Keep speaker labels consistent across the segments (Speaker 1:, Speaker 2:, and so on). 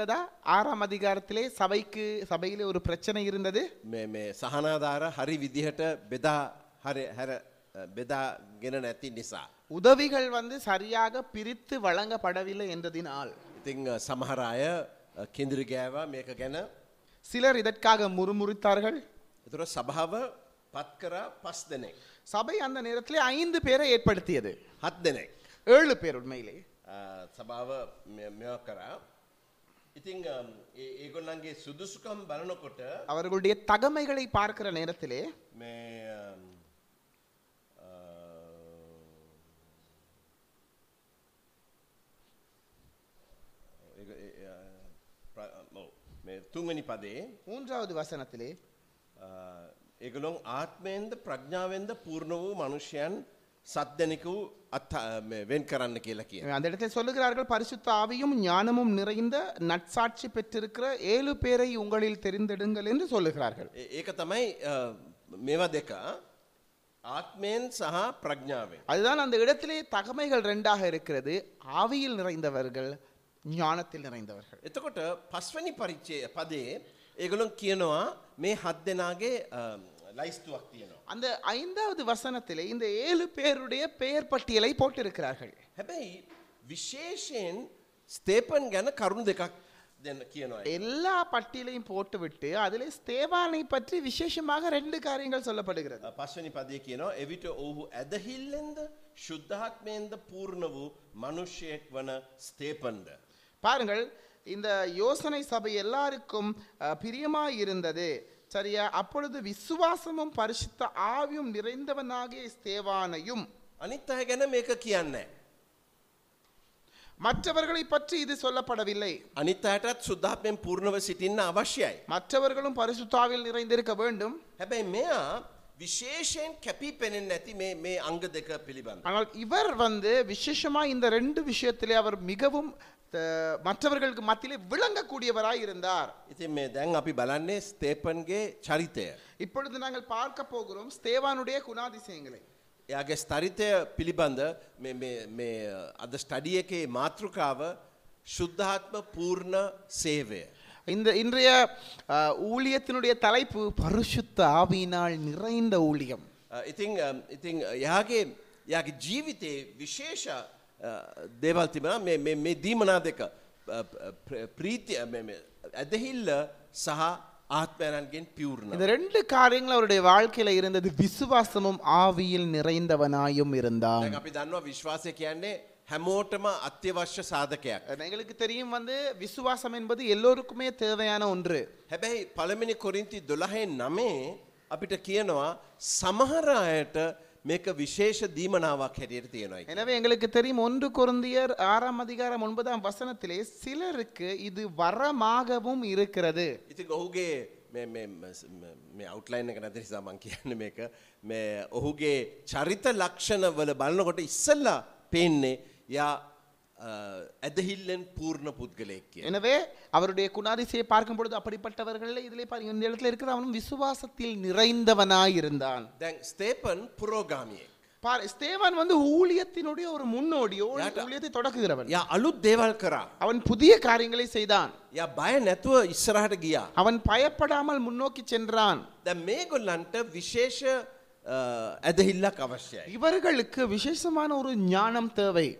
Speaker 1: இருக்கிறதா? ஆறாம் அதிகாரத்திலே சபைக்கு சபையிலே ஒரு பிரச்சனை இருந்தது
Speaker 2: මේ මේ සහනාධාර හරි විදිහට බෙදා හරි හැර බෙදාගෙන නැති නිසා.
Speaker 1: உதவிகள் வந்து சரியாக பிரித்து வழங்கப்படவில்லை என்றதினால்
Speaker 2: ඉතිං සමහර අය කෙදිරි ගෑවා මේක ගැන
Speaker 1: சிலர் இதற்காக முறுமுறுத்தார்கள்
Speaker 2: එතුර සභාව පත්කරා පස් දෙනෙක්.
Speaker 1: சபை அந்த நேரத்திலே ஐந்து பேரை ஏற்படுத்தியது
Speaker 2: හත් දෙනෙක්
Speaker 1: ஏழு பேர் உண்மையிலே
Speaker 2: අ, සභාව මෙ- මෙවා කරා. ඉතිං ඒගොල්ලන්ගේ සුදුසුකම් බලනකොට
Speaker 1: அவர்களுடைய தகமைகளை பார்க்கிற நேரத்திலே
Speaker 2: මේ අම්, අ, eh, ඒක- ඒ- අ, ප්‍ර- ඔව්. මේ තුන්වැනි පදේ
Speaker 1: மூன்றாவது வசனத்திலே
Speaker 2: ඒගලොන් ආත්මයෙන්ද ප්‍රඥාවෙන්ද පූර්ණ වූ මනුෂ්‍යයන් සද්ධනික වූ අත් වෙන් කරන්න කියලා කිය.
Speaker 1: அந்த இடத்துல சொல்லுகிறார்கள் பரிசுத்த ஆவியும் ஞானமும் நிறைந்த நட்சாட்சி பெற்றிருக்கிற ஏழு பேரை உங்களில் தெரிந்தெடுங்கள் என்று சொல்லுகிறார்கள்
Speaker 2: ඒ- ඒක තමයි අ, මේවා දෙක ආත්මයෙන් සහ ප්‍රඥාවෙන්.
Speaker 1: அதுதான் அந்த இடத்திலே தகமைகள் ரெண்டாக இருக்கிறது ஆவியில் நிறைந்தவர்கள் ஞானத்தில் நிறைந்தவர்கள்
Speaker 2: එතකොට පස්වැනි පරිච්චය පදේ ඒගොලොන් කියනවා මේ හත් දෙනාගේ අම්, ලයිස්තුවක් තියෙනවා.
Speaker 1: அந்த ஐந்தாவது வசனத்திலே இந்த ஏழு பேருடைய பெயர் பட்டியலை போட்டிருக்கிறார்கள்
Speaker 2: හැබැයි විශේෂයෙන් ස්තේපන් ගැන කරුණු දෙකක් දෙන්න කියනවා.
Speaker 1: எல்லா பட்டியலையும் போட்டுவிட்டு அதிலே ஸ்தேவானை பற்றி விசேஷமாக ரெண்டு காரியங்கள் சொல்லப்படுகிறது
Speaker 2: පස්වනි පදය කියනවා එවිට ඔහු ඇදහිල්ලෙන්ද ශුද්ධාත්මයෙන්ද පූර්ණ වූ මනුෂ්‍යයෙක් වන ස්තේපන්ද.
Speaker 1: பாருங்கள் இந்த யோசனை சபை எல்லாருக்கும் அஹ், பிரியமாய் இருந்தது சரியா அப்பொழுது விசுவாசமும் பரிசுத்த ஆவியும் நிறைந்தவனாகிய ஸ்தேவானையும்
Speaker 2: අනිත් අය ගැන මේක කියන්න.
Speaker 1: மற்றவர்களை பற்றி இது சொல்லப்படவில்லை
Speaker 2: අනිත් අයටත් සුද්ධාත්මයෙන් පූර්ණව සිටින්න අවශ්‍යයි.
Speaker 1: மற்றவர்களும் பரிசுத்தாவில் நிறைந்திருக்க வேண்டும்
Speaker 2: හැබැයි මෙයා විශේෂයෙන් කැපී පෙනෙන් නැති මේ- මේ අංග දෙක පිළිබඳ.
Speaker 1: ஆனால் இவர் வந்து விசேஷமா இந்த ரெண்டு விஷயத்திலே அவர் மிகவும் அஹ், மற்றவர்களுக்கு மத்தியிலே விளங்கக்கூடியவராய் இருந்தார்
Speaker 2: ඉතින් මේ දැන් අපි බලන්නේ ස්තේපන්ගේ චරිතය.
Speaker 1: இப்பொழுது நாங்கள் பார்க்க போகிறோம் ஸ்தேவானுடைய குணாதிசயங்களை
Speaker 2: එයාගේ ස්තරිතය පිළිබඳ මේ- මේ- මේ අද ස්ටඩිය එකේ මාතෘකාව ශුද්ධාත්ම පූර්ණ සේවය.
Speaker 1: இந்த இன்றைய அஹ், ஊழியத்தினுடைய தலைப்பு பரிசுத்த ஆவியினால் நிறைந்த ஊழியம்
Speaker 2: අ, ඉතිං අම්, ඉතිං යාගේ යාගේ ජීවිතයේ විශේෂ අ, දේවල් තිබෙන මේ- මේ- මේ දීමනා දෙක අ, ප- ප්‍ර- ප්‍රීති අ, මේ- මේ ඇදහිල්ල සහ ආත්මයනන්ගෙන් පිවුරණ.
Speaker 1: இந்த ரெண்டு காரியங்கள் அவருடைய வாழ்க்கையில இருந்தது விசுவாசமும் ஆவியில் நிறைந்தவனாயும் இருந்தான்
Speaker 2: අපි දන්නවා විශ්වාසය කියන්නේ හැමෝටම අත්‍යවශ්‍ය சாதකයක්.
Speaker 1: எங்களுக்கு தெரியும் வந்து விசுவாசம் என்பது எல்லோருக்குமே தேவையான ஒன்று
Speaker 2: හැබැයි පළමිනි කොරින්ති දොළහේ නමේ අපිට කියනවා සමහරයට මේක විශේෂ දීමනාවක් හැටියට තියෙනයි.
Speaker 1: எனவே எங்களுக்கு தெரியும் ஒன்று கொருந்தியர் ஆறாம் அதிகாரம் ஒன்பதாம் வசனத்திலே சிலருக்கு இது வரமாகவும் இருக்கிறது
Speaker 2: ඉති ඔහුගේ අවටලයින් එක නැති සමන් කියන්න මේක මේ ඔහුගේ චරිත ලක්ෂණවල බලනකොට ඉස්සල්ලා පේන්නේ යා අ, ඇදහිල්ලෙන් පූර්ණ පුද්ගලයෙක් කිය.
Speaker 1: எனவே அவருடைய குணாதிசையை பார்க்கும் பொழுது அப்படிப்பட்டவர்கள் இதிலே பாருங்க இந்த இடத்துல இருக்கிற அவனும் விசுவாசத்தில் நிறைந்தவனாய் இருந்தான்
Speaker 2: දැන් ස්තේපන් පුරෝගාමියෙක්.
Speaker 1: பார் ஸ்தேவான் வந்து ஊழியத்தினுடைய ஒரு முன்னோடி ஊழி-
Speaker 2: யார்ட்ட?
Speaker 1: ஊழியத்தை தொடக்குகிறவன்
Speaker 2: යා අලුත් දේවල් කරා.
Speaker 1: அவன் புதிய காரியங்களை செய்தான்
Speaker 2: ය බය නැතුව ඉස්සරහට ගියා.
Speaker 1: அவன் பயப்படாமல் முன்னோக்கி சென்றான்
Speaker 2: දැ මේ ගොල්ලන්ට විශේෂ අ, ඇදහිල්ලක් අවශ්‍යයි.
Speaker 1: இவர்களுக்கு விசேஷமான ஒரு ஞானம் தேவை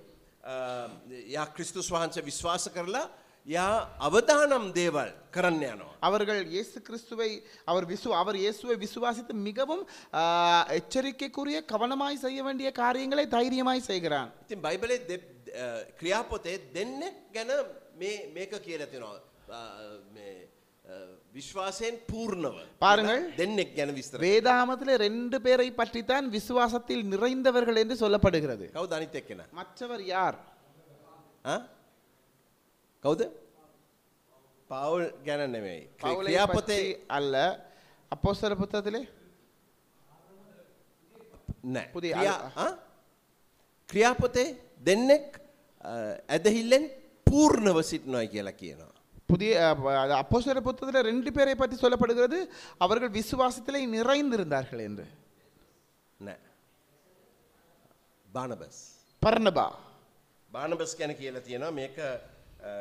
Speaker 2: යා ක්‍රිස්තුස් වහන්ස විශ්වාස කරලා යා අවධානම් දේවල් කරන්න යනවා.
Speaker 1: அவர்கள் இயேசு கிறிஸ்துவை அவர் விசு அவர் இயேசுவை விசுவாசித்து மிகவும் ஆ, எச்சரிக்கைக்குரிய கவனமாய் செய்ய வேண்டிய காரியங்களை தைரியமாய் செய்கிறான்
Speaker 2: ඉතින් බයිබලේ දෙ- අ, ක්‍රියාපොතේ දෙන්න ගැන මේ- මේක කියලතිනවා විශ්වාසයෙන් පූර්ණව
Speaker 1: පාරங்கள்.
Speaker 2: දෙන්නෙක් ගැන විස්තර
Speaker 1: வேதாமத்திலே ரெண்டு பேரை பற்றித்தான் விசுவாசத்தில் நிறைந்தவர்கள் என்று சொல்லப்படுகிறது
Speaker 2: කවු ධනිත එක්කෙන
Speaker 1: மற்றவர் யார்
Speaker 2: කවුද පවුල් ගැන නෙමෙයි ක්‍රි-
Speaker 1: பவுலை
Speaker 2: ක්‍රියාපොතේ
Speaker 1: பற்றி அல்ல அப்போஸ்தல புத்தகத்திலே
Speaker 2: නෑ
Speaker 1: පුතේ,
Speaker 2: ක්‍රියා-
Speaker 1: අර-
Speaker 2: ආ? ක්‍රියාපොතේ දෙන්නෙක් අ, ඇදහිල්ලෙන් පූර්ණව සිටිනොයි කියලා කියනවා.
Speaker 1: புதிய அ, ப- அது அப்போஸ்தலர் புத்தகத்தில் ரெண்டு பேரை பற்றி சொல்லப்படுகிறது அவர்கள் விசுவாசத்திலே நிறைந்திருந்தார்கள் என்று
Speaker 2: නෑ. බානබස්.
Speaker 1: பர்னபா
Speaker 2: බානබස් ගැන කියලා තියෙනවා මේක අ,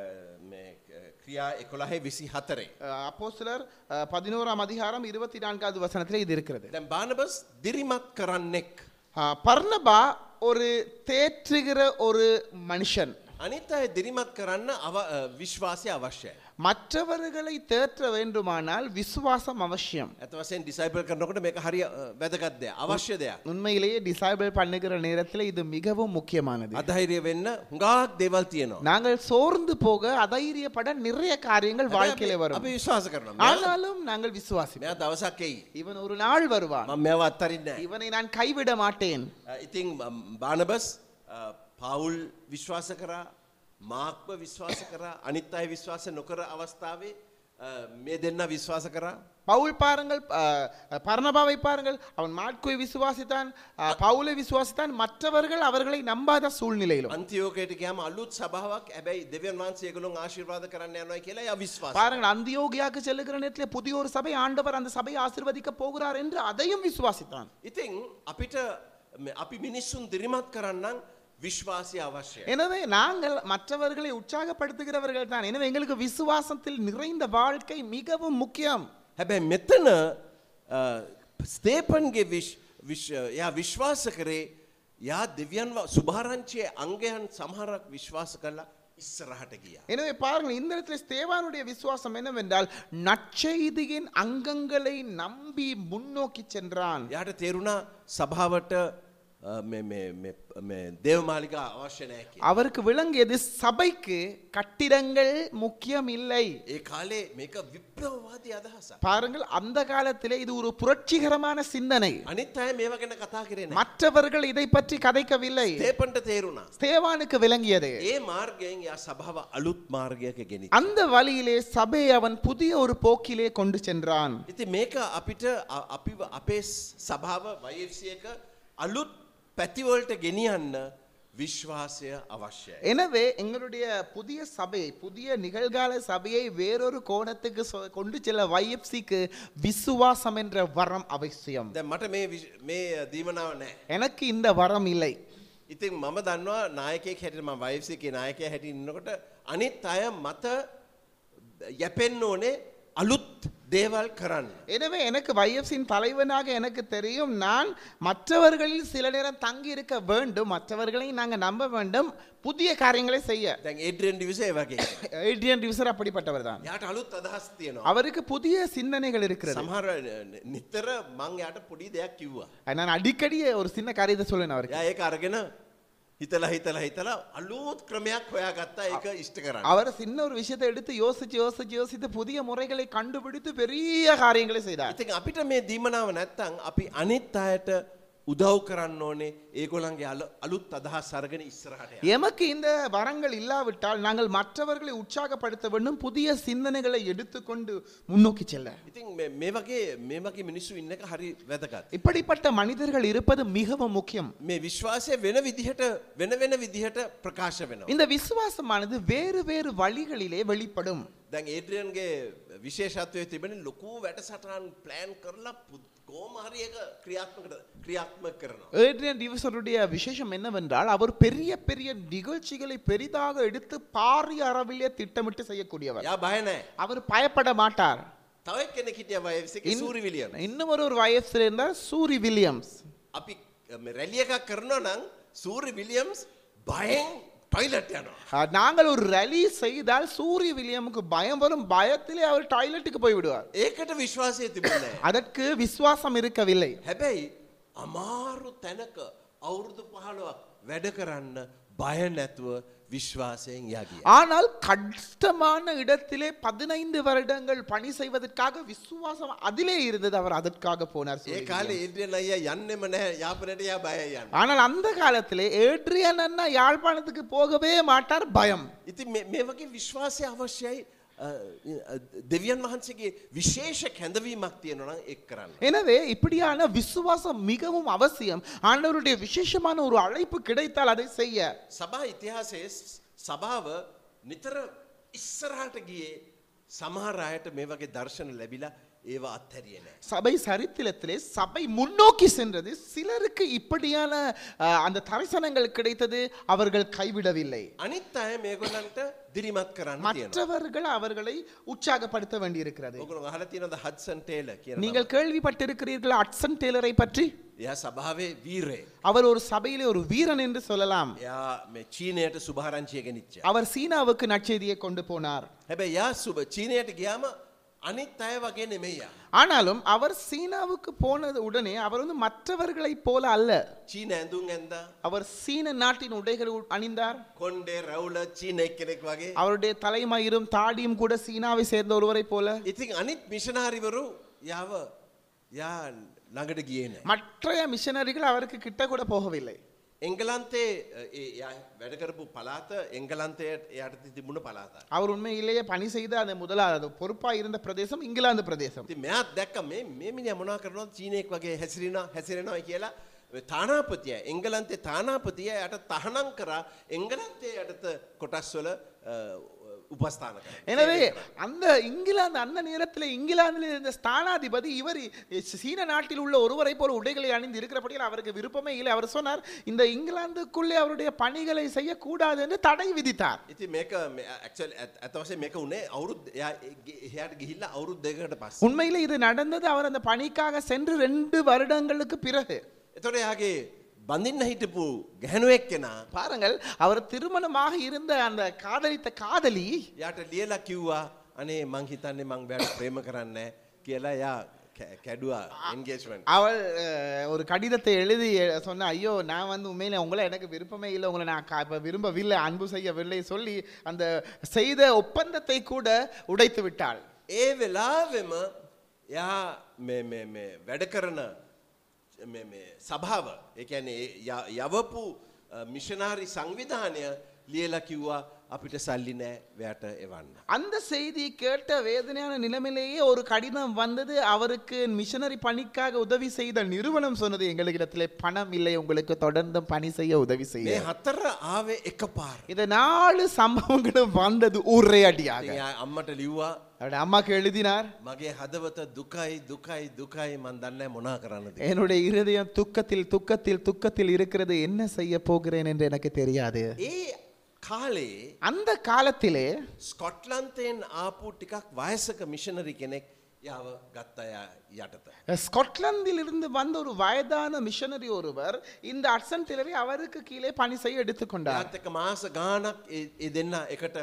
Speaker 2: මේ, අ, ක්‍රියා එකොළහේ විසි හතරේ.
Speaker 1: அஹ் அப்போஸ்தலர் அஹ், பதினோராம் அதிகாரம் இருபத்தி நான்காவது வசனத்தில் இது இருக்கிறது
Speaker 2: දැම් බානබස් දිරිමත් කරන්නෙක්.
Speaker 1: அஹ், பர்னபா ஒரு தேற்றுகிற ஒரு மனுஷன்
Speaker 2: අනිත් අය දිරිමත් කරන්න අව- අ, විශ්වාසය අවශ්‍යයි.
Speaker 1: மற்றவர்களை தேற்ற வேண்டுமானால் විශ්වාசம் அவசியம்
Speaker 2: ඇතවසෙන් ඩිසයිපල් කරනකට මේක හරි අ, වැදගත් දෙයක් අවශ්‍ය දෙයක්.
Speaker 1: உண்மையிலேயே டிசைபிள் பண்ணுகிற நேரத்தில் இது மிகவும் முக்கியமானது
Speaker 2: අධෛරය වෙන්න හුඟාක් දෙවල් තියෙනවා.
Speaker 1: நாங்கள் சோர்ந்து போக அதைரியப்பட நிறைய காரியங்கள் வாழ்க்கையில வரும்
Speaker 2: අපි විශ්වාස කරනවා.
Speaker 1: ஆனாலும் நாங்கள் விசுவாசி
Speaker 2: මෙයා දවසක් එයි.
Speaker 1: இவன் ஒரு நாள் வருவான்
Speaker 2: මම මෙව අත්තරින්න.
Speaker 1: இவனை நான் கைவிட மாட்டேன்
Speaker 2: ඉතිං බානබස් පවුල් විශ්වාස කරා මාක්ව විශ්වාස කරා අනිත් අය විශ්වාස නොකර අවස්ථාවේ අ, මේ දෙන්න විශ්වාස කරා.
Speaker 1: பவுல் பாருங்கள் அஹ், பர்னபாவை பாருங்கள் அவன் மாட்குயை விசுவாசித்தான் அஹ், பவுலை விசுவாசித்தான் மற்றவர்கள் அவர்களை நம்பாத சூழ்நிலையிலும்
Speaker 2: අන්තියෝකයට ගෑම අලුත් සභාවක් ඇබැයි දෙවන් වන්සේකලුන් ආශිර්වාද කරන්න යනයි කියලා ය විශ්වාස.
Speaker 1: பாருங்கள் அந்தியோகியாக்கு செல்லுகிற நேரத்தில் புதிய ஒரு சபை ஆண்டவர் அந்த சபையை ஆசிர்வதிக்க போகிறார் என்று அதையும் விசுவாசித்தான்
Speaker 2: ඉතිං අපිට මේ අපි මිනිස්සුන් දිරිමත් කරන්න විශ්වාසය අවශ්‍යය.
Speaker 1: எனவே நாங்கள் மற்றவர்களை உற்சாகப்படுத்துகிறவர்கள் தான் எனவே எங்களுக்கு விசுவாசத்தில் நிறைந்த வாழ்க்கை மிகவும் முக்கியம்
Speaker 2: හැබැයි මෙතන අ, ස්තේපන්ගේ විශ්- විශ්- එයා විශ්වාස කරේ යා දෙවියන් සුභාරංචයේ අංගයන් සමහරක් විශ්වාස කල්ලා ඉස්සරහට ගියා.
Speaker 1: எனவே பாருங்கள் இந்த இடத்துல ஸ்தேவானுடைய விசுவாசம் என்னவென்றால் நற்செய்தியின் அங்கங்களை நம்பி முன்னோக்கி சென்றான்
Speaker 2: යාට තේරුණා සභාවට අ, මේ- මේ- මේ- මේ දේවමාලිකා අවශ්‍ය නෑ කියලා.
Speaker 1: அவருக்கு விளங்கியது සබைக்கு கட்டிடங்கள் முக்கியம் இல்லை
Speaker 2: ඒ කාලේ මේක විප්ලවවාදී අදහස.
Speaker 1: பாருங்கள் அந்த காலத்திலே இது ஒரு புரட்சிகரமான சிந்தனை
Speaker 2: අනිත් අය මේව ගැන කතා කරෙන.
Speaker 1: மற்றவர்கள் இதை பற்றி கதைக்கவில்லை
Speaker 2: තේපන්ට තේරුණා.
Speaker 1: ஸ்தேவானுக்கு விளங்கியது
Speaker 2: ඒ මාර්ගයෙන් යා සභාව අලුත් මාර්ගයක ගෙනි.
Speaker 1: அந்த வழியிலே சபையை அவன் புதிய ஒரு போக்கிலே கொண்டு சென்றான்
Speaker 2: ඉති මේක අපිට අ- අපි අපේ ස්- සභාව වයසියක අලුත් පැතිවලට ගෙනියන්න විශ්වාසය අවශ්‍යයි.
Speaker 1: எனவே எங்களுடைய புதிய சபை புதிய நிகழ்கால சபையை வேறொரு கோணத்துக்கு சொ- கொண்டு செல்ல வைஎஃப்சிக்கு விசுவாசம் என்ற வரம் அவசியம்
Speaker 2: දැ මට මේ විශ්- මේ දීමනාව නෑ.
Speaker 1: எனக்கு இந்த வரம் இல்லை
Speaker 2: ඉතින් මම දන්නවා නායකෙක් හැටම වයිසිකේ නායකය හැටින්නකොට අනිත් අය මත යැපෙන්න ඕනේ අලුත් දේවල් කරන්න.
Speaker 1: எனவே எனக்கு வைஎஃப்சின் தலைவனாக எனக்கு தெரியும் நான் மற்றவர்களில் சில நேரம் தங்கி இருக்க வேண்டும் மற்றவர்களை நாங்கள் நம்ப வேண்டும் புதிய காரியங்களை செய்ய
Speaker 2: දැන් ඒඩ්‍රෙන්ඩි විසේ වගේ.
Speaker 1: ஏட்ரியன் டிவிசர் அப்படிப்பட்டவர் தான்
Speaker 2: යාට අලුත් අදහස් තියෙනවා.
Speaker 1: அவருக்கு புதிய சிந்தனைகள் இருக்கிறது
Speaker 2: සමහර න- නිතර මං යට පොඩි දෙයක් කිව්වා.
Speaker 1: நான் අடிக்கடி ஒரு சின்ன காரியத்தை சொல்லுவேன் அவருக்கு
Speaker 2: යා ඒක අරගෙන හිතලා හිතලා හිතලා අලුත් ක්‍රමයක් හොයාගත්තා ඒක ඉෂ්ට කරන්න.
Speaker 1: அவர் சின்ன ஒரு விஷயத்தை எடுத்து யோசிச்சு யோசிச்சு யோசித்து புதிய முறைகளை கண்டுபிடித்து பெரிய காரியங்களை செய்தார்
Speaker 2: ඉතින් අපිට මේ දීමනාව නැත්තං අපි අනිත් අයට උදව් කරන්න ඕනේ ඒගොලන්ගේ අල- අලුත් අදහස් අරගෙන ඉස්සරහට යන්න.
Speaker 1: எமக்கு இந்த வரங்கள் இல்லாவிட்டால் நாங்கள் மற்றவர்களை உற்சாகப்படுத்த வேண்டும் புதிய சிந்தனைகளை எடுத்துக்கொண்டு முன்னோக்கி செல்ல
Speaker 2: ඉතින් මේ- මේ වගේ මේ වගේ මිනිස්සු ඉන්න එක හරි වැදගත්.
Speaker 1: இப்படிப்பட்ட மனிதர்கள் இருப்பது மிகவும் முக்கியம்
Speaker 2: මේ විශ්වාසය වෙන විදිහට වෙන වෙන විදිහට ප්‍රකාශ වෙනවා.
Speaker 1: இந்த விசுவாசமானது வேறு வேறு வழிகளிலே வெளிப்படும்
Speaker 2: දැන් ඒඩ්‍රියන්ගේ විශේෂත්වය තිබෙන ලොකූ වැඩ සටහන් ප්ලෑන් කරලා කෝමහරියක ක්‍රියාත්මකට ක්‍රියාත්ම කරනවා.
Speaker 1: ஏட்ரியன் டிவிசருடைய விசேஷம் என்னவென்றால் அவர் பெரிய பெரிய நிகழ்ச்சிகளை பெரிதாக எடுத்து பாரிய அளவிலே திட்டமிட்டு செய்யக்கூடியவர்
Speaker 2: යා බයනෑ
Speaker 1: அவர் பயப்பட மாட்டார்
Speaker 2: තවයි කෙනෙ හිටිය වයසික
Speaker 1: இன்-
Speaker 2: සූරි විලියන.
Speaker 1: இன்னும் ஒரு ஒரு வயசுல இருந்தால் சூரி வில்லியம்ஸ்
Speaker 2: අපි රැලිය එකක් කරනවා නම් සූරි විලියම්ස් බයෙන් ටයිලට් යනවා.
Speaker 1: அஹ், நாங்கள் ஒரு ரலி செய்தால் சூரிய வில்லியமுக்கு பயம் வரும் பயத்திலே அவர் டாய்லெட்டுக்கு போய் விடுவார்
Speaker 2: ඒකට විශ්වාසය තිබුණෑ.
Speaker 1: அதற்கு விசுவாசம் இருக்கவில்லை
Speaker 2: හැබැයි අමාරු තැනක අවුරුදු පහළුවක් වැඩ කරන්න බය නැතුව විශ්වාසයෙන් යගිය.
Speaker 1: ஆனால் கஷ்டமான இடத்திலே பதினைந்து வருடங்கள் பணி செய்வதற்காக விசுவாசம் அதிலே இருந்தது அவர் அதற்காக போனார்
Speaker 2: ඒ
Speaker 1: சூரிய
Speaker 2: කාලේ ඉන්ද්‍රියන් අය යන්නෙම නෑ යාපනට යා බය යන්න.
Speaker 1: வில்லியம். ஆனால் அந்த காலத்திலே ஏட்ரியன் அண்ணா யாழ்ப்பாணத்துக்கு போகவே மாட்டார் பயம்
Speaker 2: ඉති මේ වගේ විශ්වාසය අවශ්‍යයි අ, අ, දෙවියන් වහන්සේගේ විශේෂ කැඳවීමක් තියෙනනම් එක් කරන්න.
Speaker 1: எனவே இப்படியான விசுவாசம் மிகவும் அவசியம் ஆண்டவருடைய விசேஷமான ஒரு அழைப்பு கிடைத்தால் அதை செய்ய
Speaker 2: සභා ඉතිහාසයේ ස්- සභාව නිතර ඉස්සරහට ගියේ සමහර අයට මේ වගේ දර්ශන ලැබිලා ඒවා අත්හැරිය නෑ.
Speaker 1: சபை சரித்திரத்திலே சபை முன்னோக்கி சென்றது சிலருக்கு இப்படியான அஹ், அந்த தரிசனங்கள் கிடைத்தது அவர்கள் கைவிடவில்லை
Speaker 2: අනිත් අය මේගොල්ලන්ට දිරිමත් කරන්න තියෙනවා.
Speaker 1: மற்றவர்கள் அவர்களை உற்சாகப்படுத்த வேண்டியிருக்கிறது
Speaker 2: ඔකුණ අහල තියෙනද හත්සන් ටේල කියන
Speaker 1: நீங்கள் கேள்விப்பட்டிருக்கிறீர்கள் அட்சன் டேலரை பற்றி
Speaker 2: එය සභාවේ වීරේ.
Speaker 1: அவர் ஒரு சபையிலே ஒரு வீரன் என்று சொல்லலாம்
Speaker 2: එයා මේ චීනයට සුභාරංචිය ගෙනනිච්ච.
Speaker 1: அவர் சீனாவுக்கு நற்செய்தியை கொண்டு போனார்
Speaker 2: හැබැ යා සුභ චීනයට ගියාම අනිත් අය වගේ නෙමෙයියා.
Speaker 1: ஆனாலும் அவர் சீனாவுக்கு போனது உடனே அவர் வந்து மற்றவர்களைப் போல அல்ல
Speaker 2: චීන ඇඳුම් ඇන්ද
Speaker 1: அவர் சீன நாட்டின் உடைகள் உ- அணிந்தார்
Speaker 2: කොන්්ඩේ රවුල චීනය කෙනෙක් වගේ.
Speaker 1: அவருடைய தலைமயிரும் தாடியும் கூட சீனாவை சேர்ந்த ஒருவரைப் போல
Speaker 2: ඉතින් අනිත් මිෂනාරිවරු යාව යා ළඟට ගියන.
Speaker 1: மற்ற மிஷனரிகள் அவருக்கு கிட்ட கூட போகவில்லை
Speaker 2: එංගලන්තේ අ, ඒ එයා වැඩකරපු පලාත එංගලන්තයට එයට තිබුණ පලාතා.
Speaker 1: அவர் உண்மையிலேயே பணி செய்த அந்த முதலாவது பொறுப்பாக இருந்த பிரதேசம் இங்கிலாந்து பிரதேசம்
Speaker 2: ති මෙයාත් දැක්ක මේ මෙමිනි මොනා කරනවා චීනයෙක් වගේ හැසිරෙන හැසිරෙනවා කියලා ඔය තානාපතිය එංගලන්තේ තානාපතිය යට තහනම් කරා එංගලන්තේ යටත කොටස්වල අ, උපස්ථාන කරනවා.
Speaker 1: எனவே அந்த இங்கிலாந்து அந்த நேரத்தில் இங்கிலாந்தில் இருந்த ஸ்தானாதிபதி இவர் இ- சீன நாட்டில் உள்ள ஒருவரை போல உடைகளை அணிந்து இருக்கிறபடியால் அவருக்கு விருப்பமே இல்லை அவர் சொன்னார் இந்த இங்கிலாந்துக்குள்ளே அவருடைய பணிகளை செய்யக்கூடாது என்று தடை விதித்தார்
Speaker 2: ඉති මේක ඇක්ල් ඇතවසේ මේක උනේ අවුරුද් එයාට ගිහිල්ල අවුරුද් දෙකට පස්ස.
Speaker 1: உண்மையில் இது நடந்தது அவர் அந்த பணிக்காக சென்று ரெண்டு வருடங்களுக்கு பிறகு
Speaker 2: එතොට එයාගේ බඳින්න හිටපු ගැහනුවෙක් කෙනා
Speaker 1: பாருங்கள் அவர் திருமணமாக இருந்த அந்த காதலித்த காதலி
Speaker 2: යට ලියලා කිව්වා අනේ මං හිතන්නේ මං බැට ප්‍රේම කරන්න කියලා යා කැඩවා එන්ගේස්වන්
Speaker 1: அவள் அஹ், ஒரு கடிதத்தை எழுதி அஹ், சொன்னா ஐயோ நான் வந்து உண்மையில உங்களை எனக்கு விருப்பமே இல்லை உங்களை நான் கா- இப்ப விரும்பவில்லை அன்பு செய்யவில்லை சொல்லி அந்த செய்த ஒப்பந்தத்தை கூட உடைத்து விட்டாள்
Speaker 2: ඒ වෙලාවෙම යා මේ- මේ- මේ වැඩ කරන මේ- මේ සභාව එකන යවපු අ, මිෂනාරි සංවිධානය ලියලා කිව්වා අපිට සල්ලි නෑ වැට එවන්න.
Speaker 1: அந்த செய்தி கேட்ட வேதனையான நிலைமையிலேயே ஒரு கடிதம் வந்தது அவருக்கு மிஷனரி பணிக்காக உதவி செய்த நிறுவனம் சொன்னது எங்களுக்கு இடத்துல பணம் இல்லை உங்களுக்கு தொடர்ந்தும் பணி செய்ய உதவி செய்ய
Speaker 2: මේ හතර ආවේ එක පාර.
Speaker 1: இந்த நாலு சம்பவங்களும் வந்தது ஒரே
Speaker 2: ඉතින්
Speaker 1: அடியாக
Speaker 2: එයා අම්මට ලිව්වා
Speaker 1: அவருடைய அம்மாக்கு எழுதினார்
Speaker 2: මගේ හදවත දුකයි දුකයි දුකයි මන් දන්න මොනා කරන්නද.
Speaker 1: என்னுடைய இருதயம் துக்கத்தில் துக்கத்தில் துக்கத்தில் இருக்கிறது என்ன செய்ய போகிறேன் என்று எனக்கு தெரியாது
Speaker 2: ඒ කාලේ
Speaker 1: அந்த காலத்திலே
Speaker 2: ස්කොට්ලන්තයෙන් ආපු ටිකක් වයසක මිෂනරි කෙනෙක් යව ගත්තයා යටත.
Speaker 1: ஸ்காட்லாந்தில் இருந்து வந்த ஒரு வயதான மிஷனரி ஒருவர் இந்த அட்சன் திலரை அவருக்கு கீழே பணி செய்ய எடுத்துக்கொண்டார்
Speaker 2: යාත්තක මාස ගානක් ඒ- ඒ දෙන්න එකට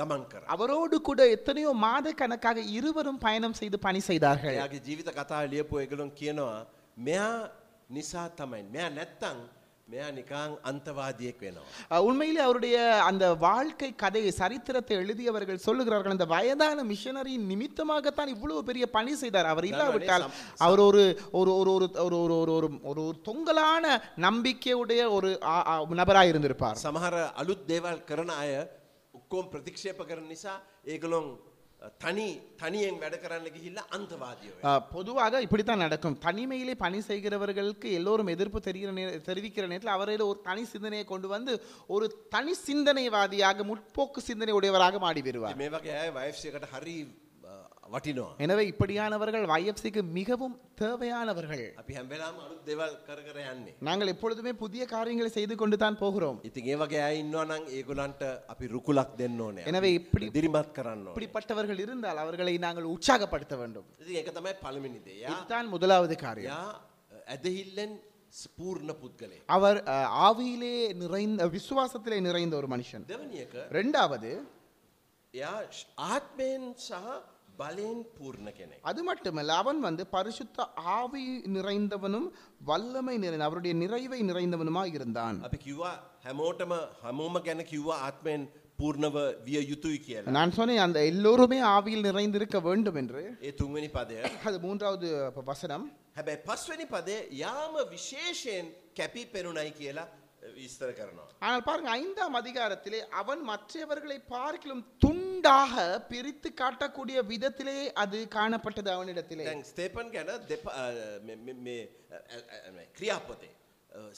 Speaker 2: ගමන් කර.
Speaker 1: அவரோடு கூட எத்தனையோ மாத கணக்காக இருவரும் பயணம் செய்து பணி செய்தார்கள்
Speaker 2: එයාගේ ජීවිත කතා ලියපු එකලොන් කියනවා මෙයා නිසා තමයි. මෙයා නැත්තං මෙයා නිකාං අන්තවාදියෙක් වෙනවා.
Speaker 1: அஹ், உண்மையிலே அவருடைய அந்த வாழ்க்கை கதையை சரித்திரத்தை எழுதியவர்கள் சொல்லுகிறார்கள் அந்த வயதான மிஷனரியின் நிமித்தமாகத்தான் இவ்வளவு பெரிய பணி செய்தார் அவர் இல்லாவிட்டால் அவர் ஒரு ஒரு ஒரு ஒரு ஒரு ஒரு ஒரு ஒரு ஒரு ஒரு தொங்கலான நம்பிக்கையுடைய ஒரு ஆ- ஆ- நபராக இருந்திருப்பார்
Speaker 2: සමහර අලුත් දේවල් කරන අය ඔක්කෝම් ප්‍රතික්ෂේප කරන නිසා ඒගලොන් තනි තනියෙන් වැඩ කරන්න ගිහිල්ලා අන්තවාදියෝ.
Speaker 1: அஹ், பொதுவாக இப்படித்தான் நடக்கும் தனிமையிலே பணி செய்கிறவர்களுக்கு எல்லோரும் எதிர்ப்பு தெரிகிற நே தெரிவிக்கிற நேரத்தில் அவரில் ஒரு தனி சிந்தனையை கொண்டு வந்து ஒரு தனி சிந்தனைவாதியாக முற்போக்கு சிந்தனை உடையவராக மாடி வருவார்
Speaker 2: මේ වගේ ඇය වයිෆ්සයකට හරි අ, වටිනවා.
Speaker 1: எனவே இப்படியானவர்கள் YFCக்கு மிகவும் தேவையானவர்கள்
Speaker 2: අපි හැම්බෙලාම අලුත් දෙවල් කර කර යන්නේ.
Speaker 1: நாங்கள் எப்பொழுதுமே புதிய காரியங்களை செய்து கொண்டு தான் போகிறோம்
Speaker 2: ඉතින් ඒ වගේ ඇය ඉන්නවා නම් ඒගොලන්ට අපි රුකුලක් දෙන්න ඕනේ.
Speaker 1: எனவே இப்படி
Speaker 2: දිරිමත් කරන්න ඕනේ.
Speaker 1: இப்படிப்பட்டவர்கள் இருந்தால் அவர்களை நாங்கள் உற்சாகப்படுத்த வேண்டும்
Speaker 2: ඉතින් ඒක තමයි පළවෙනි දේ. යා
Speaker 1: இதுதான் முதலாவது காரியம்
Speaker 2: යා ඇදහිල්ලෙන් ස්පූර්ණ පුද්ගලයෙක්.
Speaker 1: அவர் அஹ், ஆவியிலே நிறைந்த விசுவாசத்திலே நிறைந்த ஒரு மனுஷன்
Speaker 2: දෙවැනි එක
Speaker 1: ரெண்டாவது
Speaker 2: යා ආත්මයෙන් සහ බලයෙන් පූර්ණ කෙනෙක්.
Speaker 1: அது மட்டுமல்ல அவன் வந்து பரிசுத்த ஆவி நிறைந்தவனும் வல்லமை நிறைந்த அவருடைய நிறைவை நிறைந்தவனுமா இருந்தான்
Speaker 2: අපි කිව්වා හැමෝටම හැමෝම ගැන කිව්වා ආත්මයෙන් පූර්ණව විය යුතුයි කියලා.
Speaker 1: நான் சொன்னேன் அந்த எல்லோருமே ආවිயில் நிறைந்திருக்க வேண்டும் என்று
Speaker 2: ඒ තුන්වෙනි පදය.
Speaker 1: அது மூன்றாவது அஹ், வசனம்
Speaker 2: හැබැයි පස්වෙනි පදේ යාම විශේෂයෙන් කැපි පෙනුණයි කියලා විස්තර කරනවා.
Speaker 1: ஆனால் பாருங்க ஐந்தாம் அதிகாரத்திலே அவன் மற்றவர்களை பார்க்கிலும் துண்டாக பிரித்து காட்டக்கூடிய விதத்திலே அது காணப்பட்டது அவனிடத்திலே
Speaker 2: දැන් ස්තේපන් ගැන දෙප- අ, මෙ- මෙ- මේ, අ, අ, අ, ක්‍රියාපතේ.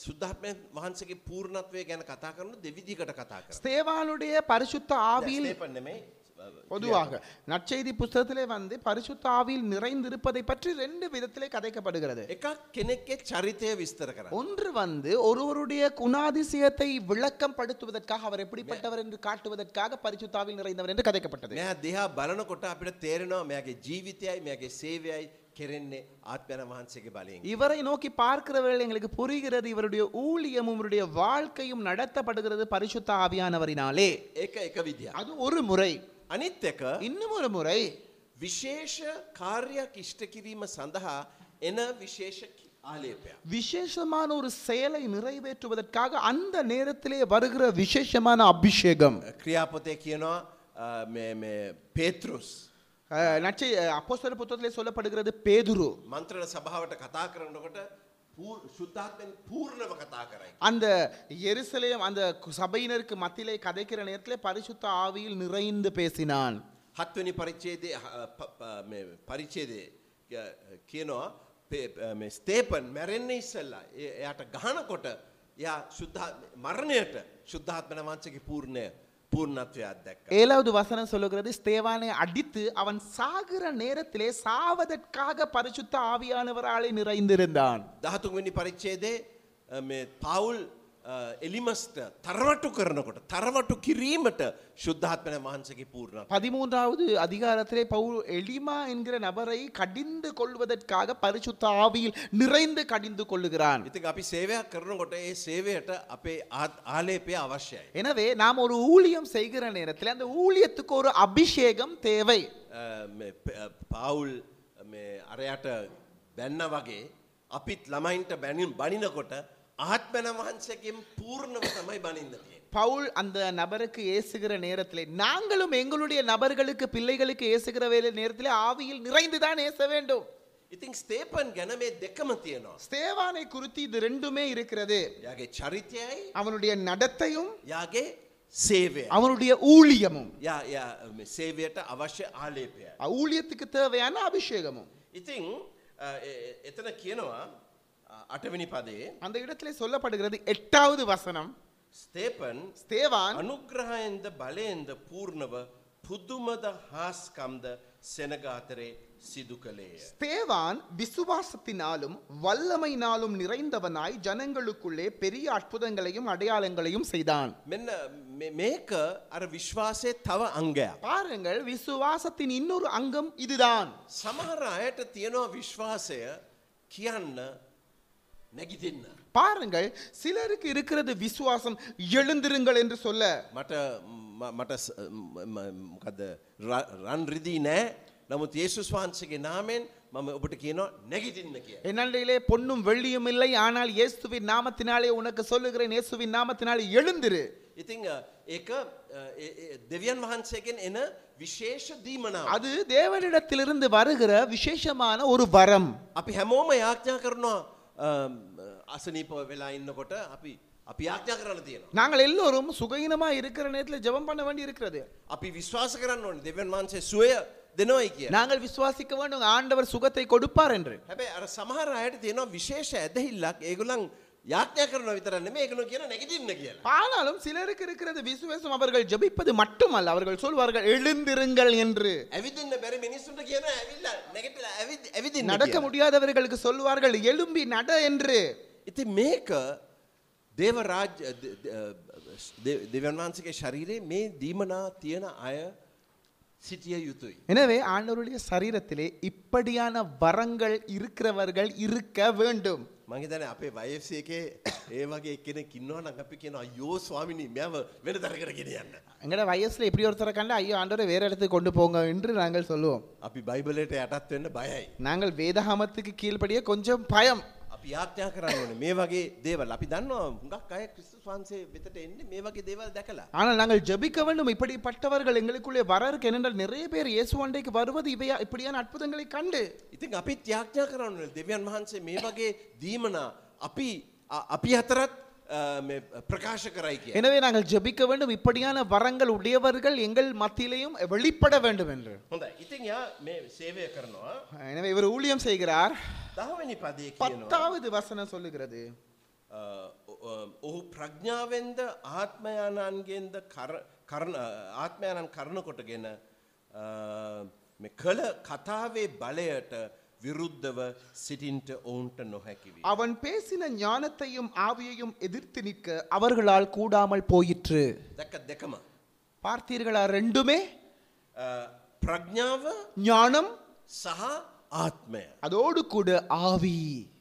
Speaker 2: සුද්ධත්මය වහන්සගේ පූර්ණත්වය ගැන කතා කරන දෙවිදිකට කතා කර.
Speaker 1: ஸ்தேவானுடைய பரிசுத்த ஆவியில்
Speaker 2: ස්තේපන් නෙමේ
Speaker 1: பொதுவாக நற்செய்தி புஸ்தகத்திலே வந்து பரிசுத்த ஆவியில் நிறைந்திருப்பதை பற்றி ரெண்டு விதத்திலே கதைக்கப்படுகிறது
Speaker 2: එකක් කෙනෙක්කෙ චරිතය විස්තර කරන්න.
Speaker 1: ஒன்று வந்து ஒருவருடைய குணாதிசயத்தை விளக்கம் படுத்துவதற்காக அவர் எப்படிப்பட்டவர் என்று காட்டுவதற்காக பரிசுத்தாவில் நிறைந்தவர் என்று கதைக்கப்பட்டது
Speaker 2: මෙයා දෙහා බලනකොට අපිට තේරෙනවා මෙයාගේ ජීවිතයයි මෙයාගේ සේවයයි කෙරෙන්නේ ආත්මයන වහන්සේගේ බලයෙන්.
Speaker 1: இவரை நோக்கி பார்க்கிற வேளை எங்களுக்கு புரிகிறது இவருடைய ஊழியமும் இவருடைய வாழ்க்கையும் நடத்தப்படுகிறது பரிசுத்த ஆவியானவரினாலே
Speaker 2: ඒක එක විදිහ.
Speaker 1: அது ஒரு முறை
Speaker 2: අනිත් එක
Speaker 1: இன்னும் ஒரு முறை
Speaker 2: විශේෂ කාර්යක් ඉෂ්ට කිරීම සඳහා එන විශේෂ කි- ආලේපයක්.
Speaker 1: விசேஷமான ஒரு செயலை நிறைவேற்றுவதற்காக அந்த நேரத்திலே வருகிற விசேஷமான அபிஷேகம்
Speaker 2: ක්‍රියාපොතය කියනවා අ, මේ- මේ පේතෘස්
Speaker 1: அஹ், நற்செய் அப்போஸ்தலர் புத்தகத்திலே சொல்லப்படுகிறது பேதுரு
Speaker 2: මන්ත්‍රණ සභාවට කතා කරනකොට ශුද්ධාත්මෙන් පූර්ණව කතා කරයි.
Speaker 1: அந்த எருசலேம் அந்த கு- சபையினருக்கு மத்தியிலே கதைக்கிற நேரத்திலே பரிசுத்த ஆவியில் நிறைந்து பேசினான்
Speaker 2: හත්වනි පරිච්චේදය පරිච්චේදය කියනවා පේ- අ, මේ ස්තේපන් මැරෙන්න ඉස්සල්ලා එ- එයට ගහනකොට යා ශුද්ධා මරණයට ශුද්ධාත්මන වංචක පූර්ණය පූර්ණත්වයක් දැක්ක.
Speaker 1: ஏழாவது வசனம் சொல்லுகிறது ஸ்தேவானை அடித்து அவன் சாகிற நேரத்திலே சாவதற்காக பரிசுத்த ஆவியானவராலே நிறைந்திருந்தான்
Speaker 2: දහතුන්වෙනි පරිච්චේදේ පවුල් අ, එලිමස්ට තරවටු කරනකොට තරවටු කිරීමට ශුද්ධාත්මන වහන්සගේ පූර්ණ.
Speaker 1: பதிமூன்றாவது அதிகாரத்திலே பவுல் எலிமா என்கிற நபரை கடிந்து கொள்வதற்காக பரிசுத்த ஆவியில் நிறைந்து கடிந்து கொள்ளுகிறான்
Speaker 2: ඉතින් අපි සේවයක් කරනකොට ඒ සේවයට අපේ ආත්- ආලේපය අවශ්‍යයි.
Speaker 1: எனவே நாம் ஒரு ஊழியம் செய்கிற நேரத்தில் அந்த ஊழியத்துக்கு ஒரு அபிஷேகம் தேவை
Speaker 2: අ, මේ ප- අ, පවුල් මේ අරයට බැන්න වගේ අපිත් ළමයින්ට බැනින් බනිනකොට ආත්මන වහන්සකෙන් පූර්ණව තමයි බනින්න තියෙන්නේ.
Speaker 1: பவுல் அந்த நபருக்கு ஏசுகிற நேரத்திலே நாங்களும் எங்களுடைய நபர்களுக்கு பிள்ளைகளுக்கு ஏசுகிற வேலை நேரத்திலே ஆவியில் நிறைந்துதான் ஏச வேண்டும்
Speaker 2: ඉතින් ස්තේපන් ගැන මේ දෙකම තියෙනවා.
Speaker 1: சேவானை குறித்து இது ரெண்டுமே இருக்கிறது
Speaker 2: යාගේ චරිතයයි
Speaker 1: அவனுடைய நடத்தையும்
Speaker 2: යාගේ සේවය.
Speaker 1: அவனுடைய ஊழியமும்
Speaker 2: යා යා, මේ සේවයට අවශ්‍ය ආලේපය.
Speaker 1: ஊழியத்துக்கு தேவையான அபிஷேகமும்
Speaker 2: ඉතිං අ, එ- එ- එතන කියනවා අ, අටවෙනි පදේ
Speaker 1: அந்த இடத்திலே சொல்லப்படுகிறது எட்டாவது வசனம்
Speaker 2: ස්තේපන්
Speaker 1: ஸ்தேவான்
Speaker 2: අනුග්‍රහයෙන්ද බලයෙන්ද පූර්ණව පුදුමද හාස්කම්ද සෙනගාතරේ සිදු කළේය.
Speaker 1: ஸ்தேவான் விசுவாசத்தினாலும் வல்லமையினாலும் நிறைந்தவனாய் ஜனங்களுக்குள்ளே பெரிய அற்புதங்களையும் அடையாளங்களையும் செய்தான்
Speaker 2: මෙන්න මෙ- මේක අර විශ්වාසය තව අංගයක්.
Speaker 1: பாருங்கள் விசுவாசத்தின் இன்னொரு அங்கம் இதுதான்
Speaker 2: සමහර අයට තියෙනවා විශ්වාසය කියන්න නැගිතින්න.
Speaker 1: பாருங்கள் சிலருக்கு இருக்கிறது விசுவாசம் எழுந்திருங்கள் என்று சொல்ல
Speaker 2: මට ම- මට ස- ම- ම- මොකද ර- රන් රිදී නෑ නමුත් ඒසුස් වහන්සගේ නාමෙන් මම ඔබට කියනවා නැගිතින්න කිය.
Speaker 1: என்னிலே பொன்னும் வெள்ளியும் இல்லை ஆனால் இயேசுவின் நாமத்தினாலே உனக்கு சொல்லுகிறேன் இயேசுவின் நாமத்தினாலே எழுந்திரு
Speaker 2: ඉතිං ඒ දෙවියන් වහන්සේගෙන් එන විශේෂ දීමනාව.
Speaker 1: அது தேவனிடத்திலிருந்து வருகிற விசேஷமான ஒரு வரம்
Speaker 2: අපි හැමෝම යාඥා කරනවා අම්, අසනීපව වෙලා ඉන්නකොට අපි අපි යාඥා කරන්න තියෙනවා.
Speaker 1: நாங்கள் எல்லோரும் சுகயினமா இருக்கிற நேரத்துல ஜெபம் பண்ண வேண்டி இருக்கிறது
Speaker 2: අපි විශ්වාස කරන්න ඕනේ දෙවන් වහන්සේ සුවය දෙනවයි කිය.
Speaker 1: நாங்கள் விசுவாசிக்க வேண்டும் ஆண்டவர் சுகத்தை கொடுப்பார் என்று
Speaker 2: හැබැයි අර සමහර අයට තියෙනවා විශේෂ ඇදහිල්ලක් ඒගොල්ලන් යාඥා කරනවා විතරක් නෙමෙයි ඒගොල්ලෝ කියන නැගිටින්න කියලා.
Speaker 1: ஆனாலும் சிலருக்கு இருக்கிறது விசுவாசம் அவர்கள் ஜெபிப்பது மட்டுமல்ல அவர்கள் சொல்வார்கள் எழுந்திருங்கள் என்று
Speaker 2: ඇවිදින්න බැරි මිනිස්සුන්ට කියන ඇවිල්ලා නැගිටලා ඇවිදි- ඇවිදින්න
Speaker 1: நடக்க
Speaker 2: කියලා.
Speaker 1: முடியாதவர்களுக்கு சொல்வார்கள் எழும்பி நட என்று
Speaker 2: ඉතින් මේක දේව රාජ්‍ය දෙවන් වහන්සේගේ ශරීරයේ මේ දීමනා තියෙන අය සිටිය යුතුයි.
Speaker 1: எனவே ஆண்டவருடைய சரீரத்திலே இப்படியான வரங்கள் இருக்கிறவர்கள் இருக்க வேண்டும்
Speaker 2: මගේ දැන අපේ වයසේ එකේ ඒ වගේ කෙනෙක් ඉන්නවා නම් අපි කියන අයෝ ස්වාමිනී මෙයාව වෙන දරකට ගෙනියන්න.
Speaker 1: எங்களோட வயசுல இப்படி ஒருத்தரை கண்டு ஐயோ ஆண்டவரை வேற இடத்துக்கு கொண்டு போங்க என்று நாங்கள் சொல்லுவோம்
Speaker 2: අපි බයිබලට යටත් වෙන්න බයයි.
Speaker 1: நாங்கள் வேதாகமத்துக்கு கீழ்ப்படியே கொஞ்சம் பயம்
Speaker 2: අපි යාඥා කරන්න ඕනේ මේ වගේ දේවල්. අපි දන්නවා හුඟක් අය ක්‍රිස්තුස් වහන්සේ වෙතට එන්නේ මේ වගේ දේවල් දැකලා.
Speaker 1: ஆனால் நாங்கள் ஜெபிக்க வேண்டும் இப்படிப்பட்டவர்கள் எங்களுக்குள்ளே வர இருக்கு ஏனென்றால் நிறைய பேர் இயேசு அண்டைக்கு வருவது இவையா இப்படியான அற்புதங்களை கண்டு
Speaker 2: ඉතින් අපිත් යාඥා කරන්න ඕනේ දෙවියන් වහන්සේ මේ වගේ දීමනා අපි අ- අපි හතරත් අ, මේ ප්‍රකාශ කරයි කිය.
Speaker 1: எனவே நாங்கள் ஜெபிக்க வேண்டும் இப்படியான வரங்கள் உடையவர்கள் எங்கள் மத்தியிலேயும் வெளிப்பட வேண்டும் என்று
Speaker 2: හොඳ ඉතින් යා මේ සේවය කරනවා.
Speaker 1: எனவே இவர் ஊழியம் செய்கிறார்
Speaker 2: දහවැනි පදය කියනවා.
Speaker 1: பத்தாவது வசனம் சொல்லுகிறது
Speaker 2: අ, ඔ- ඔහු ප්‍රඥාවෙන්ද ආත්මයානන්ගෙන්ද ආත්මයනන් කරනකොටගෙන අ, මේ කළ කතාවේ බලයට විරුද්ධව සිටින්ට ඔවුන්ට නොහැකිවේ.
Speaker 1: அவன் பேசின ஞானத்தையும் ஆவியையும் எதிர்த்து நிற்க அவர்களால் கூடாமல் போயிற்று
Speaker 2: දැක දෙකම.
Speaker 1: பார்த்தீர்களா ரெண்டுமே
Speaker 2: අ, ප්‍රඥාව
Speaker 1: ஞானம்
Speaker 2: සහ ආත්මය.
Speaker 1: அதோடு கூட ஆவி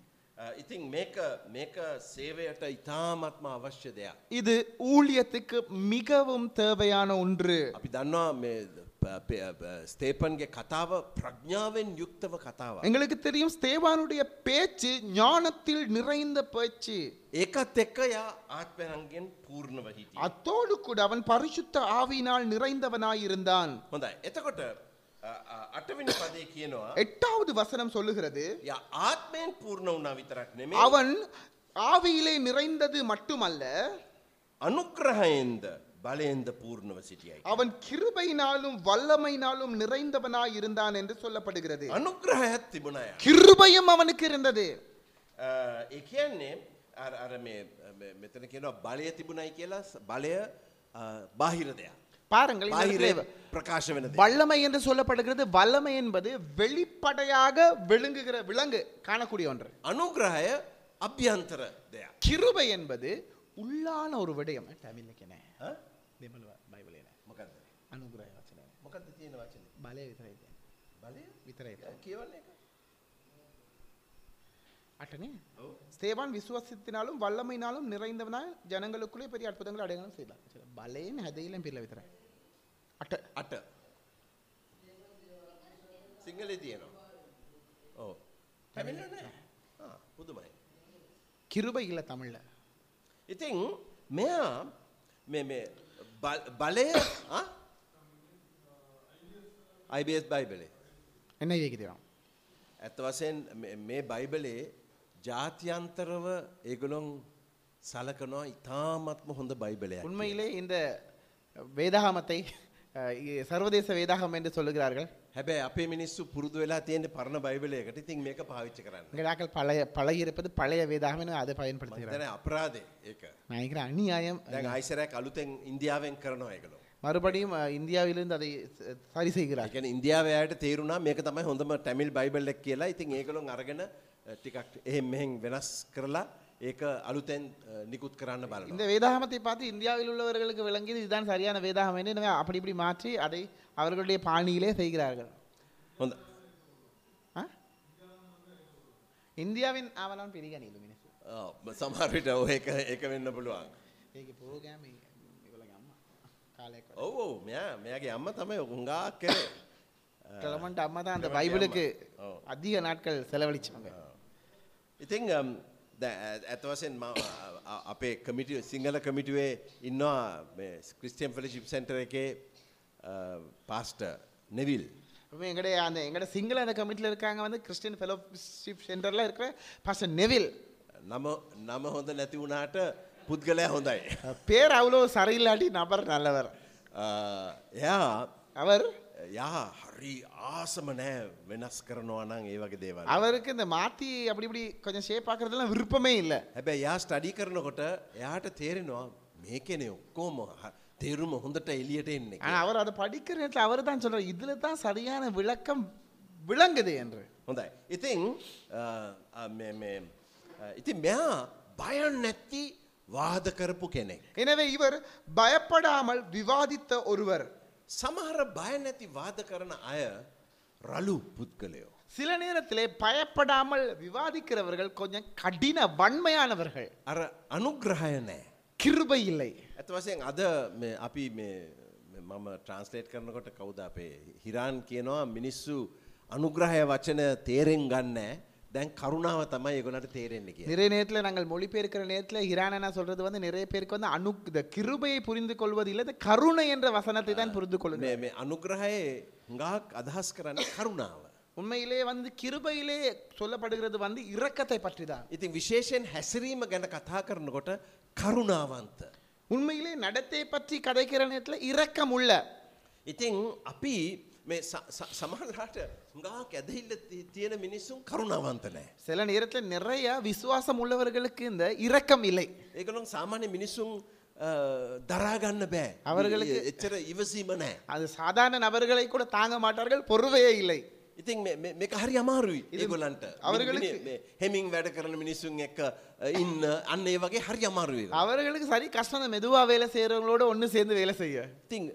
Speaker 2: අ, ඉතින් මේක මේක සේවයට ඉතාමත්ම අවශ්‍ය දෙයක්.
Speaker 1: இது ஊழியத்துக்கு மிகவும் தேவையான ஒன்று
Speaker 2: අපි දන්නවා මේ ප- ප- ප- ස්තේපන්ගේ කතාව ප්‍රඥාවෙන් යුක්තව කතාව.
Speaker 1: எங்களுக்கு தெரியும் ஸ்தேவானுடைய பேச்சு ஞானத்தில் நிறைந்த பேச்சு
Speaker 2: ඒකත් එක්ක යා ආත්මයන්ගෙන් පූර්ණව හිටිය.
Speaker 1: அத்தோடு கூட அவன் பரிசுத்த ஆவியினால் நிறைந்தவனாயிருந்தான்
Speaker 2: හොඳයි එතකොට අ, අ, අටවෙනි පදේ කියනවා
Speaker 1: எட்டாவது வசனம் சொல்லுகிறது
Speaker 2: යා ආත්මයෙන් පූර්ණ වුණා විතරක් නෙමේ
Speaker 1: அவன் ஆவியிலே நிறைந்தது மட்டுமல்ல
Speaker 2: අනුක්‍රහයෙන්ද බලයෙන්ද පූර්ණව සිටියයි.
Speaker 1: அவன் கிருபையினாலும் வல்லமையினாலும் நிறைந்தவனாய் இருந்தான் என்று சொல்லப்படுகிறது
Speaker 2: අනුක්‍රහයත් තිබුණය.
Speaker 1: கிருபையும் அவனுக்கு இருந்தது
Speaker 2: ඒ කියන්නේ අර- අර මේ- මේ- මෙතන කියනවා බලය තිබුණයි කියලා ස- බලය බාහිර දෙයක්.
Speaker 1: பாருங்கள் இந்த
Speaker 2: බාහිර
Speaker 1: இடத்திலே
Speaker 2: ප්‍රකාශ වෙන දෙයක්.
Speaker 1: வல்லமை என்று சொல்லப்படுகிறது வல்லமை என்பது வெளிப்படையாக விளங்குகிற விலங்கு காணக்கூடிய ஒன்று
Speaker 2: අනුග්‍රහය අභ්‍යන්තර දෙයක්.
Speaker 1: கிருபை என்பது உள்ளான ஒரு விடயம் தமிழ்லக்கேனே
Speaker 2: ඈ?
Speaker 1: දෙමළ බයිබලේන
Speaker 2: මොකක්ද?
Speaker 1: අනුග්‍රහ වචනය
Speaker 2: මොකක්ද තියෙන වචන
Speaker 1: බලය විතරයි දැන්.
Speaker 2: බලය
Speaker 1: විතරයි දැන්.
Speaker 2: කියවන්න එක
Speaker 1: අටනේ
Speaker 2: ඔව්.
Speaker 1: ஸ்தேவான் விசுவாசத்தினாலும் வல்லமையினாலும் நிறைந்தவனால் ஜனங்களுக்குள்ளே பெரிய அற்புதங்கள் அடையாளம் செய்தான் சரி, பலேன் ஹதையிலும் பேர்ல வித்தரேன் அட்ட
Speaker 2: අට සිංහලේ තියෙනවා ඕ පැමිලන පුදුමයි
Speaker 1: கிருபை இல்லை தமிழ்ல
Speaker 2: ඉතින් මෙයා මේ- මේ බල- බලය අයිබස් බයිබලේ
Speaker 1: என்ன கேட்கிறோம்
Speaker 2: ඇත්ත වසයෙන් මේ බයිබලේ ජාතියන්තරව ඒගොලොන් සලකනවා ඉතාමත්ම හොඳ බයිබලයක්
Speaker 1: உண்மையிலே இந்த வேதாகமத்தை அஹ், இ- சர்வதேச வேதாகம் என்று சொல்லுகிறார்கள்
Speaker 2: හැබැයි අපේ මිනිස්සු පුරුදු වෙලා තියෙන පරණ බයිබලයකට ඉතින් මේක பாවිච්චි කරන්න
Speaker 1: இங்கடாக்கள் பழைய பழகி இருப்பது பழைய வேதாகம் என அதை பயன்படுத்துகிறார்
Speaker 2: දැන අපරාධය ඒක
Speaker 1: நான் நினைக்கிற அநியாயம்
Speaker 2: දැන් අයිසරයක් අලුතෙන් ඉන්දියාවෙන් කරනවා ඒකලො.
Speaker 1: மறுபடியும் அஹ், இந்தியாவிலிருந்து அதை ச- சரி செய்கிறார்
Speaker 2: ගැන ඉන්දියාවයට තේරුණා මේක තමයි හොඳම ටැමිල් බයිබල්ලක් කියලා ඉතින් ඒකලොන් අරගෙන අ, ටිකක් එහෙම මෙහෙන් වෙනස් කරලා ඒක අලුතෙන් අ, නිකුත් කරන්න බලන.
Speaker 1: இந்த வேதாகமத்தை பார்த்து இந்தியாவில் உள்ளவர்களுக்கு விளங்கியது இதுதான் சரியான வேதாகம் என்று எனவே அப்படி இப்படி மாற்றி அதை அவர்களுடைய பாணியிலே செய்கிறார்கள்
Speaker 2: හොඳ
Speaker 1: ஆ? இந்தியாவின் ஆவலான் பெரிய அணியில் மினிசு
Speaker 2: සමහරට ඔ එක වෙන්න පුළුවන්.
Speaker 1: ஏகி புரோகிராம் இவ்வளவு அம்மா காலை கொடை.
Speaker 2: ඔවෝ මෙයා මෙයාගේ අම්ම තමයි ඔකුන්ගාක් කරේ.
Speaker 1: கிளமண்ட் அம்மா தான் அந்த
Speaker 2: கிளமண்ட்
Speaker 1: பைபிளுக்கு
Speaker 2: அம்மா. ஓ.
Speaker 1: அதிக நாட்கள் செலவழிச்சாங்க
Speaker 2: ඉතිං ඇතවසෙන් අපේ කමිටිය සිංහල කමිටුවේ ඉන්නවා ක්‍රිස්ටියම් ෆලිශිප් සැන්ටර එකේ පාස්ට නෙවිල්.
Speaker 1: அப்போ எங்களுடைய அந்த எங்களோட சிங்கள அந்த கமிட்டியில் இருக்காங்க வந்து கிறிஸ்டியன் ஃபெலோஷிப் சென்டரில் இருக்கிற பாஸ்டர் நெவில்
Speaker 2: නම නම හොඳ නැති වුණාට පුද්ගලය හොඳයි.
Speaker 1: பேர் அவ்வளோ சரியில்லாட்டி நபர் நல்லவர்
Speaker 2: අ, එයා
Speaker 1: அவர்
Speaker 2: යා හරි ආසම නෑ වෙනස් කරනවා නම් ඒ වගේ දේවල්.
Speaker 1: அவருக்கு இந்த மாற்றி அப்படி இப்படி கொஞ்சம் ஷேப் ஆக்குறதுலாம் விருப்பமே இல்லை
Speaker 2: හැබැයි යා ස්ටඩි කරනකොට එයාට තේරෙනවා මේකනේ ඔක්කෝම හ- තේරුම හොඳට එලියට එන්නේ.
Speaker 1: ஆனா அவர் அதை படிக்கிற நேரத்தில் அவர் தான் சொல்றார் இதுல தான் சரியான விளக்கம் விளங்குது என்று
Speaker 2: හොඳයි. ඉතිං අ, මේ- මේ, අ, ඉතින් මෙයා බයන් නැත්ති වාද කරපු කෙනෙක්.
Speaker 1: எனவே இவர் பயப்படாமல் விவாதித்த ஒருவர்
Speaker 2: සමහර බය නැති වාද කරන අය රලු පුද්ගලයෝ.
Speaker 1: சில நேரத்திலே பயப்படாமல் விவாதிக்கிறவர்கள் கொஞ்சம் கடின வன்மையானவர்கள்
Speaker 2: අර අනුග්‍රහය නෑ.
Speaker 1: கிருபை இல்லை
Speaker 2: ඇත වසයෙන් අද මේ අපි මේ- මේ මම ට්‍රන්ස්ලේට් කරනකොට කවුද අපේ හිරාන් කියනවා මිනිස්සු අනුග්‍රහය වචන තේරෙන් ගන්න දැන් කරුණාව තමයි ඒගොලට තේරෙන්නේ කිය.
Speaker 1: நிறைய நேரத்தில் நாங்கள் மொழிபெயர்க்கிற நேரத்தில் ஹிரானா சொல்றது வந்து நிறைய பேருக்கு வந்து அணு இந்த கிருபையை புரிந்து கொள்வது இல்லை இந்த கருணை என்ற வசனத்தை தான் புரிந்து கொள்ளுங்க
Speaker 2: මේ මේ අනුග්‍රහයේ හුඟක් අදහස් කරන්න කරුණාව.
Speaker 1: உண்மையிலே வந்து கிருபையிலே சொல்லப்படுகிறது வந்து இரக்கத்தை பற்றி தான்
Speaker 2: ඉතින් විශේෂයෙන් හැසිරීම ගැන කතා කරනකොට කරුණාවන්ත.
Speaker 1: உண்மையிலே நடத்தை பற்றி கதைக்கிற நேரத்தில் இரக்கம் உள்ள
Speaker 2: ඉතින් අපි මේ ස- ස- සමහරලාට හුඟක් ඇදහිල්ල ති- තියෙන මිනිස්සුන් කරුණාවන්ත නෑ.
Speaker 1: சில நேரத்தில் நிறைய விசுவாசம் உள்ளவர்களுக்கு இந்த இரக்கம் இல்லை
Speaker 2: ඒකලොන් සාමාන්‍ය මිනිසුන් අ, අ, දරාගන්න බෑ
Speaker 1: අවරගලක-
Speaker 2: එච්චර ඉවසීම නෑ.
Speaker 1: அது சாதாரண நபர்களை கூட தாங்க மாட்டார்கள் பொறுவையே இல்லை
Speaker 2: ඉතින් මේ- මේ- මේක හරි අමාරුයි ඒගොලන්ට
Speaker 1: අවරගලක-
Speaker 2: හෙමින් වැඩ කරන මිනිස්සුන් එක්ක ඉන්න අන්න ඒ වගේ හරි අමාරුවේ.
Speaker 1: அவர்களுக்கு சரி கஷ்டம் தான். மெதுவா வேலை செய்யறவங்களோட ஒண்ணு சேர்ந்து வேலை செய்ய
Speaker 2: ඉතින්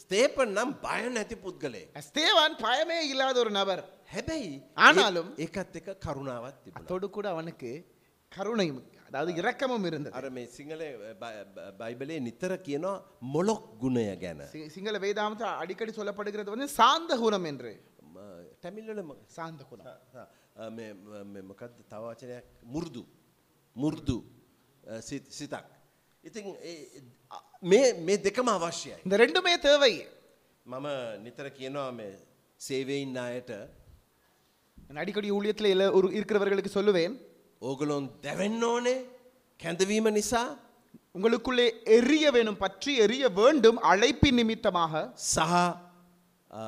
Speaker 2: ස්තේපන් නම් බය නැති පුද්ගලය.
Speaker 1: ஸ்தேவான் பயமே இல்லாத ஒரு நபர்
Speaker 2: හැබැයි
Speaker 1: ආනාලුම්.
Speaker 2: ඒ- ඒකත් එක කරුණාවත් තිබුණ.
Speaker 1: அதோடு கூட அவனுக்கு கருணையும் அதாவது இரக்கமும் இருந்தது
Speaker 2: අර මේ සිංහල බයිබලේ නිතර කියනවා මොලොක් ගුණය ගැන.
Speaker 1: சி- சிங்கள வேதாமத்தில் அடிக்கடி சொல்லப்படுகிறது வந்து சாந்த குணம் என்று
Speaker 2: තැමිල්ලලම
Speaker 1: சாந்த குணம்
Speaker 2: මොකක්ද තවචනයක් මුරුදු මුරුදු අ, සිත- සිතක්. ඉතින් ඒ- අ- මේ- මේ දෙකම අවශ්‍යයි.
Speaker 1: இந்த ரெண்டுமே தேவை
Speaker 2: මම නිතර කියනවා මේ සේවයින් අයට
Speaker 1: நான் அடிக்கடி ஊழியத்தில் இல- ஒரு இருக்கிறவர்களுக்கு சொல்லுவேன்
Speaker 2: ඕගලොන් දැවෙන්න ඕනේ කැඳවීම නිසා
Speaker 1: உங்களுக்குள்ளே எரிய வேணும் பற்றி எரிய வேண்டும் அழைப்பின் நிமித்தமாக
Speaker 2: සහ අ,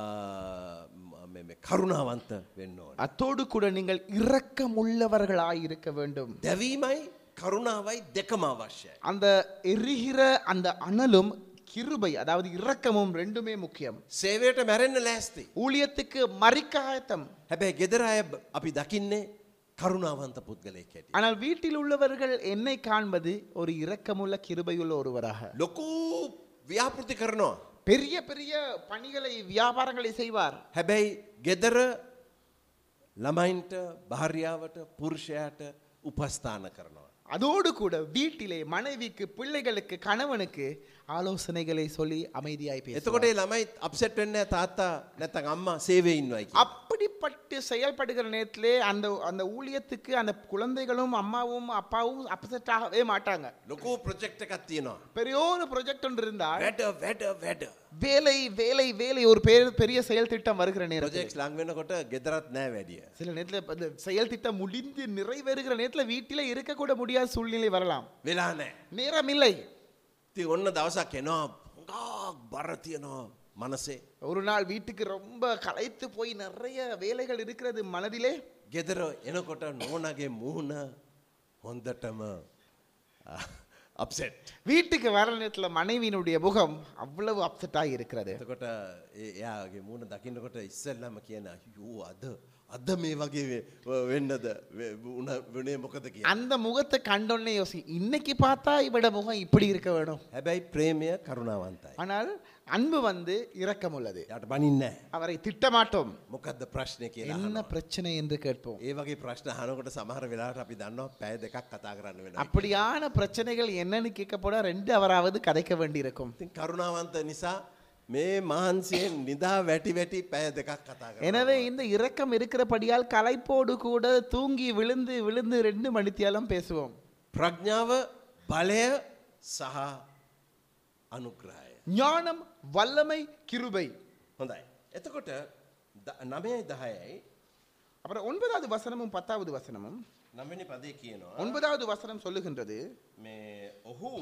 Speaker 2: ම- මේ- මේ කරුණාවන්ත වෙන්න ඕන.
Speaker 1: அத்தோடு கூட நீங்கள் இரக்கமுள்ளவர்களாய் இருக்க வேண்டும்
Speaker 2: දැවීමයි කරුණාවයි දෙකම අවශ්‍යයි.
Speaker 1: அந்த எரிகிற அந்த அனலும் கிருபை அதாவது இரக்கமும் ரெண்டுமே முக்கியம்
Speaker 2: සේවයට මැරෙන්න ලෑස්ති.
Speaker 1: ஊழியத்துக்கு மறிக்க ஆயத்தம்
Speaker 2: හැබැයි ගෙදර අය බ- අපි දකින්නේ කරුණාවන්ත පුද්ගලය කැටිය.
Speaker 1: ஆனால் வீட்டில் உள்ளவர்கள் என்னை காண்பது ஒரு இரக்கமுள்ள கிருபையுள்ள ஒருவராக
Speaker 2: ලොකු ව්‍යාපෘති කරනවා.
Speaker 1: பெரிய பெரிய பணிகளை வியாபாரங்களை செய்வார்
Speaker 2: හැබැයි ගෙදර ළමයින්ට භාර්යාවට පුරුෂයට උපස්ථාන කරනවා.
Speaker 1: அதோடு கூட வீட்டிலே மனைவிக்கு பிள்ளைகளுக்கு கணவனுக்கு ஆலோசனைகளை சொல்லி அமைதியாய் பேசுவார்
Speaker 2: එතකොට ඒ ළමයි අප්සෙට් වෙන්න තාත්තා නැතන් අම්මා සේවේ ඉන්නවයි
Speaker 1: அப்படிப்பட்டு செயல்படுகிற நேரத்திலே அந்த அந்த ஊழியத்துக்கு அந்த குழந்தைகளும் அம்மாவும் அப்பாவும் அப்செட் ஆகவே மாட்டாங்க
Speaker 2: ලොකෝ ප්‍රජෙක්ට එකක් තියෙනවා.
Speaker 1: பெரிய ஒரு ப்ரொஜெக்ட் ஒன்று இருந்தால்
Speaker 2: වැඩ වැඩ වැඩ.
Speaker 1: வேலை வேலை வேலை ஒரு பெரிய பெரிய செயல் திட்டம் வருகிற நேரத்தில்
Speaker 2: ප්‍රජෙක්ස් ලංවෙනකොට ගෙදරත් නෑ වැඩිය.
Speaker 1: சில நேரத்தில் இப்ப இந்த செயல் திட்டம் முடிந்து நிறைவேறுகிற நேரத்தில் வீட்டிலே இருக்கக்கூட முடியாத சூழ்நிலை வரலாம்
Speaker 2: වෙලා නෑ.
Speaker 1: நேரம் இல்லை
Speaker 2: ති ඔන්න දවසක් එනවා ගක් බරතියනවා මනසේ.
Speaker 1: ஒரு நாள் வீட்டுக்கு ரொம்ப களைத்து போய் நிறைய வேலைகள் இருக்கிறது மனதிலே
Speaker 2: ගෙදර එනකොට නෝනගේ මූුණ හොන්දටම අපසෙට්.
Speaker 1: வீட்டுக்கு வர நேரத்தில் மனைவியினுடைய முகம் அவ்வளவு அப்செட்டாக இருக்கிறது
Speaker 2: එතකොට ඒ- එයාගේ මූුණ දකින්නකොට ඉස්සල්ලම කියන යූ අද අද මේ වගේ වෙ- වෙන්නද උන වනේ මොකද කිය.
Speaker 1: அந்த முகத்தை கண்டோன்னே யோசி இன்னைக்கு பார்த்தா இவட முகம் இப்படி இருக்க வேணும்
Speaker 2: හැබැයි ප්‍රේමය කරුණාවන්තයි.
Speaker 1: ஆனால் අන්பு வந்து இரக்கம் உள்ளது
Speaker 2: යට බනින්න
Speaker 1: அவரை திட்டமாட்டோம்
Speaker 2: මොකක්ද ප්‍රශ්නය කියලා
Speaker 1: என்ன பிரச்சனை என்று கேட்போம்
Speaker 2: ඒ වගේ ප්‍රශ්න හනකොට සමහර වෙලාට අපි දන්නවා පැය දෙකක් කතා කරන්න වෙන.
Speaker 1: அப்படியான பிரச்சனைகள் என்னன்னு கேட்க போனா ரெண்டு அவராவது கதைக்க வேண்டியிருக்கும்
Speaker 2: ඉතින් කරුණාවන්ත නිසා මේ මහන්සියෙන් නිදා වැටි වැටි පැය දෙකක් කතා කර.
Speaker 1: எனவே இந்த இரக்கம் இருக்கிறபடியால் களைப்போடு கூட தூங்கி விழுந்து விழுந்து ரெண்டு மணித்தியாலும் பேசுவோம்
Speaker 2: ප්‍රඥාව බලය සහ අනුග්‍රහය.
Speaker 1: ஞானம் வல்லமை கிருபை
Speaker 2: හොඳයි. එතකොට ද- නමය දහයයි
Speaker 1: அப்புறம் ஒன்பதாவது வசனமும் பத்தாவது வசனமும்
Speaker 2: නමනි පදේ කියනවා.
Speaker 1: ஒன்பதாவது வசனம் சொல்லுகின்றது
Speaker 2: මේ ඔහු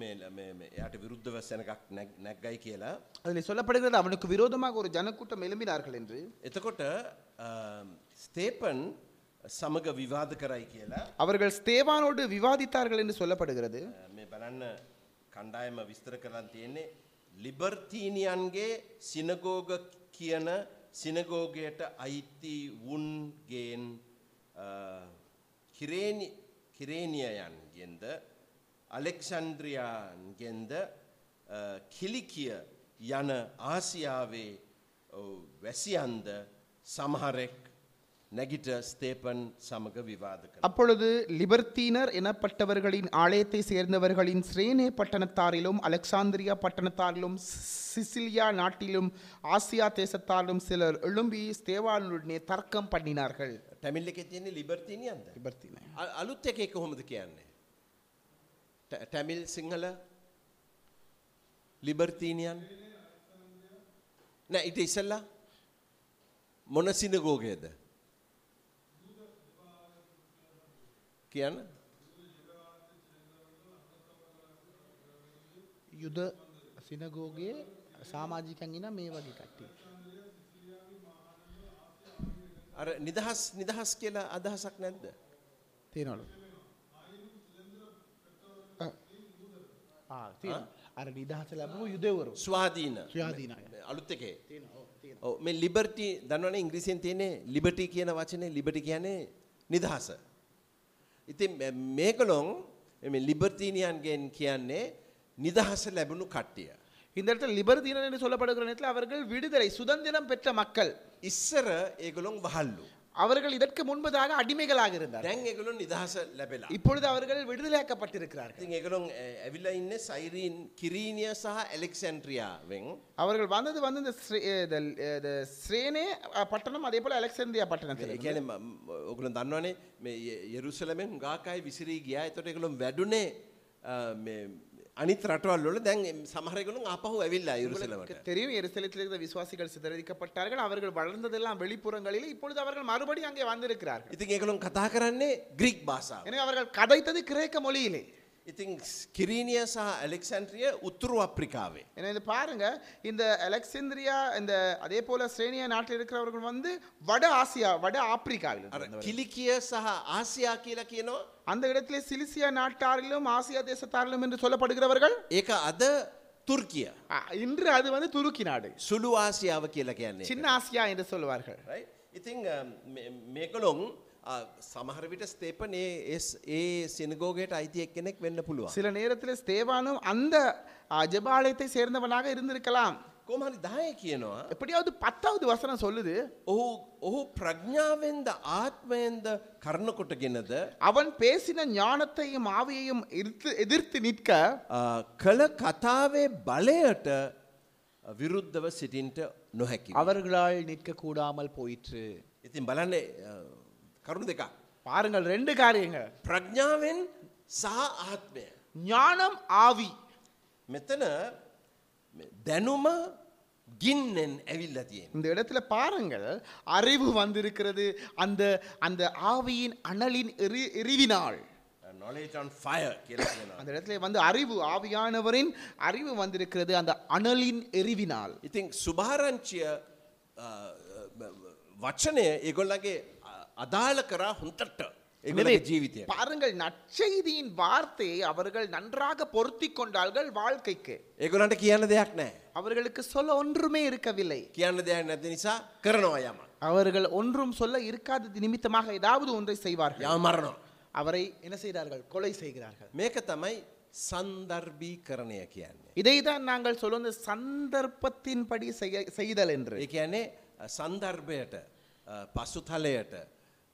Speaker 2: මේ ල- මේ- මේ එයාට විරුද්ධ වසනකක් නැක්ගයි කියලා.
Speaker 1: அதில் சொல்லப்படுகிறது அவனுக்கு விரோதமாக ஒரு ஜனக்கூட்டம் எழும்பினார்கள் என்று
Speaker 2: එතකොට අම්, ස්තේපන් සමග විවාද කරයි කියලා
Speaker 1: அவர்கள் ஸ்தேவானோடு விவாதித்தார்கள் என்று சொல்லப்படுகிறது
Speaker 2: මේ බලන්න කණ්ඩායම විස්තර කරන්න තියෙන්නේ ලිබර්තීනියන්ගේ සිනගෝග කියන සිනගෝගයට අයිති වුන්ගෙන් කිරේනියයන්ගෙන්ද අලෙක්සන්ද්‍රියන්ගෙන්ද අ, කිලිකිය යන ආසියාවේ ඔව්, වැසියන්ද සමහරෙක් නැගිට ස්තේපන් සමග විවාද කළ
Speaker 1: அப்பொழுது லிபர்த்தீனர் எனப்பட்டவர்களின் ஆலயத்தை சேர்ந்தவர்களின் ஸ்ரேனே பட்டணத்தாரிலும் அலெக்சாந்திரியா பட்டணத்தாரிலும் சி- சிசிலியா நாட்டிலும் ஆசியா தேசத்தாலும் சிலர் எழும்பி ஸ்தேவானுடனே தர்க்கம் பண்ணினார்கள்
Speaker 2: ටැමිල්ල එක තියෙන්නේ ලිබර්තිනියන්ද
Speaker 1: லிபர்த்தீனர்
Speaker 2: අ- අලුත් එක එක කොහොමද කියන්නේ. ට- ටැමිල් සිංහල ලිබර්තීනියන් නෑ ඉට ඉසල්ලා මොන සිනගෝගයද කියන්න
Speaker 1: யுத சினகோகே சாமாஜிகங்கினா மேவகி கட்டி
Speaker 2: අර නිදහස් නිදහස් කියලා අදහසක් නැද්ද
Speaker 1: தேனாலும் අර නිදහස ලැබූ යුදෙවරු
Speaker 2: ස්වාධීන
Speaker 1: ස්වාධීනය.
Speaker 2: මේ අලුත් එකේ ඔව් මේ ලිබර්ටි දන්නවනේ ඉංග්‍රීසියෙන් තියෙන්නේ ලිබර්ටි කියන වචනේ ලිබර්ටි කියන්නේ නිදහස. ඉතින් මේ- මේගොල්ලොන් මේ ලිබර්ටිනියන්ගෙන් කියන්නේ නිදහස லැබුණු කට්ටිය.
Speaker 1: இந்தஇடத்துல லிபர் தீரன் சொல்லப்படுகிற நேரத்தில் அவர்கள் விடுதலை சுதந்திரம் பெற்ற மக்கள்
Speaker 2: ඉස්සර ඒගොල්ලොන් වහල්ලු.
Speaker 1: அவர்கள் இதற்கு முன்பதாக அடிமைகளாக இருந்தார்கள்
Speaker 2: දැන් ඒගොල්ලොන් නිදහස ලැබෙලා.
Speaker 1: இப்பொழுது அவர்கள் விடுதலையாக்கப்பட்டிருக்கிறார்கள்
Speaker 2: ඉතින් ඒගොල්ලොන් ඇවිල්ලා ඉන්නේ සයිරීන් කිරීනිය සහ ඇලෙක්සැන්ඩ්‍රියාවෙන්.
Speaker 1: அவர்கள் வந்தது வந்து இந்த ஸ்ரே- இந்த- இந்த ஸ்ரேனே அ, பட்டணம் அதே போல அலெக்சாந்திரியா
Speaker 2: ඒ
Speaker 1: பட்டணத்தில்
Speaker 2: කියන්නේ මම- ඔයගොල්ලෝ දන්නවනේ මේ යෙ- යෙරුසලමෙන් ගාකයි විසිරී ගියා. ඒතකොට ඒගොල්ලෝ වැඩුණේ අ, මේ අනිත් රටවල් වල දැන් එම් සමහර ඒගොල්ලෝ ආපහු ඇවිල්ලා යෙරුසලමට.
Speaker 1: தெரியும் எரிசலத்தில் இருந்த விசுவாசிகள் சிதறடிக்கப்பட்டார்கள் அவர்கள் வளர்ந்ததெல்லாம் வெளிப்புறங்களில் இப்பொழுது அவர்கள் மறுபடியும் அங்கே வந்திருக்கிறார்கள்
Speaker 2: ඉතින් ඒගොල්ලෝ කතා කරන්නේ ග්‍රීක භාෂාව.
Speaker 1: எனவே அவர்கள் கதைத்தது கிரேக்க மொழியிலே
Speaker 2: ඉතින් කිරීනිය සහ ඇලෙක්සැන්ඩ්‍රිය උතුරු අප්‍රිකාවේ.
Speaker 1: எனவே இது பாருங்க இந்த அலெக்சாந்திரியா இந்த அதே போல ஸ்ரேனியா நாட்டில் இருக்கிறவர்கள் வந்து வட ஆசியா வட ஆப்பிரிக்காவில்
Speaker 2: අර
Speaker 1: இருந்தவர்கள்.
Speaker 2: කිලිකිය සහ ආසියා කියලා කියනවා.
Speaker 1: அந்த இடத்திலே சிலிசியா நாட்டாரிலும் ஆசியா தேசத்தாரிலும் என்று சொல்லப்படுகிறவர்கள்
Speaker 2: ඒක අද තුර්කිය.
Speaker 1: அ, இன்று அது வந்து துருக்கி நாடு
Speaker 2: සුළු ආසියාව කියලා කියන්නේ.
Speaker 1: சின்ன ஆசியா என்று சொல்வார்கள்
Speaker 2: right? ඉතිං මේකලොන් සමහරවිට ස්තේපන ඒ ඒස්- ඒ සිනගෝගයට අයිති එක් කෙනෙක් වෙන්න පුළුවන්.
Speaker 1: சில நேரத்தில் ஸ்தேவானும் அந்த அ, ஜெபாலயத்தை சேர்ந்தவனாக இருந்திருக்கலாம்
Speaker 2: කොමහරි දාය කියනවා.
Speaker 1: எப்படியாவது பத்தாவது வசனம் சொல்லுது
Speaker 2: ඔහු ඔහු ප්‍රඥාවෙන්ද ආත්මයෙන්ද කරනකොටගෙනද
Speaker 1: அவன் பேசின ஞானத்தையும் ஆவியையும் எதிர்த்து எதிர்த்து நிற்க
Speaker 2: ආ, uh, කළ කතාවේ බලයට විරුද්ධව සිටින්ට නොහැකි.
Speaker 1: அவர்களால் நிற்க கூடாமல் போயிற்று
Speaker 2: ඉතින් බලන්න අ, කරුණු දෙකක්.
Speaker 1: பாருங்கள் ரெண்டு காரியங்கள்
Speaker 2: ප්‍රඥාවෙන් සහ ආත්මය.
Speaker 1: ஞானம் ஆவி
Speaker 2: මෙතන මේ දැනුම ගින්නෙන් ඇවිල්ල තියෙන.
Speaker 1: இந்த இடத்துல பாருங்கள் அறிவு வந்திருக்கிறது அந்த அந்த ஆவியின் அனலின் எரி எரிவினால்
Speaker 2: නොලේට ෆය කියලා කියනවා.
Speaker 1: அந்த இடத்துல வந்து அறிவு ஆவியானவரின் அறிவு வந்திருக்கிறது அந்த அனலின் எரிவினால்
Speaker 2: ඉතින් සුභාරංචිය අ, අ, වචනය ඒගොල්ලගේ අ- අදාළ කරා හොන්තට එගොලගේ ජීවිතය.
Speaker 1: பாருங்கள் நற்செய்தியின் வார்த்தையை அவர்கள் நன்றாக பொருத்தி கொண்டார்கள் வாழ்க்கைக்கு
Speaker 2: ඒගොලන්ට කියන්න දෙයක් නෑ.
Speaker 1: அவர்களுக்கு சொல்ல ஒன்றுமே இருக்கவில்லை
Speaker 2: කියන්න දෙයක් නැති නිසා කරනවා යම.
Speaker 1: அவர்கள் ஒன்றும் சொல்ல இருக்காதது நிமித்தமாக ஏதாவது ஒன்றை செய்வார்கள்
Speaker 2: යමරනවා.
Speaker 1: அவரை என்ன செய்கிறார்கள் கொலை செய்கிறார்கள்
Speaker 2: මේක තමයි සන්දර්බී කරණය කියන්නේ.
Speaker 1: இதைதான் நாங்கள் சொல்லுவது சந்தர்ப்பத்தின்படி செய்ய செய்தல் என்று
Speaker 2: ඒ කියන්නේ uh, සන්දර්භයට අ, පසුතලයට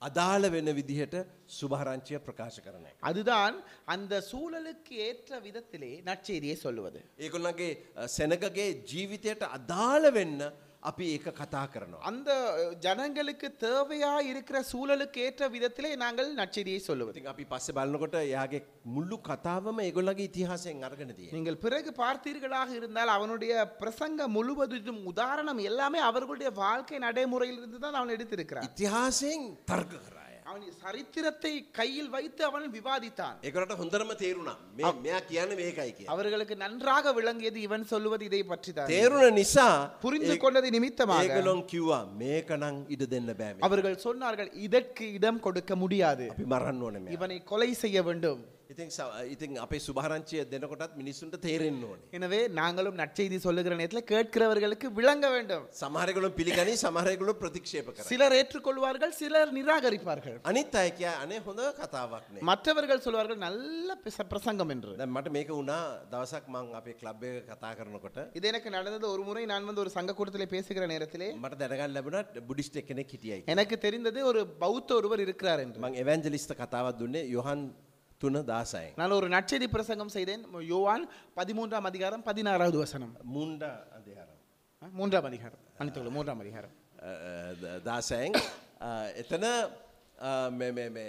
Speaker 2: අදාළ වෙන විදිහට සුභාරංචිය ප්‍රකාශ කරන එක.
Speaker 1: அதுதான் அந்த சூழலுக்கு ஏற்ற விதத்திலே நற்செய்தியை சொல்லுவது
Speaker 2: ඒගොල්ලන්ගේ අ, සෙනගගේ ජීවිතයට අදාළ වෙන්න අපි ඒක කතා කරනවා.
Speaker 1: அந்த அஹ், ஜனங்களுக்கு தேவையா இருக்கிற சூழலுக்கு ஏற்ற விதத்திலே நாங்கள் நற்செய்தியை சொல்லுவது
Speaker 2: ඉතින් අපි පස්සේ බලනකොට එයාගේ මුල්ලු කතාවම ඒගොල්ලගේ ඉතිහාසයෙන් අරගෙන තියෙනවා.
Speaker 1: நீங்கள் பிறகு பார்த்தீர்களாக இருந்தால் அவனுடைய பிரசங்கம் முழுவதும் உதாரணம் எல்லாமே அவர்களுடைய வாழ்க்கை நடைமுறையிலிருந்து தான் அவன் எடுத்திருக்கிறான்
Speaker 2: ඉතිහාසයෙන් තර්ක කරා එයා.
Speaker 1: அவன் சரித்திரத்தை கையில் வைத்து அவன் விவாதித்தான்
Speaker 2: ඒගොල්ලන්ට හොඳටම තේරුණා. මේ මෙයා කියන්නේ මේකයි කියලා.
Speaker 1: அவர்களுக்கு நன்றாக விளங்கியது இவன் சொல்லுவது இதை பற்றி தான்
Speaker 2: තේරුණ නිසා
Speaker 1: புரிந்து கொண்டது நிமித்தமாக
Speaker 2: ඒගොල්ලොන් කිව්වා මේකනම් ඉඩ දෙන්න බෑ මේ.
Speaker 1: அவர்கள் சொன்னார்கள் இதற்கு இடம் கொடுக்க முடியாது
Speaker 2: අපි මරන්න ඕනේ මෙයා.
Speaker 1: இவனை கொலை செய்ய வேண்டும்
Speaker 2: ඉතින් සව- ඉතින් අපේ සුභාරංචිය දෙනකොටත් මිනිස්සුන්ට තේරෙන්න ඕනේ.
Speaker 1: எனவே நாங்களும் நற்செய்தி சொல்லுகிற நேரத்தில் கேட்கிறவர்களுக்கு விளங்க வேண்டும்
Speaker 2: සමහර ඒගොල්ලොන් පිළිගනි සමහර ඒගොල්ලෝ ප්‍රතික්ෂේප කරනවා.
Speaker 1: சிலர் ஏற்றுக்கொள்வார்கள் சிலர் நிராகரிப்பார்கள்
Speaker 2: අනිත් අය කිය අනේ හොඳ කතාවක් නේ.
Speaker 1: மற்றவர்கள் சொல்வார்கள் நல்ல பிச- பிரசங்கம் என்று
Speaker 2: දැන් මට මේක වුණා දවසක් මං අපේ ක්ලබ් එක කතා කරනකොට
Speaker 1: இது எனக்கு நடந்தது ஒரு முறை நான் வந்து ஒரு சங்க கூட்டத்திலே பேசுகிற நேரத்திலே
Speaker 2: මට දැනගන්න ලැබුණා බුඩිස්ට් එක් කෙනෙක් හිටියයි.
Speaker 1: எனக்கு தெரிந்தது ஒரு பௌத்த ஒருவர் இருக்கிறார் என்று
Speaker 2: මං එවැන්ජලිස්ත කතාවක් දුන්නේ යොහන් තුන දාසයෙන්.
Speaker 1: நான் ஒரு நற்செய்தி பிரசங்கம் செய்தேன் யோவான் பதிமூன்றாம் அதிகாரம் பதினாறாவது வசனம்
Speaker 2: මුන්ඩ අධයාරම්.
Speaker 1: அஹ், மூன்றாம் அதிகாரம் மன்னித்துக்கொள்ள மூன்றாம் அதிகாரம்
Speaker 2: දාසයෙන් අ, එතන අ, මේ- මේ- මේ,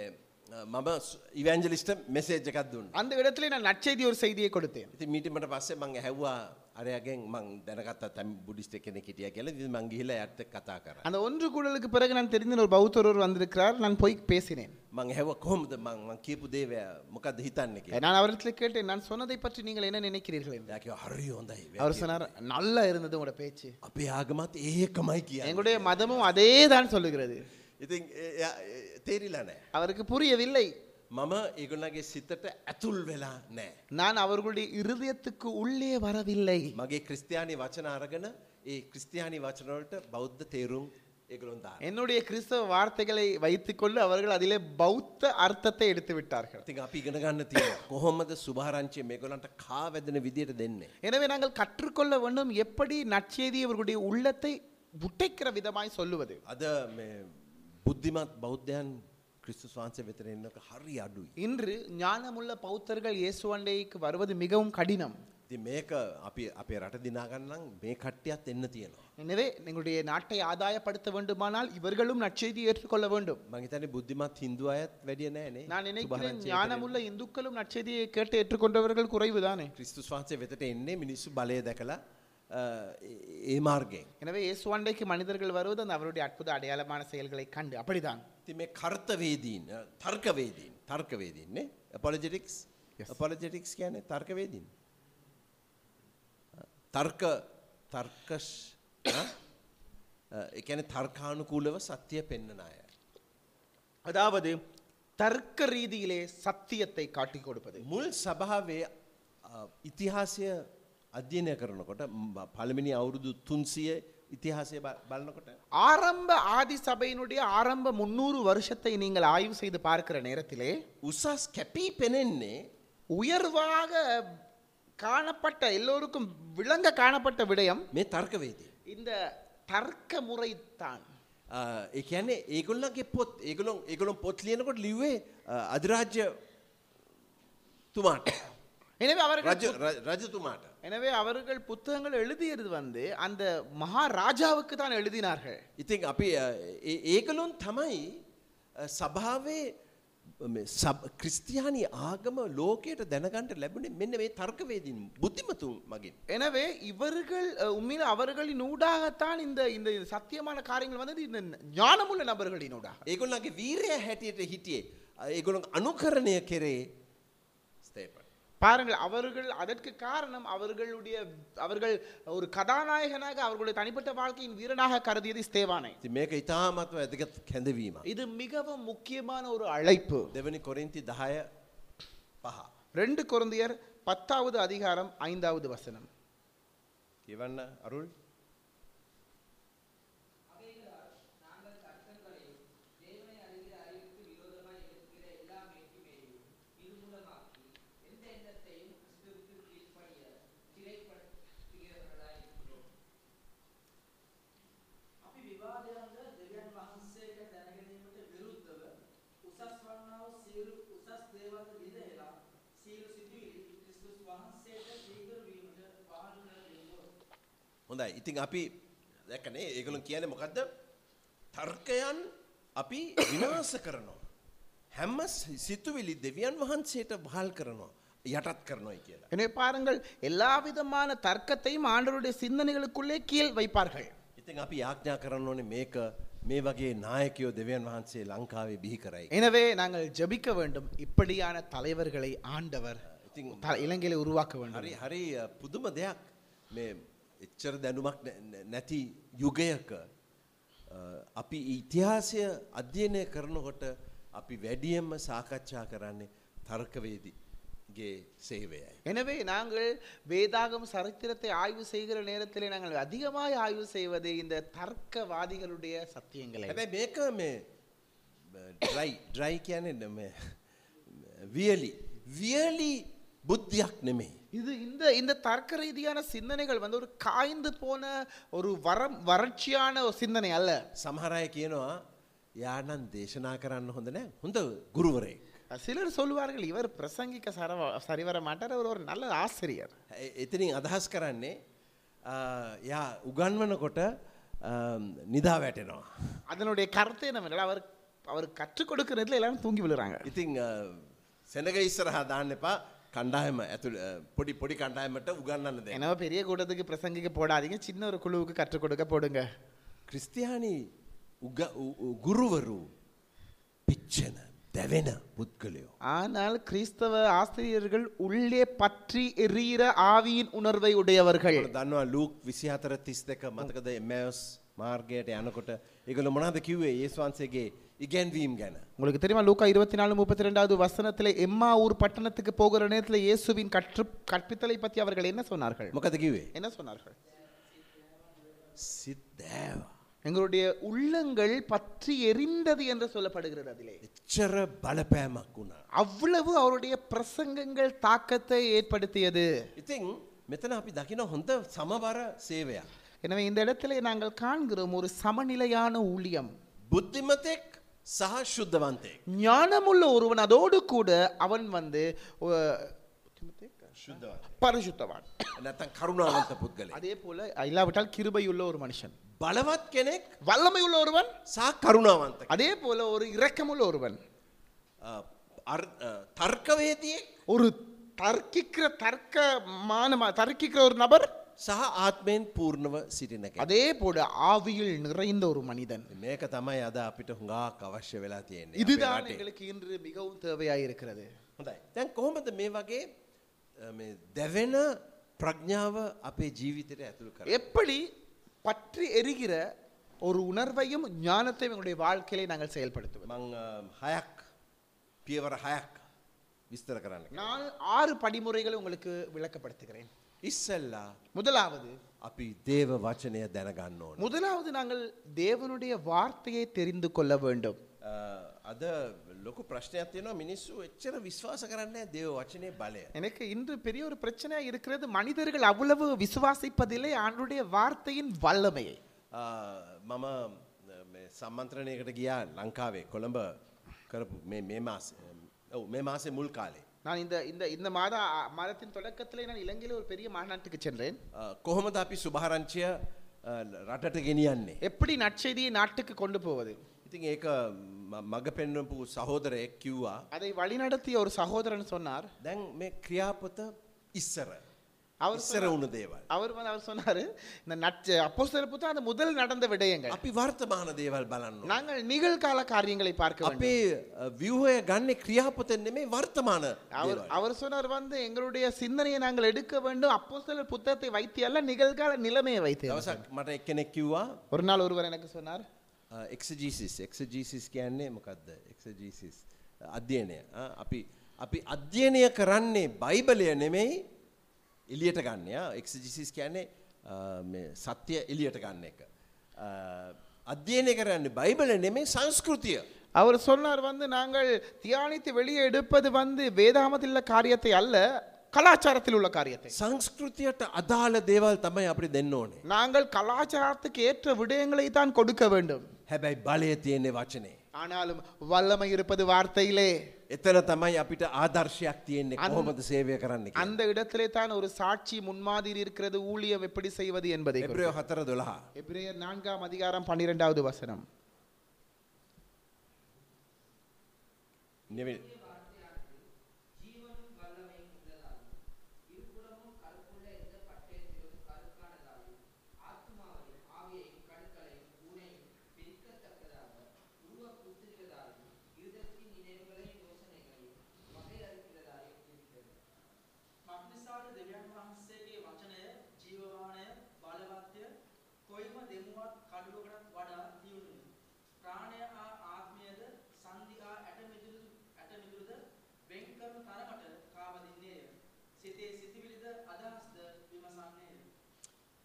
Speaker 2: අ, මම ස්- ඉවැන්ජලිස්ට මෙසේජ් එකක් දුන්න.
Speaker 1: அந்த இடத்திலே நான் நற்செய்தி ஒரு செய்தியை கொடுத்தேன்
Speaker 2: ඉති මීටමට පස්සේ මං හැව්වා අරයගෙන් මං දැනගත් තැම් බුඩිස්ට කෙනෙ හිටිය කියල ද මංගිහිල ඇත්ත කතා කර.
Speaker 1: அந்த ஒன்று கூடலுக்கு பிறகு நான் தெரிந்த ஒரு பௌத்த ஒருவர் வந்திருக்கிறார் நான் போய் பேசினேன்
Speaker 2: මං හැව කොහොමද මං මං කියපු දේවය මොකද හිතන්න කිය.
Speaker 1: நான் அவரிடத்தில் கேட்டேன் நான் சொன்னதை பற்றி நீங்கள் என்ன நினைக்கிறீர்கள் என்று
Speaker 2: දැක හරි හොඳයි.
Speaker 1: அவர் சொன்னார் நல்லா இருந்தது உங்களோட பேச்சு
Speaker 2: අපේ ආගමත් ඒකමයි කිය.
Speaker 1: எங்களுடைய மதமும் அதே தான் சொல்லுகிறது
Speaker 2: ඉතින් තේරිලා නෑ.
Speaker 1: அவருக்கு புரியவில்லை
Speaker 2: මම ඒගොල්ලගේ සිතට ඇතුල් වෙලා නෑ.
Speaker 1: நான் அவர்களுடைய இருதயத்துக்கு உள்ளே வரவில்லை
Speaker 2: මගේ ක්‍රස්තියානි වචන අරගෙන ඒ ක්‍රස්තියානි වචනවලට බෞද්ධ තේරුම් ඒගොළොන්දා.
Speaker 1: என்னுடைய கிறிஸ்தவ வார்த்தைகளை வைத்துக்கொண்டு அவர்கள் அதிலே பௌத்த அர்த்தத்தை எடுத்து விட்டார்கள்
Speaker 2: ඉතින් අපි ඉගෙන ගන්න තියෙන කොහොමද සුභාරංචිය මේගොල්ලන්ට කාවැදෙන විදියට දෙන්නේ.
Speaker 1: எனவே நாங்கள் கற்றுக்கொள்ள வேண்டும் எப்படி நற்செய்தி அவர்களுடைய உள்ளத்தை உடைக்கிற விதமாய் சொல்லுவது
Speaker 2: අද මේ බුද්ධිමත් බෞද්ධයන් ක්‍රිස්තුස් වහන්සේ වෙතර එන්නක හරි අඩුයි.
Speaker 1: இன்று ஞானமுள்ள பௌத்தர்கள் இயேசுவண்டைக்கு வருவது மிகவும் கடினம்
Speaker 2: ඉතින් මේක අපි අපේ රට දිනාගන්නම් මේ කට්ටියත් එන්න තියෙනවා.
Speaker 1: எனவே எங்களுடைய நாட்டை ஆதாயப்படுத்த வேண்டுமானால் இவர்களும் நற்செய்தியை ஏற்றுக்கொள்ள வேண்டும்
Speaker 2: මගේතන බුද්ධිමත් හින්දු අයත් වැඩිය නෑනේ
Speaker 1: நான் நினைக்கிறேன் ஞானமுள்ள இந்துக்களும் நற்செய்தியை கேட்டு ஏற்றுக்கொண்டவர்கள் குறைவுதானே
Speaker 2: ක්‍රිස්තුස් වහන්සේ වෙතට එන්නේ මිනිස්සු බලය දැකලා අ, ඒ- ඒ මාර්ගයෙන්.
Speaker 1: எனவே இயேசுவாண்டைக்கு மனிதர்கள் வருவது அந்த அவருடைய அற்புத அடையாளமான செயல்களை கண்டு அப்படிதான்
Speaker 2: ති මේ කර්තවේදීන් අ, තර්කවේදීන් තර්කවේදීන්නේ පොලජිටික්ස් පොලජිටික්ස් කියන තර්කවේදීන්. තර්ක තර්කෂ් එකන තර්කානුකූලව සත්‍යය පෙන්නන අය.
Speaker 1: அதாவது தர்க்க ரீதியிலே சத்தியத்தை காட்டிக் கொடுப்பது
Speaker 2: මුල් සභාවේ අ, ඉතිහාසය අධ්‍යයනය කරනකොට ම්, බ- පළමිනි අවුරුදු තුන්සිය ඉතිහාසය බ- බලනකොට
Speaker 1: ஆரம்ப ஆதி சபையினுடைய ஆரம்ப முன்னூறு வருஷத்தை நீங்கள் ஆய்வு செய்து பார்க்கிற நேரத்திலே
Speaker 2: උසස් කැපී පෙනෙන්නේ
Speaker 1: உயர்வாக காணப்பட்ட எல்லோருக்கும் விளங்க காணப்பட்ட விடயம்
Speaker 2: මේ තර්කවේදී.
Speaker 1: இந்த தர்க்க முறைத்தான்
Speaker 2: එකන ඒගොල්ලගේ පොත් ඒගොලොන් ඒගොලොන් පොත් ලියනකොට ලිවේ අධරාජ්‍ය තුමාට
Speaker 1: எனவே அவர்கள்
Speaker 2: රජ- ර- රජතුමාට
Speaker 1: எனவே அவர்கள் புத்தகங்கள் எழுதியது வந்து அந்த மகாராஜாவுக்கு தான் எழுதினார்கள்
Speaker 2: ඉතින් අපි අ, ඒ- ඒගොලොන් තමයි අ, සභාවේ මේ සබ- ක්‍රිස්තියානි ආගම ලෝකයට දැනගන්ට ලැබුණේ මෙන්න මේ තර්කවේදින් බුද්ධිමතුන් මගින්
Speaker 1: எனவே இவர்கள் அஹ், உண்மையில அவர்களின் ஊடாகத்தான் இந்த இந்த சத்தியமான காரியங்கள் வந்தது இந்த ஞானமுள்ள நபர்களின் ஊடாக
Speaker 2: ඒගොල්ලගේ වීරය හැටියට හිටියේ අ, ඒගොලොන් අනුකරණය කෙරේ ස්තේපට
Speaker 1: பாருங்கள் அவர்கள் அதற்கு காரணம் அவர்களுடைய அவர்கள் ஒரு கதாநாயகனாக அவர்களுடைய தனிப்பட்ட வாழ்க்கையின் வீரனாக கருதியது ஸ்தேவானை
Speaker 2: ති මේක ඉතාමත්ව ඇදගත් කැඳවීම
Speaker 1: இது மிகவும் முக்கியமான ஒரு அழைப்பு
Speaker 2: දෙවනි කොරින්ති දහය පහ
Speaker 1: ரெண்டு கொரிந்தியர் பத்தாவது அதிகாரம் ஐந்தாவது வசனம்
Speaker 2: කියවන්න අරුල්
Speaker 3: අපි විවාදයන්ද දෙවියන් වහන්සේට දැනගැනීමට විරුද්ධව උසස් වන්නා වූ සියලු උසස් දේවල් විදෙලා සියලු සිතුවිලි ක්‍රිස්තුස් වහන්සේට සීගර වීමට වහල් කර දෙමු.
Speaker 2: හොඳයි ඉතින් අපි දැකනේ ඒගොලු කියන මොකක්ද තර්කයන් අපි විනාස කරනවා. හැම්ම සි- සිතුවිලි දෙවියන් වහන්සේට භාල් කරනවා යටත් කරනොයි කියලා.
Speaker 1: எனவே பாருங்கள் எல்லா விதமான தர்க்கத்தையும் ஆண்டவருடைய சிந்தனைகளுக்குள்ளே கீழ் வைப்பார்கள்
Speaker 2: ඉතින් අපි යාඥා කරන්න ඕනේ මේක මේ වගේ නායකයෝ දෙවියන් වහන්සේ ලංකාවේ බිහි කරයි.
Speaker 1: எனவே நாங்கள் ஜெபிக்க வேண்டும் இப்படியான தலைவர்களை ஆண்டவர்
Speaker 2: ඉතින්
Speaker 1: த- இலங்கையில உருவாக்க வேண்டும்
Speaker 2: හරි හරි අ, පුදුම දෙයක් මේ එච්චර දැනුමක් නැ- නැ- නැති යුගයක අ, අපි ඉතිහාසය අධ්‍යයනය කරනකොට අපි වැඩියෙන්ම සාකච්ඡා කරන්නේ තර්කවේදිගේ සේවයයි.
Speaker 1: எனவே நாங்கள் வேதாகம் சரித்திரத்தை ஆய்வு செய்கிற நேரத்திலே நாங்கள் அதிகமாய் ஆய்வு செய்வது இந்த தர்க்கவாதிகளுடைய சத்தியங்களை
Speaker 2: හැබැයි මේක මේ ඩ්‍රයි ඩ්‍රයි කියනෙ වියලි වියලි බුද්ධයක් නෙමේ.
Speaker 1: இது இந்த இந்த தர்க்க ரீதியான சிந்தனைகள் வந்து ஒரு காய்ந்து போன ஒரு வரம் வறட்சியான ஒரு சிந்தனை அல்ல
Speaker 2: සමහරය කියනවා යානන් දේශනා කරන්න හොඳ නෑ හොඳ ගුරුවරේ.
Speaker 1: சிலர் சொல்வார்கள் இவர் பிரசங்கிக்க சரவ சரிவர மாட்டார் அவர் ஒரு நல்ல ஆசிரியர்
Speaker 2: එ- එතනින් අදහස් කරන්නේ අ, යා උගන්වනකොට අ, නිදා වැටෙනවා.
Speaker 1: அதனுடைய கருத்து என்னவென்றால் அவர் அவர் கற்றுக் கொடுக்கறதுல எல்லாரும் தூங்கி விழுறாங்க
Speaker 2: ඉතිං අ, සෙනග ඉස්සරහා දාන්න එපා කණ්ඩායම ඇතුළ අ, පොඩි පොඩි කණ්ඩායමට උගන්නන්න දෙ.
Speaker 1: எனவே பெரிய கூட்டத்துக்கு பிரசங்கிக்க போடாதீங்க சின்ன ஒரு குழுவுக்கு கற்றுக் கொடுக்க போடுங்க
Speaker 2: ක්‍රිස්තියානි උග- උ- උ- ගුරුවරු පිච්චන දැවෙන පුද්ගලයෝ.
Speaker 1: ஆனால் கிறிஸ்தவ ஆசிரியர்கள் உள்ளே பற்றி எரிகிற ஆவியின் உணர்வை உடையவர்கள்
Speaker 2: ඒගොල්ලෝ දන්නවා ලූක් විසි අතර තිස් දෙක මතකද එමස් මාර්ගයට යනකොට ඒගොල්ලෝ මොනවද කිව්වේ යේසුස් වහන්සේගේ ඉගැන්වීම් ගැන
Speaker 1: உங்களுக்கு தெரியுமா லூக்கா இருபத்தி நாலு முப்பத்தி ரெண்டாவது வசனத்தில் எம்மா ஊர் பட்டணத்துக்கு போகிற நேரத்தில் இயேசுவின் கற்று கற்பித்தலை பற்றி அவர்கள் என்ன சொன்னார்கள்
Speaker 2: මොකද කිව්වේ
Speaker 1: என்ன சொன்னார்கள்
Speaker 2: සිත් දෑවා
Speaker 1: எங்களுடைய உள்ளங்கள் பற்றி எரிந்தது என்று சொல்லப்படுகிறது அதிலே
Speaker 2: එච්චර බලපෑමක් වුණා
Speaker 1: அவ்வளவு அவருடைய பிரசங்கங்கள் தாக்கத்தை ஏற்படுத்தியது
Speaker 2: ඉතින් මෙතන අපි දකින හොඳ සමබර සේවයක්
Speaker 1: எனவே இந்த இடத்திலே நாங்கள் காண்கிறோம் ஒரு சமநிலையான ஊழியம்
Speaker 2: බුද්ධිමතෙක් සහ ශුද්ධවන්තයෙක්
Speaker 1: ஞானமுள்ள ஒருவன் அதோடு கூட அவன் வந்து ஒ-
Speaker 2: ශුද්ධවන්ත
Speaker 1: பரிசுத்தவான்
Speaker 2: නැත්තම් කරුණාවන්ත පුද්ගලයා
Speaker 1: அதே போல இல்லாவிட்டால் கிருபையுள்ள ஒரு மனுஷன்
Speaker 2: බලවත් කෙනෙක්
Speaker 1: வல்லமை உள்ள ஒருவன்
Speaker 2: සහ කරුණාවන්ත
Speaker 1: அதே போல ஒரு இரக்கமுள்ள ஒருவன்
Speaker 2: තර්කවේතියෙක්
Speaker 1: ஒரு தர்க்கிக்கிற தர்க்கமான தர்க்கிக்கிற ஒரு நபர்
Speaker 2: සහ ආත්මයෙන් පූර්ණව සිටිනක
Speaker 1: அதே போல ආவியில் நிறைந்த ஒரு மனிதன்
Speaker 2: මේක තමයි අද අපිට හුඟා අවශ්‍ය වෙලා තියෙන්නේ අපේ
Speaker 1: இதுதான்
Speaker 2: රටේ.
Speaker 1: எங்களுக்கு இன்று மிகவும் தேவையாயிருக்கிறது
Speaker 2: හොඳයි දැන් කොහොමද මේ වගේ අ, මේ දැවෙන ප්‍රඥාව අපේ ජීවිතයට ඇතුළු කර
Speaker 1: எப்படி பற்றி எரிகிற ஒரு உணர்வையும் ஞானத்தையும் எங்களுடைய வாழ்க்கையிலே நாங்கள் செயல்படுத்துவது
Speaker 2: මං අ, හයක් පියවර හයක් විස්තර කරන්න
Speaker 1: நான் ஆறு படிமுறைகளை உங்களுக்கு විளக்கப்படுத்துகிறேன்
Speaker 2: ඉස්සල්ලා
Speaker 1: முதலாவது
Speaker 2: අපි දේව වචනය දැනගන්න ඕන
Speaker 1: முதலாவது நாங்கள் தேவனுடைய வார்த்தையை தெரிந்து கொள்ள வேண்டும்
Speaker 2: අ, අද ලොකු ප්‍රශ්නයක් තියෙනවා මිනිස්සු එච්චර විශ්වාස කරන්නේ දේව වචනය බලය
Speaker 1: எனக்கு இன்று பெரிய ஒரு பிரச்சனையா இருக்கிறது மனிதர்கள் அவ்வளவு விசுவாசிப்பதில்லை ஆண்டுடைய வார்த்தையின் வல்லமையை
Speaker 2: අ, මම අ, මේ සම්මන්ත්‍රණයකට ගියා ලංකාවේ කොළඹ කරපු මේ මේ මාස ඔව් මේ මාසේ මුල් காலே
Speaker 1: நான் இந்த இந்த இந்த மாத அ- மாதத்தின் தொடக்கத்திலே நான் இலங்கையில் ஒரு பெரிய மாநாட்டுக்கு சென்றேன்
Speaker 2: කොහොමද අපි සුභාරංචය අ, රටට ගෙනියන්නේ.
Speaker 1: எப்படி நற்செய்தியை நாட்டுக்கு கொண்டு போவது
Speaker 2: ඉතින් ඒක ම- මඟ පෙන්වපු සහෝදරයෙක් කිව්වා
Speaker 1: அதை வழிநடத்திய ஒரு சகோதரன் சொன்னார்
Speaker 2: දැන් මේ ක්‍රියාපොත ඉස්සර
Speaker 1: அவர்
Speaker 2: ඉස්සර වුණු දේවල්.
Speaker 1: அவர் வந்து அவர் சொன்னாரு இந்த நற்ச அப்போ சிறப்பு தான் அந்த முதல் நடந்த விடயங்கள்
Speaker 2: අපි වර්තමාන දේවල් බලන්න.
Speaker 1: நாங்கள் நிகழ்கால காரியங்களை பார்க்க வேண்டும்
Speaker 2: අපේ අ, ව්‍යවහය ගන්න ක්‍රියාපොතෙන් නෙමේ වර්තමාන
Speaker 1: அவர்
Speaker 2: දේවල්.
Speaker 1: அவர் சொன்னார் வந்து எங்களுடைய சிந்தனையை நாங்கள் எடுக்க வேண்டும் அப்போ புத்தகத்தை வைத்து அல்ல நிகழ்கால நிலைமையை வைத்து அல்ல.
Speaker 2: දවසක් මට එක්කෙනෙක් කිව්වා
Speaker 1: ஒரு நாள் ஒருவர் எனக்கு சொன்னார்
Speaker 2: එක්සජීසිස් එක්සජීසිස් කියන්නේ මොකක්ද එක්සජීසිස් අධ්‍යයනය අ, අපි අපි අධ්‍යයනය කරන්නේ බයිබලය නෙමෙයි එලියට ගන්න එක්සජිසිස් කියන්නේ අ, මේ සත්‍යය එලියට ගන්න එක. අ, අධ්‍යයනය කරන්න බයිබල නෙමෙයි සංස්කෘතිය
Speaker 1: அவர் சொன்னார் வந்து நாங்கள் தியானித்து வெளியே எடுப்பது வந்து வேதாமத்தில் உள்ள காரியத்தை அல்ல கலாச்சாரத்தில் உள்ள காரியத்தை
Speaker 2: සංස්කෘතියට අදාළ දේවල් තමයි අපි දෙන්න ඕනේ.
Speaker 1: நாங்கள் கலாச்சாரத்துக்கு ஏற்ற விடயங்களை தான் கொடுக்க வேண்டும்
Speaker 2: හැබැයි බලය තියෙන්නේ වචනේ.
Speaker 1: ஆனாலும் வல்லமை இருப்பது வார்த்தையிலே
Speaker 2: එතන තමයි අපිට ආදර්ශයක් තියෙන්නේ කොහොමද සේවය කරන්න කියලා.
Speaker 1: அந்த இடத்திலே தான் ஒரு சாட்சி முன்மாதிரி இருக்கிறது ஊழியம் எப்படி செய்வது என்பதை குறித்து.
Speaker 2: එබ්‍රයෝ හතර දොළහා.
Speaker 1: எபிரேயர் நான்காம் அதிகாரம் பன்னிரெண்டாவது வசனம்
Speaker 2: නෙවෙයි.
Speaker 3: ஜீவனும் வல்லமையும் உள்ளதாலும் இருபுறமும் கருப்புள்ள எந்த பட்டயத்திலும் கருக்கானதாலும் ஆத்மாவையும் ஆவியையும் கணுக்களையும் ஊனையும் பிரிக்கத்தக்கதாக உருவ புத்திரிகளாலும் இருதத்தின் நினைவுகளையும் யோசனைகளையும் வகையறுக்கிறதாயும் இருக்கிறது මක්නිසාද දෙවියන් වහන්සේගේ වචනය ජීවමානය බලවත්ය කොයිම දෙමුවත් කඩුවකටත් වඩා දියුණුය. ප්‍රාණය හා ආත්මයද සංදිහා ඇටමිදුරු ඇටමිදුරුද වෙන් කරන තරමට කාවදින්නේය. සිතේ සිතිවිලිද අදහස්ද විමසන්නේය.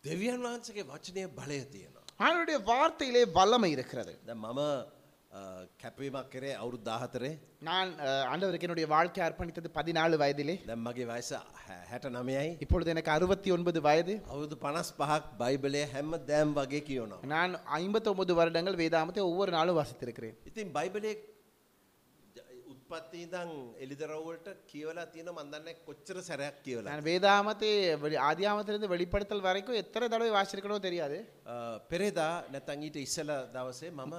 Speaker 2: දෙවියන් වහන්සගේ වචනය බලය තියෙනවා.
Speaker 1: அவருடைய வார்த்தையிலே வல்லமை இருக்கிறது
Speaker 2: ද මම අ, කැපවීමක් කරේ අවුරු දාහතරේ
Speaker 1: நான் அஹ், ஆண்டவருக்கு என்னுடைய வாழ்க்கை අර්පணித்தது பதினாலு வயதிலே
Speaker 2: දැම් මගේ වයිස හැට නමයයි.
Speaker 1: இப்பொழுது எனக்கு அறுபத்தி ஒன்பது வயது
Speaker 2: අවුදු පනස් පහක් බයිබලය හැම දෑම් වගේ කියවනවා.
Speaker 1: நான் 59 வருடங்கள் வேதாமத்தை ஒவ்வொரு நாளும் வாசித்திருக்கிறேன்
Speaker 2: ඉතින් බයිබලය උත්පත්තිීදං එලිදරව්වලට කියවලා තියෙන මන්දන්න කොච්චර සැරයක් කියවලා.
Speaker 1: நான் வேதாமத்தை வெளி ஆதியாமத்திலிருந்து வெளிப்படுத்தல் வரைக்கும் எத்தனை தடவை வாசிச்சிருக்கணும் தெரியாது
Speaker 2: අ, පෙරේදා නැතන් ඊට ඉස්සල දවසේ මම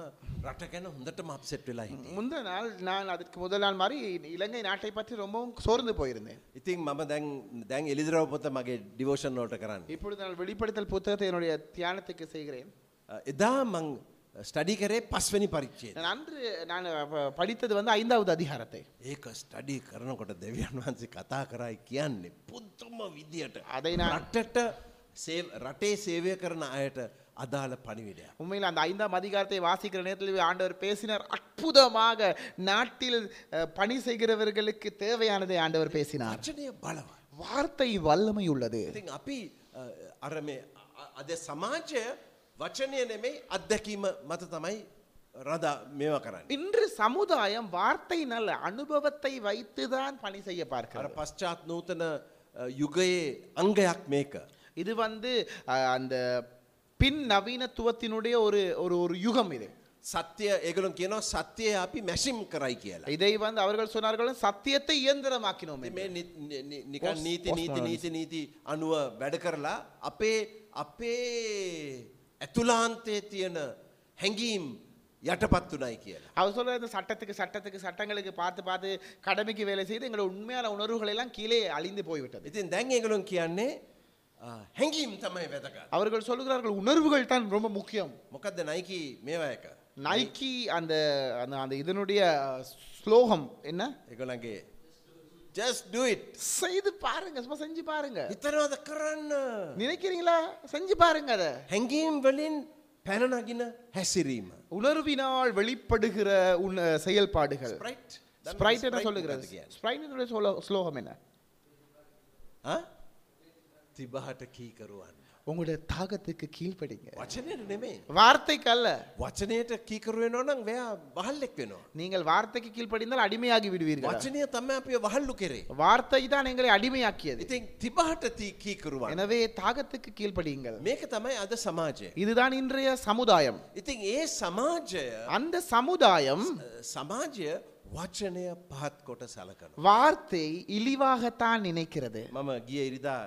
Speaker 2: රට ගැන හොඳට මක්සෙට් වෙලා හිටිය.
Speaker 1: முந்த நாள் நான் அதற்கு முதல் நாள் மாதிரி இலங்கை நாட்டை பற்றி ரொம்பவும் சோர்ந்து போயிருந்தேன்
Speaker 2: ඉතින් මම දැන් දැන් එලිදරව පොත මගේ ඩිවෝෂන් නෝට කරන්න.
Speaker 1: இப்பொழுது நான் வெளிப்படுத்தல் புத்தகத்தை என்னுடைய தியானத்துக்கு செய்கிறேன்
Speaker 2: අ, එදා මං ස්ටඩි කරේ පස්වැනි පරිච්චේ.
Speaker 1: நான் அன்று நான் ப- படித்தது வந்து ஐந்தாவது அதிகாரத்தை
Speaker 2: ඒක ස්ටඩි කරනකොට දෙවියන් වහන්සේ කතා කරයි කියන්නේ පුද්තුම විදියට
Speaker 1: අදයි නා-
Speaker 2: රටට සේ- රටේ සේවය කරන අයට අදාළ පණිවිඩයක්.
Speaker 1: உண்மையில் அந்த ஐந்தாம் அதிகாரத்தை வாசிக்கிற நேரத்தில் ஆண்டவர் பேசினார் அற்புதமாக நாட்டில் அஹ், பணி செய்கிறவர்களுக்கு தேவையானதை ஆண்டவர் பேசினார்
Speaker 2: වචනය බලව.
Speaker 1: வார்த்தை வல்லமை உள்ளது
Speaker 2: ඉතින් අපි අරම අද සමාජය වචනය නෙමෙයි අත්දැකීම මත තමයි රද මේව කරන්න.
Speaker 1: இன்று சமுதாயம் வார்த்தை நல்ல அனுபவத்தை வைத்துதான் பணி செய்ய
Speaker 2: අර
Speaker 1: பார்க்கிறார்
Speaker 2: පශ්චාත් නූතන අ, යුගයේ අංගයක් මේක.
Speaker 1: இது வந்து அஹ், அந்த பின் நவீனத்துவத்தினுடைய ஒரு ஒரு ஒரு யுகம் இது
Speaker 2: සත්‍යය ඒගලුන් කියනවා සත්‍යය අපි මැසිම් කරයි කියලා.
Speaker 1: இதை வந்து அவர்கள் சொன்னார்கள் சத்தியத்தை இயந்திரமாக்கினோம் என்று.
Speaker 2: මේ නි- නි- නි- නිකන් නීති නීති නීති නීති අනුව වැඩ කරලා අපේ අපේ ඇතුලාන්තයේ තියෙන හැඟීම් යටපත් වුණයි කියලා.
Speaker 1: அவர் சொல்ற இந்த சட்டத்துக்கு சட்டத்துக்கு சட்டங்களுக்கு பார்த்து பார்த்து கடமைக்கு வேலை செய்து எங்களோட உண்மையான உணர்வுகள் எல்லாம் கீழே அழிந்து போய்விட்டது
Speaker 2: ඉතින් දැන් ඒගලුන් කියන්නේ අ, හැඟීම් තමයි වැදගත්.
Speaker 1: அவர்கள் சொல்லுகிறார்கள் உணர்வுகள் தான் ரொம்ப முக்கியம்
Speaker 2: මොකක්ද නයිකි මේවායක
Speaker 1: நைக்கி அந்த அந்த- அந்த இதனுடைய ஸ்லோகம் என்ன
Speaker 2: එකළගේ ජස් ඩට්
Speaker 1: செய்து பாருங்க சும்மா செஞ்சு பாருங்க
Speaker 2: හිතනවද කරන්න
Speaker 1: நினைக்கிறீங்களா செஞ்சு பாருங்க அதை
Speaker 2: හැඟීම් වලින් පැනනගින හැසිරීම
Speaker 1: உணர்வினால் வெளிப்படுகிற உண செயல்பாடுகள்
Speaker 2: Sprite? දන්නවද
Speaker 1: ஸ்ப்ரைட் என்ன
Speaker 2: Sprite
Speaker 1: சொல்லுகிறது
Speaker 2: මොකක්ද කියන්නේ?
Speaker 1: ஸ்ப்ரைட்டினுடைய ஸ்லோ- ஸ்லோகம் என்ன
Speaker 2: ආ? තිබහට කීකරුවන්න
Speaker 1: உங்களுடைய தாகத்துக்கு கீழ்ப்படிங்க
Speaker 2: වචනයට නෙමේ
Speaker 1: வார்த்தைக்கு அல்ல
Speaker 2: වචනයට කීකරුවෙන නම් වයා බහල්ලෙක් වෙනවා
Speaker 1: நீங்கள் வார்த்தைக்கு கீழ்ப்படிந்தால் அடிமையாகி விடுவீர்கள்
Speaker 2: වචනය තම අපිය වහල්ලු කෙරේ
Speaker 1: வார்த்தை தான் எங்களை அடிமையாக்கியது
Speaker 2: ඉතින් තිබහට තී කීකරුවන්
Speaker 1: எனவே தாகத்துக்கு கீழ்ப்படியுங்கள்
Speaker 2: මේක තමයි අද සමාජය
Speaker 1: இதுதான் இன்றைய சமுதாயம்
Speaker 2: ඉතින් ඒ සමාජය
Speaker 1: அந்த சமுதாயம்
Speaker 2: අ, සමාජය වචනය පහත් කොට සලකන
Speaker 1: வார்த்தை இழிவாகத்தான் நினைக்கிறது
Speaker 2: මම ගිය ඉරිදා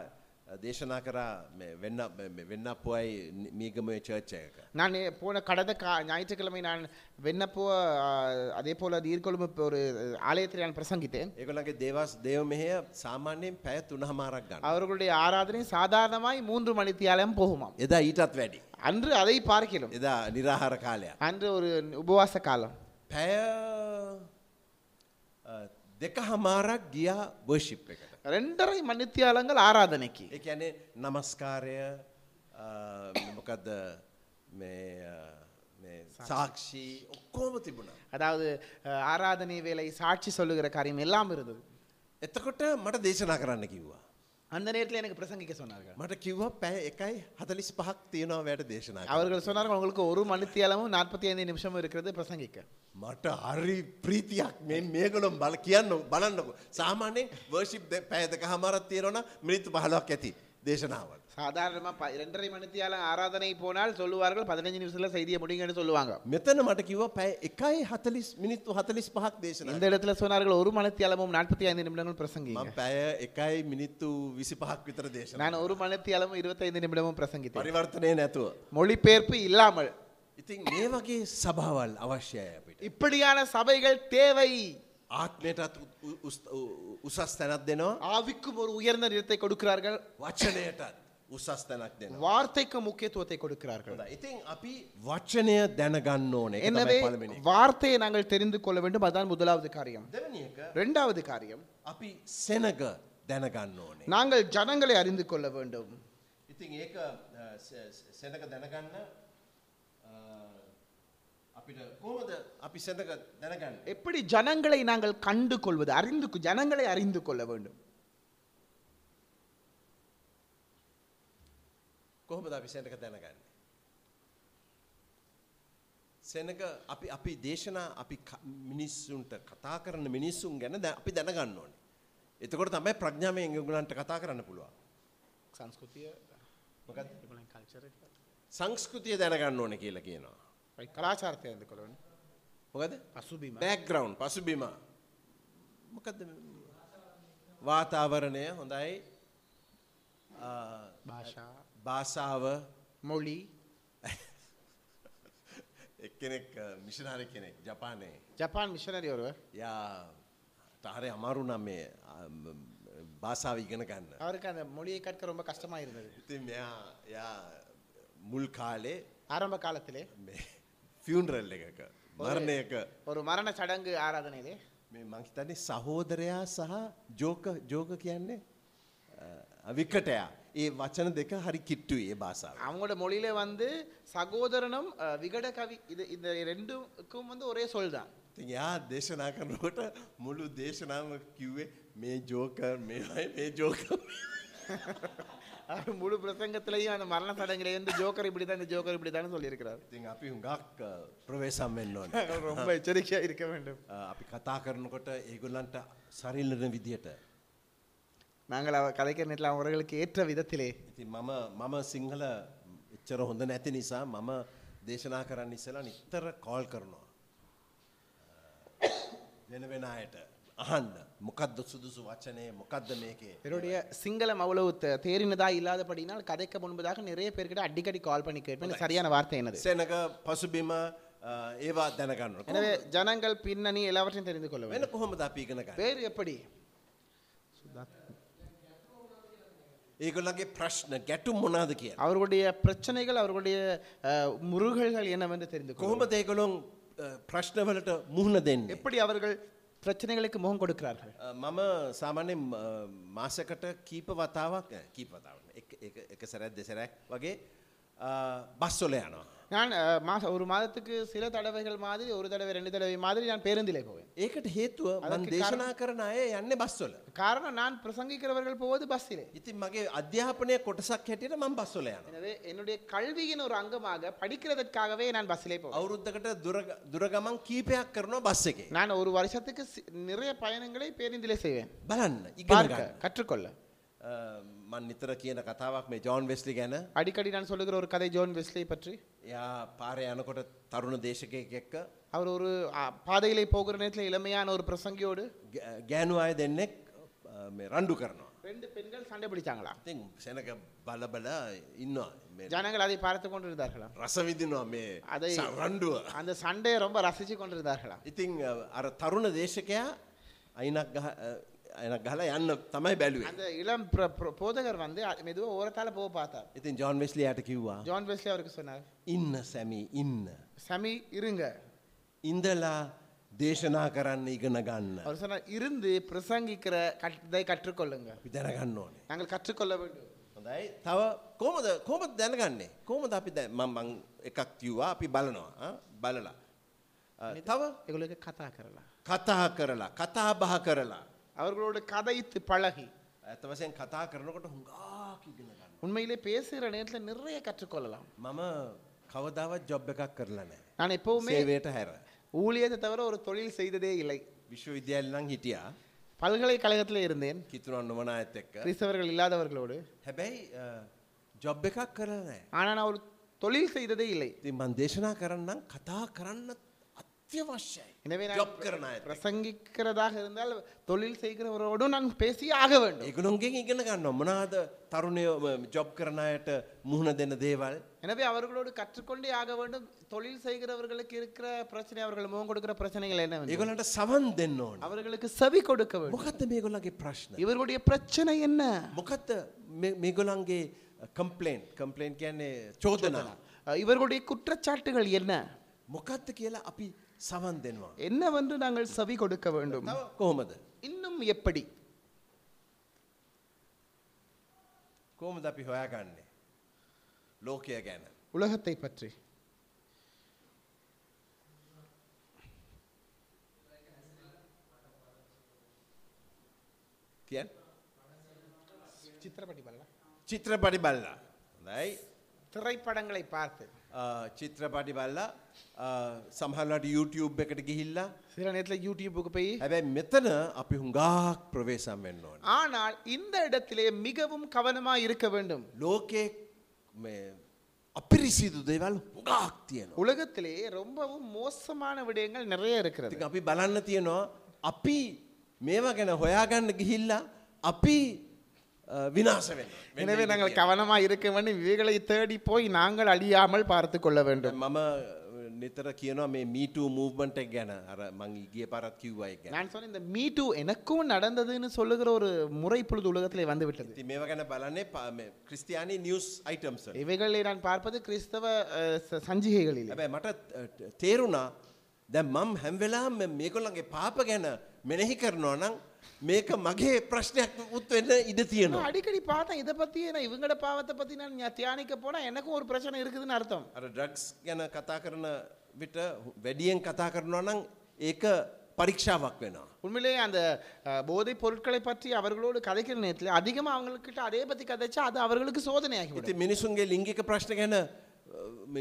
Speaker 2: දේශනා කරා මේ වෙන්න මේ වෙන්න පුවයි මීගමය චර්ච්චයක.
Speaker 1: நான் நே- போன கடந்த கா ஞாயிற்றுக்கிழமை நான் வெண்ணப்போ ஆ, அதே போல நீர்கொழும்பு இப்ப ஒரு ஆலயத்தில் நான் பிரசங்கித்தேன்
Speaker 2: ඒකොලගේ දේවස් දේව මෙහය සාමාන්‍යයෙන් පැය තුනහමාරක් ගන්න.
Speaker 1: அவர்களுடைய ஆராதனை சாதாரணமாய் மூன்று மணித்தியாலம் போகுமாம்
Speaker 2: එදා ඊටත් වැඩි.
Speaker 1: அன்று அதை பார்க்கிறோம்
Speaker 2: එදා නිරාහාර කාලයක්.
Speaker 1: அன்று ஒரு உபவாச காலம்
Speaker 2: පැය දෙක හමාරක් ගියා වර්ෂිප් එකට.
Speaker 1: ரெண்டரை மணித்தியாலங்கள் ஆராதனைக்கு
Speaker 2: ඒ ඇනේ නමස්කාරය මොකදද සාක්ෂී ඔක්කෝම තිබුණා.
Speaker 1: அதாவது அ, ஆராதனை வேலை சாட்சி சொல்லுகிற காரியம் எல்லாம் இருந்தது
Speaker 2: එතකොට මට දේශනා කරන්න කිව්වා.
Speaker 1: அந்த நேரத்தில் எனக்கு பிரசங்கிக்க சொன்னார்கள்
Speaker 2: මට කිව්වා පැය එකයි හතලිස් පහක් තියෙනවා වැට දේශනා
Speaker 1: அவர்கள் சொன்னார்கள் உங்களுக்கு ஒரு மணித்தியாலமும் நாற்பத்தி ஐந்து நிமிஷமும் இருக்கிறது பிரசங்கிக்க
Speaker 2: මට හරි ප්‍රීතියක් මේ මේගලොම් බල කියන්න බලන්නක සාමාන්‍යෙන් වර්ෂිප් පැයදක හමරත් තියෙනවන මිනිත්තු පහලක් ඇති දේශනාවල්.
Speaker 1: சாதாரணமா ப இரண்டரை மணித்தியாலம் ஆராதனை போனால் சொல்லுவார்கள் பதினஞ்சு நிமிஷத்துல செய்தியை முடிங்கன்னு சொல்லுவாங்க
Speaker 2: මෙතන මට කිව පැය එකයි හතලිස් මිනිත්තු හතලිස් පහක් දේශන
Speaker 1: இந்த இடத்துல சொன்னார்கள் ஒரு மணித்தியாலமும் நாற்பத்தி ஐந்து நிமிடங்கள் பிரசங்கிங்க
Speaker 2: පැය එකයි මිනිත්තු විසි பහක් විතර දේශන
Speaker 1: நான் ஒரு மணித்தியாலமும் இருபத்தைந்து நிமிடமும் பிரசங்கித்தேன்
Speaker 2: පරිවර්තනය නැතුව.
Speaker 1: மொழிபெயர்ப்பு இல்லாமல்
Speaker 2: ඉතින් මේ වගේ සභාවල් අවශ්‍යය අපිට.
Speaker 1: இப்படியான சபைகள் தேவை
Speaker 2: ආත්මයටත් උ- උස්- උ- උසස් තැනත් දෙනවා
Speaker 1: ஆவிக்கும் ஒரு உயர்ந்த நிறத்தை கொடுக்கிறார்கள்
Speaker 2: වචනයටත් උසස් තැනක් දෙනවා.
Speaker 1: வார்த்தைக்கு முக்கியத்துவத்தை கொடுக்கிறார்கள்
Speaker 2: හොඳයි. ඉතින් අපි වචනය දැනගන්න ඕනේ ඒක
Speaker 1: எனவே
Speaker 2: තමයි පළවෙනි එක.
Speaker 1: வார்த்தையை நாங்கள் தெரிந்து கொள்ள வேண்டும் அதான் முதலாவது காரியம்
Speaker 2: දෙවැනි එක
Speaker 1: இரண்டாவது காரியம்
Speaker 2: අපි සෙනග දැනගන්න ඕනේ.
Speaker 1: நாங்கள் ஜனங்களை அறிந்து கொள்ள வேண்டும்
Speaker 2: ඉතින් ඒක අ, ස- ස- සෙනග දැනගන්න අ, අපිට කොහොමද අපි සෙනග දැනගන්නේ?
Speaker 1: எப்படி ஜனங்களை நாங்கள் கண்டு கொள்வது அறிந்து கொ- ஜனங்களை அறிந்து கொள்ள வேண்டும்
Speaker 2: කොහොමද අපි සෙනග දැනගන්නේ? සෙනග අපි අපි දේශනා අපි ක- මිනිස්සුන්ට කතා කරන මිනිස්සුන් ගැන දැ- අපි දැනගන්න ඕනේ. එතකොට තමයි ප්‍රඥාවෙන් ඒගොල්ලන්ට කතා කරන්න පුළුවන්. මොකද්ද? සංස්කෘතිය දැනගන්න ඕනේ කියලා කියනවා.
Speaker 1: கலாச்சாரத்தை அறிந்து கொள்ள வேண்டும்
Speaker 2: මොකද?
Speaker 1: பசுபீமா
Speaker 2: බෑග්‍රවන්් පසුබිම මොකද වාතාවරණය හොඳයි අ,
Speaker 1: பாஷா
Speaker 2: භාෂාව
Speaker 1: மொழி
Speaker 2: එක්කෙනෙක් මිෂනාරි කෙනෙක් ජපානයේ
Speaker 1: ஜப்பான் மிஷனரி ஒருவர்
Speaker 2: යා ටහරය අමාරු නම් මේ අ, ම, භාෂාව ඉගෙන ගන්න
Speaker 1: அவருக்கு அந்த மொழியை கற்க ரொம்ப கஷ்டமா இருந்தது
Speaker 2: ඉතින් මෙයා යා මුල් කාලේ
Speaker 1: ஆரம்ப காலத்திலே
Speaker 2: ෆියන්රල් එකක මරණයක
Speaker 1: ஒரு மரண சடங்கு ஆராதனையிலே
Speaker 2: මේ මංහිතන්නේ සහෝදරයා සහ ජෝක ජෝක කියන්නේ අ, විකටයා ඒ වචන දෙක හරි කිට්ටුයි ඒ භාසාාව.
Speaker 1: அவங்களோட மொழியில வந்து சகோதரனும் அஹ், விகட கவி இது இந்த ரெண்டுக்கும் வந்து ஒரே சொல் தான்
Speaker 2: ඉතින් එයා දේශනා කරනකොට මුළු දේශනාව කිව්වේ මේ ජෝකර් මේයි මේ ජෝකර්
Speaker 1: அது முழு பிரசங்கத்திலையும் அந்த மரண சடங்குல வந்து ஜோக்கர் இப்படிதான் இந்த ஜோக்கர் இப்படிதான் சொல்லியிருக்கிறார்
Speaker 2: ඉතින් අපි හුඟක් ප්‍රවේශම් වෙන්න ඕන.
Speaker 1: ரொம்ப எச்சரிக்கையா இருக்க வேண்டும்
Speaker 2: අ, අපි කතා කරනකොට ඒගොල්ලන්ට සරිල්ලන විදියට.
Speaker 1: நாங்கள் அவ கதைக்கிற நேரத்தில் அவர்களுக்கு ஏற்ற விதத்திலே
Speaker 2: ඉතින් මම මම සිංහල එච්චර හොඳ නැති නිසා මම දේශනා කරන්න ඉස්සලා නිත්තර කෝල් කරනවා. අ, වෙන වෙන අයට අහන්න මොකක්ද සුදුසු වචනය මොකක්ද මේකේ.
Speaker 1: என்னுடைய சிங்களம் அவ்வளவு தே- தேறினதா இல்லாதபடினால் கதைக்க முன்பதாக நிறைய பேர்கிட்ட அடிக்கடி கால் பண்ணி கேட்பேன் எனக்கு சரியான வார்த்தை என்னது
Speaker 2: සෙනක පසුබිම අ, ඒවා දැනගන්න.
Speaker 1: எனவே ஜனங்கள் பின்னணி எல்லாவற்றையும் தெரிந்து கொள்ள வேண்டும்
Speaker 2: වෙන කොහොමද අපි ඉගෙනගන්න.
Speaker 1: வேறு எப்படி
Speaker 2: ඒගොල්ලගේ ප්‍රශ්න ගැටුම් මොනාද කියලා.
Speaker 1: அவர்களுடைய பிரச்சனைகள் அவர்களுடைய அஹ், முருகல்கள் என்னவென்று தெரிந்து கொள்ள
Speaker 2: කොහොම දේකොළොන් ප්‍රශ්නවලට මුහුණ දෙන්න.
Speaker 1: எப்படி அவர்கள் பிரச்சனைகளுக்கு முகம் கொடுக்கிறார்கள்
Speaker 2: මම සාමාන්‍යෙන් මාසකට කීප වතාවක් අ, කීප වතාව එක- එක- එක සැරැත් දෙසරැක් වගේ අ, බස්සොල යනවා.
Speaker 1: நான் அஹ், මාස ஒரு மாதத்துக்கு சில தடவைகள் மாதிரி ஒரு தடவை ரெண்டு தடவை மாதிரி நான் பேருந்திலே போவேன்
Speaker 2: ඒකට හේතුව මන්
Speaker 1: අදක
Speaker 2: දේශනා කරන අය යන්න බස්සොල.
Speaker 1: காரணம் நான் பிரசங்கிக்கிறவர்கள் போவது பஸ்ஸிலே
Speaker 2: ඉතින් මගේ අධ්‍යාපනය කොටසක් හැටියට මං බස්සොල යන.
Speaker 1: எனவே என்னுடைய கல்வியின் ஒரு அங்கமாக படிக்கிறதற்காகவே நான் பஸ்ஸிலே போவேன்
Speaker 2: අවුරුද්ධකට දුර- දුරගමන් කීපයක් කරනවා බස්ස එකේ.
Speaker 1: நான் ஒரு வருஷத்துக்கு சி- நிறைய பயணங்களை பேருந்திலே செய்வேன்
Speaker 2: බලන්න
Speaker 1: பார்க்க
Speaker 2: ඉග
Speaker 1: கற்றுக்கொள்ள
Speaker 2: මන් නිතර කියන කතාවක් මේ ජෝන් වෙස්ලි ගැන
Speaker 1: அடிக்கடி நான் சொல்லுகிற ஒரு கதை ஜோன் வெஸ்லி පற்றி
Speaker 2: එයා පාර යනකොට තරුණ දේශකයෙක් එක්ක
Speaker 1: அவர் ஒரு ஆ, பாதையிலே போகிற நேரத்தில் இளமையான ஒரு பிரசங்கியோடு
Speaker 2: ගෑ- ගෑනු අය දෙන්නෙක් අ, මේ රණ්ඩු කරනවා.
Speaker 1: ரெண்டு பெண்கள் சண்டை பிடிச்சாங்களா
Speaker 2: ඉතින් සෙනක බලබල ඉන්නවා මේ
Speaker 1: ஜனங்கள் அதை பார்த்து கொண்டிருந்தார்களாம்
Speaker 2: රසවිදිනවා මේ
Speaker 1: අදයි.
Speaker 2: ස- රණ්ඩුව.
Speaker 1: அந்த සண்டையை ரொம்ப ரசிச்சு கொண்டிருந்தார்களாம்
Speaker 2: ඉතිං අ, අර තරුණ දේශකයා අයිනක් ගහ අයනක් ගහලා යන්න තමයි බැලුවේ.
Speaker 1: அந்த இளம் பிர- பிர- போதகர் வந்து அ- மெதுவா ஓரத்தால போக பார்த்தார்
Speaker 2: ඉතින් ජෝන් වෙස්ලි යට කිව්වා
Speaker 1: ஜான் வெஸ்லி அவருக்கு சொன்னார்
Speaker 2: ඉන්න සැමි ඉන්න.
Speaker 1: சமி இருங்க
Speaker 2: ඉඳලා දේශනා කරන්න ඉගෙන ගන්න.
Speaker 1: அவர் சொன்னார் இருந்து பிரசங்கிக்கிற கதை கற்றுக்கொள்ளுங்க
Speaker 2: අපි දැනගන්න ඕනේ.
Speaker 1: நாங்கள் கற்றுக்கொள்ள வேண்டும்
Speaker 2: හොඳයි තව කෝමද කෝමද දැනගන්නේ කෝමද අපි දැ මං එකක් කිව්වා අපි බලනවා ආ, බලලා අ, තව
Speaker 1: எங்களுக்கு கதா கரலாம்
Speaker 2: කතා කරලා කතා බහ කරලා
Speaker 1: அவர்களோடு கதைத்து பழகி
Speaker 2: ඇතවසයෙන් කතා කරනකොට හුඟා ඉගෙන ගන්න
Speaker 1: உண்மையிலே பேசுகிற நேரத்தில் நிறைய கற்றுக்கொள்ளலாம்
Speaker 2: මම කවදාවත් ජොබ් එකක් කරලා නෑ
Speaker 1: நான் எப்பவுமே
Speaker 2: මේවයට හැර
Speaker 1: ஊழியத்தை තවර ஒரு தொழில் செய்ததே இல்லை
Speaker 2: විශ්වවිද්‍යල්ලං හිටියා
Speaker 1: பல்கலைக்கழகத்தில் இருந்தேன்
Speaker 2: කිතුරන් නොමන ඇත් එක්ක
Speaker 1: கிறிஸ்தவர்கள் இல்லாதவர்களோடு
Speaker 2: හැබැයි අ, ජොබ් එකක් කරලා නෑ
Speaker 1: ஆனால் நான் ஒரு தொழில் செய்ததே இல்லை
Speaker 2: ඉතින් මං දේශනා කරන්නම් කතා කරන්න අත්‍යවශ්‍යයි
Speaker 1: எனவே
Speaker 2: ජොබ්
Speaker 1: நான்
Speaker 2: කරන අය
Speaker 1: பிரசங்கிக்கிறதாக இருந்தால் தொழில் செய்கிறவரோடும் நான் பேசி ஆக வேண்டும்
Speaker 2: ඒගොලොන්ගෙන් ඉගෙන ගන්න මොනාද තරුණයෝ ජොබ් කරණයට මුහුණ දෙන දේවල්
Speaker 1: எனவே அவர்களோடு கற்றுக்கொண்டே ஆக வேண்டும் தொழில் செய்கிறவர்களுக்கு இருக்கிற பிரச்சனை அவர்கள் முகம் கொடுக்கிற பிரச்சனைகள் என்ன
Speaker 2: ඒගොලන්ට සවන් දෙන්න ඕන.
Speaker 1: அவர்களுக்கு செவி கொடுக்க வேண்டும்
Speaker 2: මොකක්ද මේගොල්ලගේ ප්‍රශ්න.
Speaker 1: இவர்களுடைய பிரச்சனை என்ன
Speaker 2: මොකක්ද මේගොලන්ගේ කම්පලේන්් කම්පලේන්් කියන්නේ චෝදනා.
Speaker 1: அஹ், இவர்களுடைய குற்றச்சாட்டுகள் என்ன
Speaker 2: මොකක්ද කියලා අපි සවන් දෙනවා.
Speaker 1: என்னவென்று நாங்கள் செவி கொடுக்க வேண்டும்
Speaker 2: තව කොහොමද.
Speaker 1: இன்னும் எப்படி
Speaker 2: කෝමද අපි හොයාගන්නේ. ලෝකය ගැන.
Speaker 1: உலகத்தை பற்றி
Speaker 2: කියන්
Speaker 1: சித்திரப்படி பண்ணலாம்
Speaker 2: චිත්‍රපටි බල්ලා. දයි
Speaker 1: திரைப்படங்களை பார்த்து
Speaker 2: චිත්‍රපටි බල්ලා සහලට YouTube එකට ගිහිල්ලා
Speaker 1: சில நேரத்தில் யூடியூபுக்கு போய்
Speaker 2: හැබැයි මෙතන අපි හුඟාක් ප්‍රවේශම් වෙන්න ඕන.
Speaker 1: ஆனால் இந்த இடத்திலே மிகவும் கவனமாக இருக்க வேண்டும்
Speaker 2: ලෝකයේ මේ අපිරිසිදු දේවල් හුඟාක් තියෙනවා.
Speaker 1: உலகத்திலே ரொம்பவும் மோசமான விடயங்கள் நிறைய இருக்கிறது
Speaker 2: ඉතින් අපි බලන්න තියෙනවා අපි මේවා ගැන හොයාගන්න ගිහිල්ලා අපි අ, විනාශ වෙන්න.
Speaker 1: எனவே நாங்கள் கவனமாக இருக்க வேண்டும் இவைகளை தேடி போய் நாங்கள் அழியாமல் பார்த்து கொள்ள வேண்டும்
Speaker 2: මම නිතර කියනවා මේ මීටූ මූව්මට ගැන අර මං ගිය පරත් කිව්වයි ගැන.
Speaker 1: நான் சொன்ன இந்த மீட்டு எனக்கும் நடந்ததுன்னு சொல்லுகிற ஒரு முறை பொழுது உலகத்திலே வந்து விட்டது
Speaker 2: ඉතින් මේවා ගැන බලන්නේ පා- මේ ක්‍රිස්තියානි නිියස් අයිටම්ස.
Speaker 1: இவைகளை நான் பார்ப்பது கிறிஸ்தவ அஹ், ச- சஞ்சிகைகளில்
Speaker 2: හැබැයි මට අ, ට- තේරුණා දැ මම් හැම්වෙලා මේකොල්ලන්ගේ පාප ගැන මෙනෙහි කරනවා නම් මේක මගේ ප්‍රශ්නයක් උත්වෙන්න ඉඩ
Speaker 1: நான்
Speaker 2: තියෙනවා.
Speaker 1: அடிக்கடி பார்த்தேன் இதை பத்தி நான் இவங்களோட பாவத்தை பத்தி நான் ஞா- தியானிக்க போனா எனக்கும் ஒரு பிரச்சனை இருக்குதுன்னு அர்த்தம்
Speaker 2: අර ඩ්‍රක්ස් ගැන කතා කරන විට වැඩියෙන් කතා කරනවා නම් ඒක පරීක්ෂාවක් වෙනවා.
Speaker 1: உண்மையிலேயே அந்த அஹ், போதைப் பொருட்களை பற்றி அவர்களோடு கதைக்கிற நேரத்தில் அதிகமாக அவங்கக்கிட்ட அதே பற்றி கதைச்சா அது அவர்களுக்கு சோதனையாகிவிடும்
Speaker 2: ඉති මිනිසුන්ගේ ලිංගික ප්‍රශ්න ගැන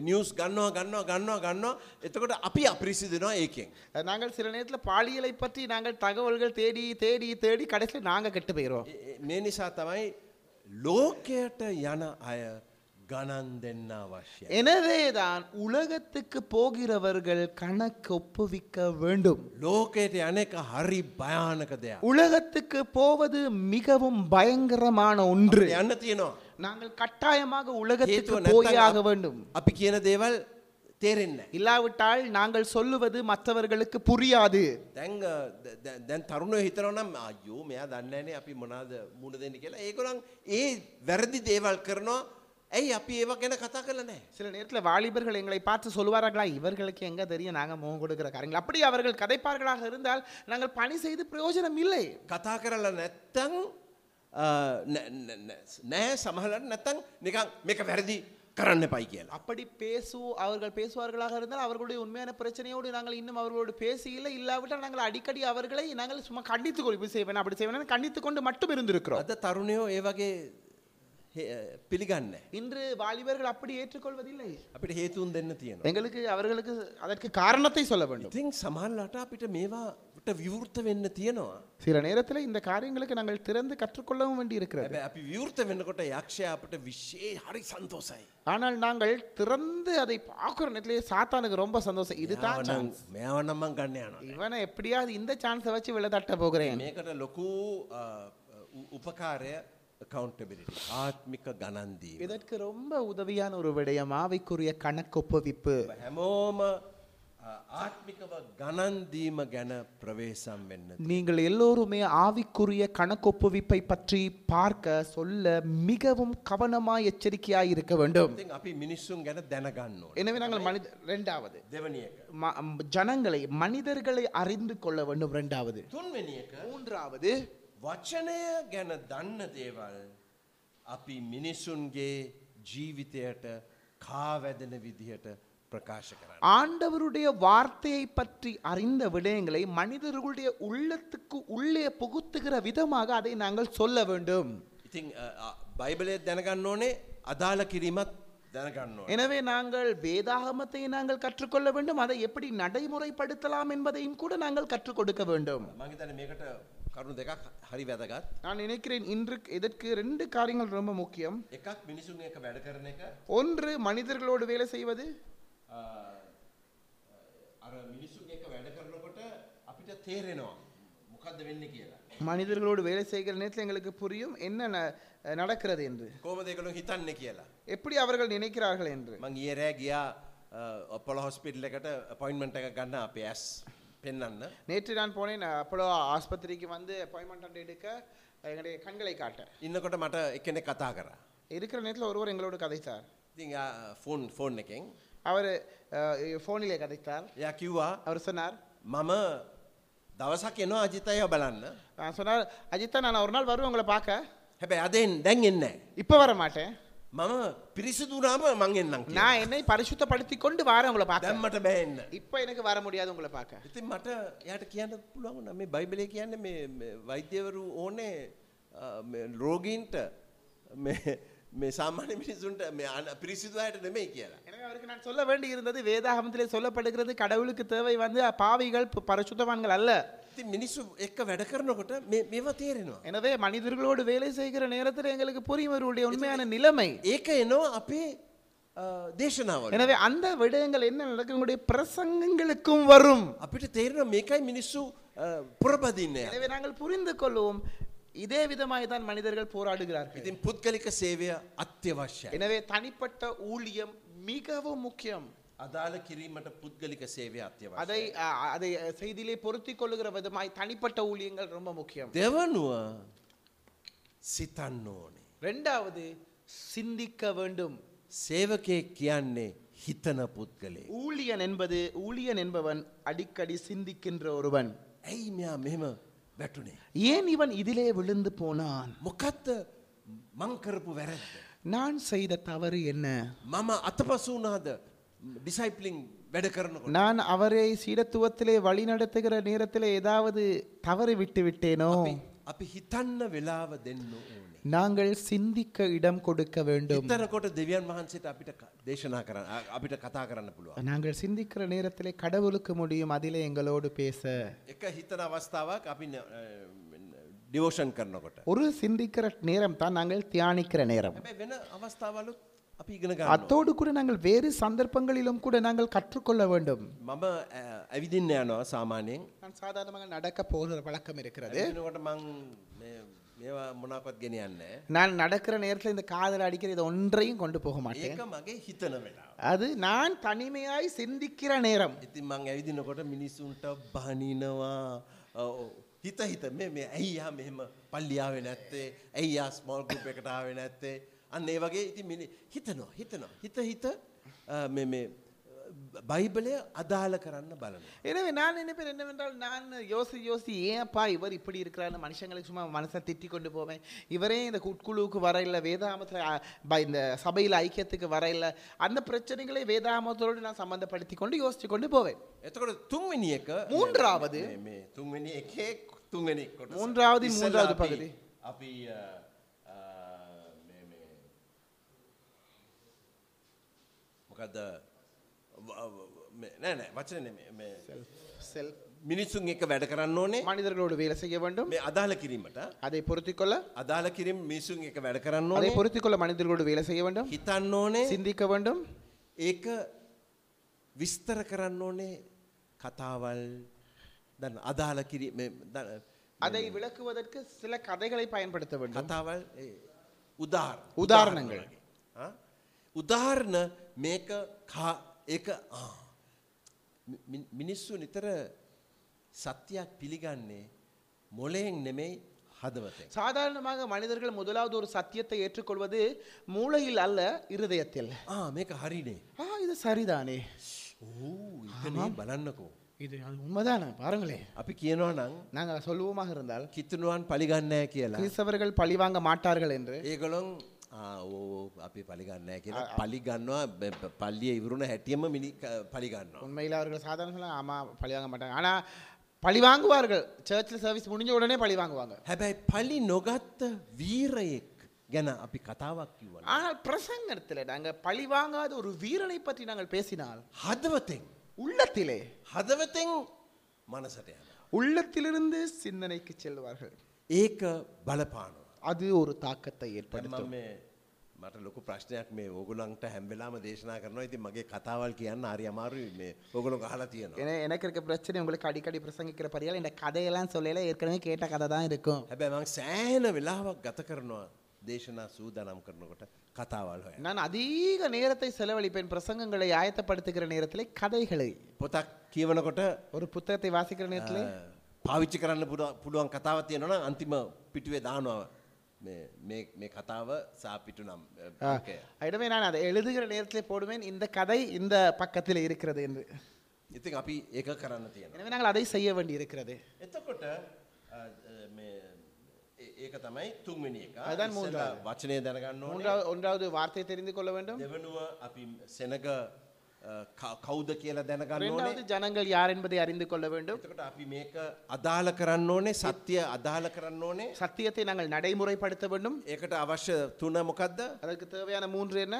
Speaker 2: නිියස් ගන්නවා ගන්නවා ගන්නවා ගන්නවා එතකොට අපි අපිරිසිදනවා ඒකෙන්.
Speaker 1: அஹ், நாங்கள் சில நேரத்தில் பாலியலை பற்றி நாங்கள் தகவல்கள் தேடி தேடி தேடி கடைசியில் நாங்கள் கெட்டு போயிடுவோம்
Speaker 2: ඒ- ඒ- මේ නිසා තමයි ලෝකයට යන අය ගණන් දෙන්න අවශ්‍යයි.
Speaker 1: எனவே தான் உலகத்துக்கு போகிறவர்கள் கணக்கு ஒப்புவிக்க வேண்டும்
Speaker 2: ලෝකයට යන එක හරි භයානක දෙයක්.
Speaker 1: உலகத்துக்கு போவது மிகவும் பயங்கரமான ஒன்று
Speaker 2: යන්න තියෙනවා.
Speaker 1: நாங்கள் கட்டாயமாக
Speaker 2: හේතුව
Speaker 1: உலகத்துக்கு போயாக வேண்டும்
Speaker 2: නැත්ත අපි කියන දේවල් තේරෙන්න.
Speaker 1: இல்லாவிட்டால் நாங்கள் சொல்லுவது மற்றவர்களுக்கு புரியாது
Speaker 2: දැන් අ, ද- ද- දැන් තරුණ හිතරනම් අයෝ මෙයා දන්නන්නේ අපි මොනාද මුණ දෙන්න කියලා ඒකොළන් ඒ වැරදි දේවල් කරනවා ඇයි අපි ඒවා ගැන කතා කල නෑ.
Speaker 1: சில நேரத்தில் வாலிபர்கள் எங்களை பார்த்து சொல்லுவார்களா இவர்களுக்கு எங்க தெரியும் நாங்கள் முகம் கொடுக்கிற காரியங்கள் அப்படி அவர்கள் கதைப்பார்களாக இருந்தால் நாங்கள் பணி செய்து பிரயோஜனம் இல்லை
Speaker 2: කතා කරලා නැත්තං අ, නෑ- නෑ- නෑ- නෑ සමහලට නැත්තං නිකං මේක වැරදි කරන්න පයි කියලා.
Speaker 1: அப்படி பேசு அவர்கள் பேசுவார்களாக இருந்தால் அவர்களுடைய உண்மையான பிரச்சனையோடு நாங்கள் இன்னும் அவர்களோடு பேசியில்லை இல்லாவிட்டால் நாங்கள் அடிக்கடி அவர்களை நாங்கள் சும்மா கண்டித்து கொள்வி செய்வேன் அப்படி செய்வேன் கண்டித்து கொண்டு மட்டும் இருந்திருக்கிறோம்
Speaker 2: අද තරුණයෝ ඒ වගේ හේ- පිළිගන්න.
Speaker 1: இன்று வாலிபர்கள் அப்படி ஏற்றுக்கொள்வதில்லை
Speaker 2: අපිට හේතුවන් දෙන්න තියෙනවා.
Speaker 1: எங்களுக்கு அவர்களுக்கு அதற்கு காரணத்தை சொல்ல வேண்டும்
Speaker 2: ඉතින් සමහල්ලට අපිට මේවාට විවෘත වෙන්න තියෙනවා.
Speaker 1: சில நேரத்தில் இந்த காரியங்களுக்கு நாங்கள் திறந்து கற்றுக்கொள்ளவும் வேண்டி இருக்கிறது
Speaker 2: හැබැ අපි විවෘත වෙන්නකොට යක්ෂය අපට විශ්ෂයේ හරි සන්තෝසයි.
Speaker 1: ஆனால் நாங்கள் திறந்து அதை பார்க்குற நேரத்திலே சாத்தானுக்கு ரொம்ப சந்தோஷம் இதுதான்
Speaker 2: මෙයාවනම්-
Speaker 1: chance.
Speaker 2: මෙයාවනම්මන් ගන්න යනවා.
Speaker 1: இவனை எப்படியாவது இந்த சான்ஸை வச்சு விழ தட்ட போகிறேன்
Speaker 2: මේකට ලොකු අ, උ- උපකාරය කවන්ටබිලි ආත්මික ගණන්දී.
Speaker 1: இதற்கு ரொம்ப உதவியான ஒரு விடயம் ஆவிக்குரிய கணக்கொப்புவிப்பு
Speaker 2: හැමෝම අ, ආත්මිකව ගණන්දීම ගැන ප්‍රවේශම් වෙන්න.
Speaker 1: நீங்கள் எல்லோருமே ஆவிக்குரிய கணக்கொப்புவிப்பை பற்றி பார்க்க சொல்ல மிகவும் கவனமாய் எச்சரிக்கையாய் இருக்க வேண்டும்
Speaker 2: ඉතින් අපි මිනිස්සුන් ගැන දැනගන්න ඕන.
Speaker 1: எனவே நாங்கள் மனித ரெண்டாவது
Speaker 2: දෙවනි එක.
Speaker 1: ம- ம், ஜனங்களை மனிதர்களை அறிந்து கொள்ள வேண்டும் ரெண்டாவது
Speaker 2: තුන්වෙනි එක
Speaker 1: மூன்றாவது
Speaker 2: වචනය ගැන දන්න දේවල් අපි මිනිසුන්ගේ ජීවිතයට කාවැදෙන විදිහට ප්‍රකාශ කරන්න.
Speaker 1: ஆண்டவருடைய வார்த்தையை பற்றி அறிந்த விடயங்களை மனிதர்களுடைய உள்ளத்துக்கு உள்ளே புகுத்துகிற விதமாக அதை நாங்கள் சொல்ல வேண்டும்
Speaker 2: ඉතිං බයිබලය දැනගන්න ඕනේ අදාළ කිරීමත් දැනගන්න ඕන.
Speaker 1: எனவே நாங்கள் வேதாகமத்தை நாங்கள் கற்றுக்கொள்ள வேண்டும் அதை எப்படி நடைமுறைப்படுத்தலாம் என்பதையும் கூட நாங்கள் கற்றுக் கொடுக்க வேண்டும்
Speaker 2: මගේතන මේකට කරුණු දෙකක් හරි වැදගත්.
Speaker 1: நான் நினைக்கிறேன் இன்று இதற்கு ரெண்டு காரியங்கள் ரொம்ப முக்கியம்
Speaker 2: එකක් මිනිසුන් එක වැඩ කරන එක
Speaker 1: ஒன்று மனிதர்களோடு வேலை செய்வது
Speaker 2: අ, අර මිනිසුන් එක වැඩ කරනකොට අපිට තේරෙනවා මොකක්ද වෙන්න කියලා.
Speaker 1: மனிதர்களோடு வேலை செய்கிற நேரத்தில் எங்களுக்கு புரியும் என்ன ந- நடக்கிறது என்று
Speaker 2: කෝම දෙකළු හිතන්න කියලා.
Speaker 1: எப்படி அவர்கள் நினைக்கிறார்கள் என்று
Speaker 2: මං ඒරෑ ගියා ඔපොල හොස්පිටල් එකට පොයින්මට එක ගන්න අප ඇස් පෙන්න්න
Speaker 1: நேற்று நான் போனேன் அப்போலோ ஆஸ்பத்திரிக்கு வந்து அப்பாயின்மெண்ட் எடுக்க எங்களுடைய கண்களை காட்ட
Speaker 2: ඉන්නකොට මට එකනෙ කතා කර
Speaker 1: இருக்கிற நேரத்தில் ஒருவர் எங்களோடு கதைத்தார்
Speaker 2: ඉති ෆෝන් ෆෝන් එකෙන්
Speaker 1: அவர் ஃபோனிலே கதைத்தார்
Speaker 2: එය කිව්වා
Speaker 1: அவர் சொன்னார்
Speaker 2: මම දවසක් එනවා අජිතය බලන්න
Speaker 1: நான் சொன்னார் அஜித்தா நான் ஒரு நாள் வருவேன் உங்களை பார்க்க
Speaker 2: හැබැ අදෙන් දැන් එන්න
Speaker 1: இப்போ வர மாட்டேன்
Speaker 2: මම පිරිසිදුනාම මං එන්නම් කියලා.
Speaker 1: நான் என்னை பரிசுத்தப்படுத்தி கொண்டு வாரேன் உங்களை பார்க்க
Speaker 2: දැම්මට බෑන්න
Speaker 1: இப்போ எனக்கு வர முடியாது உங்களை பார்க்க
Speaker 2: ඉතින් මට යට කියන්න පුළුවන් මේ බයිබලය කියන්න මේ මේ වෛද්‍යවරු ඕනේ අ, මේ රෝගීන්ට මේ- මේ සාමාන්‍ය මිනිසුන්ට මේ අන පිරිසිදුවායට නෙමෙයි කියලා
Speaker 1: எனவே அவருக்கு நான் சொல்ல வேண்டி இருந்தது வேதாகமத்திலே சொல்லப்படுகிறது கடவுளுக்கு தேவை வந்து பாவிகள் ப- பரிசுத்தவான்கள் அல்ல
Speaker 2: ඉතින් මිනිස්සු එක්ක වැඩ කරනකොට මේ- මේවා තේරෙනවා.
Speaker 1: எனவே மனிதர்களோடு வேலை செய்கிற நேரத்தில் எங்களுக்கு புரியும் இவருடைய உண்மையான நிலைமை
Speaker 2: ඒක එනවා අපේ අ, දේශනාවල.
Speaker 1: எனவே அந்த விடயங்கள் என்ன நடக்கும் உங்களுடைய பிரசங்கங்களுக்கும் வரும்
Speaker 2: අපිට තේරෙන මේකයි මිනිස්සු අ, පුරපදින්නේ.
Speaker 1: எனவே நாங்கள் புரிந்து கொள்வோம் இதே விதமாய் தான் மனிதர்கள் போராடுகிறார்கள்
Speaker 2: ඉතින් පුද්ගලික සේවය අත්‍යවශ්‍යයි.
Speaker 1: எனவே தனிப்பட்ட ஊழியம் மிகவும் முக்கியம்
Speaker 2: අදාළ කිරීමට පුද්ගලික සේවය අත්‍යවශ්‍යයි.
Speaker 1: அதை அ, அதை அ, செய்தியிலே பொருத்திக் கொள்ளுகிற விதமாய் தனிப்பட்ட ஊழியங்கள் ரொம்ப முக்கியம்
Speaker 2: දෙවනුව සිතන්න ඕනේ.
Speaker 1: ரெண்டாவது சிந்திக்க வேண்டும்
Speaker 2: සේවකය කියන්නේ හිතන පුද්ගලේ.
Speaker 1: ஊழியன் என்பது ஊழியன் என்பவன் அடிக்கடி சிந்திக்கின்ற ஒருவன்
Speaker 2: ඇයි මෙයා මෙම වැටුනේ.
Speaker 1: ஏன் இவன் இதிலே விழுந்து போனான்
Speaker 2: මොකත්ද මංකරපු වැරැද්ද.
Speaker 1: நான் செய்த தவறு என்ன
Speaker 2: මම අතපසු වුණාද ඩිසයිප්ලිං වැඩ කරනකොට.
Speaker 1: நான் அவரை சீடத்துவத்திலே வழிநடத்துகிற நேரத்திலே ஏதாவது தவறு விட்டு விட்டேனோ
Speaker 2: අපි- අපි හිතන්න වෙලාව දෙන්න ඕනේ.
Speaker 1: நாங்கள் சிந்திக்க இடம் கொடுக்க வேண்டும்
Speaker 2: එතරකොට දෙවියන් වහන්සේට අපිට ක- දේශනා කරන්න අ- අපිට කතා කරන්න පුළුවන්.
Speaker 1: நாங்கள் சிந்திக்கிற நேரத்திலே கடவுளுக்கு முடியும் அதிலே எங்களோடு பேச
Speaker 2: එක හිතන අවස්ථාවක් අපි ඩිවෝෂන් කරනකොට.
Speaker 1: ஒரு සිந்திக்கிற நேரம் தான் நாங்கள் தியானிக்கிற நேரம்
Speaker 2: හැබැයි වෙන අවස්ථාවලුත් අපි ඉගෙන ගන්න.
Speaker 1: அத்தோடு கூட நாங்கள் வேறு சந்தர்ப்பங்களிலும் கூட நாங்கள் கற்றுக்கொள்ள வேண்டும்
Speaker 2: මම අ, ඇවිදින්න යනවා සාමානයෙන්
Speaker 1: நான் சாதாரணமாக நடக்க போகிற பழக்கம் இருக்கிறது
Speaker 2: ඇනකොට මං මේ- මේවා මොනකොත් ගෙන යන්න.
Speaker 1: நான் நடக்கிற நேரத்தில் இந்த காதல் அடிக்கிற இதை ஒன்றையும் கொண்டு போக மாட்டேன்
Speaker 2: ඒක මගේ හිතන වෙලා.
Speaker 1: அது நான் தனிமையாய் சிந்திக்கிற நேரம்
Speaker 2: ඉතින් මං ඇවිදිනකොට මිනිස්සුන්ට බනිනවා ඔව්. හිත හිත මේ මේ ඇයියා මෙහෙම පල්ලියාවේ නැත්තේ ඇයියා ස්මෝල් ගුප් එකටාවේ නැත්තේ අන්න ඒ වගේ ඉති මිනි හිතනවා හිතනවා හිත හිත අ, මේ- මේ බයිබලය අදාළ කරන්න බලන.
Speaker 1: எனவே நான் நினைப்பேன் என்னவென்றால் நான் யோசி யோசி ஏன்ப்பா இவர் இப்படி இருக்கிறான்னு மனுஷங்களுக்கு சும்மா மனசை திட்டி கொண்டு போவேன் இவரே இந்த உட்குழுவுக்கு வர இல்லை வேதாமத்தில் இந்த சபையில் ஐக்கியத்துக்கு வர இல்லை அந்த பிரச்சனைகளை வேதாமத்தோடு நான் சம்மந்தப்படுத்தி கொண்டு யோசித்து கொண்டு போவேன்
Speaker 2: එතකොට තුන්වෙනි එක
Speaker 1: මූන්ද්‍රාවද?
Speaker 2: මේ- මේ තුන්වෙනි එකේ තුන්වෙනි කොටස.
Speaker 1: මූන්ද්‍රාවදී
Speaker 2: ඉස්සෙල්ලා
Speaker 1: මූන්ද්‍රාවද
Speaker 2: අපි-
Speaker 1: පගදී?
Speaker 2: අපි අ, අ, මේ මේ මොකද නෑ නෑ වචන නෙමේ මේ
Speaker 1: செல்ஃப்
Speaker 2: මිනිස්සුන් එක වැඩ කරන්න ඕනේ
Speaker 1: மனிதர்களோடு வேலை செய்ய வேண்டும்
Speaker 2: මේ අදාළ කිරීමට
Speaker 1: அதை பொருத்திக்கொள்ள
Speaker 2: අදාළ කිරීම මිනිසුන් එක වැඩ කරන්න
Speaker 1: அதை
Speaker 2: ඕනේ
Speaker 1: பொருத்திக்கொள்ள மனிதர்களோடு வேலை செய்ய வேண்டும்
Speaker 2: හිතන්න ඕනේ
Speaker 1: சிந்திக்க வேண்டும்
Speaker 2: ඒක විස්තර කරන්න ඕනේ කතාවල් දන්න අදාළ කිරීම
Speaker 1: அதை விளக்குவதற்கு சில கதைகளை பயன்படுத்த வேண்டும்
Speaker 2: කතාවල් ඒ, උදාහරණ
Speaker 1: උදාහරණங்கள்.
Speaker 2: උදාහරණ වගේ. ආ? උදාහරණ මේක කා- ඒක ආ. මි- මි- මිනිස්සු නිතර සත්‍යයක් පිළිගන්නේ මොලයෙන් නෙමෙයි හදවතෙන්
Speaker 1: சாதாரணமாக மனிதர்கள் முதலாவது ஒரு சத்தியத்தை ஏற்றுக்கொள்வது மூளையில் அல்ல இருதயத்தில்
Speaker 2: ආ මේක හරිනේ
Speaker 1: ஆ இது சரிதானே
Speaker 2: ඕ ඉතනේ බලන්නකෝ
Speaker 1: இது அது உண்மைதானே பாருங்களே
Speaker 2: අපි කියනවා නම්
Speaker 1: நாங்கள் சொல்லுவோமாக இருந்தால்
Speaker 2: කිතුනුවන් පලිගන්නෑ කියලා
Speaker 1: கிறிஸ்தவர்கள் පழிவாங்க மாட்டார்கள் என்று
Speaker 2: ඒගොලොන් ආ, ඕ අපි පලිගන්නෑ කියලා පලිගන්නවා බ- බ- පල්ලිය ඉවරුණ හැටියම මිනි පලිගන්නවා
Speaker 1: உண்மையில் அவர்கள் சாதாரண சொல்லலாம் ஆமாம் பழிவாங்க மாட்டாங்க ஆனால் பழி வாங்குவார்கள் சர்ச்சில் சர்வீஸ் முடிஞ்ச உடனே பழி வாங்குவாங்க
Speaker 2: හැබැයි පලි නොගත්ත වීරයෙක් ගැන අපි කතාවක් කිවන
Speaker 1: ஆனால் பிரசங்கத்தில் நாங்கள் பழி வாங்காத ஒரு வீரனை பற்றி நாங்கள் பேசினால்
Speaker 2: හදවතෙන්
Speaker 1: உள்ளத்திலே
Speaker 2: හදවතෙන් මනසට යන
Speaker 1: உள்ளத்திலிருந்து சிந்தனைக்கு செல்வார்கள்
Speaker 2: ඒක බලපානවා
Speaker 1: அது ஒரு தாக்கத்தை
Speaker 2: දැන්
Speaker 1: ஏற்படுத்தும்
Speaker 2: මම මේ- මට ලොකු ප්‍රශ්නයක් මේ ඕගොලන්ට හැම්වෙලාම දේශනා කරනවා ඉති මගේ කතාවල් කියන්න අරි අමාරු මේ ඔගොලො හලා තියෙනවා
Speaker 1: ஏன்னா எனக்கு இருக்க பிரச்சனை உங்களுக்கு அடிக்கடி பிரசங்கிக்கிற பரியால் இந்த கதையெல்லாம் சொல்லல ஏற்கனவே கேட்ட கதை தான் இருக்கும்
Speaker 2: හැබැ මං සෑහන වෙලාවක් ගත කරනවා දේශනා සූදානම් කරනකොට කතාවල් හොය.
Speaker 1: நான் அதிக நேரத்தை செலவழிப்பேன் பிரசங்கங்களை ஆயத்தப்படுத்துகிற நேரத்திலே கதைகளை
Speaker 2: පොතක් කියවනකොට
Speaker 1: ஒரு புத்தகத்தை வாசிக்கிற நேரத்திலே
Speaker 2: පාවිච්චි කරන්න පුළුව- පුළුවන් කතාව තියෙනවන අන්තිම පිටුවේ දානව මේ කතාව සාපිටු නම් අ, ඕකේ.
Speaker 1: இடமே நான் அதை எழுதுகிற நேரத்திலே போடுவேன் இந்த கதை இந்த பக்கத்தில் இருக்கிறது என்று
Speaker 2: ඉතින් අපි ඒක කරන්න තියෙන.
Speaker 1: எனவே நாங்கள் அதை செய்ய வேண்டி இருக்கிறது
Speaker 2: එතකොට අ, අ, මේ, ඒ- ඒක තමයි තුන්වෙනි එක
Speaker 1: අදන්
Speaker 2: ඉස්සෙල්ලා වචනය දැනගන්න ඕන
Speaker 1: மூன்றாவது ஒன்றாவது வார்த்தையை தெரிந்து கொள்ள வேண்டும்
Speaker 2: දෙවනුව අපි සෙනග අ, කව- කවුද කියලා දැනගන්න ඕනේ
Speaker 1: இரண்டாவது ஜனங்கள் யார் என்பதை அறிந்து கொள்ள வேண்டும்
Speaker 2: එතකට අපි මේක අදාළ කරන්න ඕනේ සත්‍යය අදාළ කරන්න ඕනේ
Speaker 1: சத்தியத்தை நாங்கள் நடைமுறைப்படுத்த வேண்டும்
Speaker 2: ඒකට අවශ්‍ය තුන මොකක්ද
Speaker 1: அதற்கு தேவையான மூன்று என்ன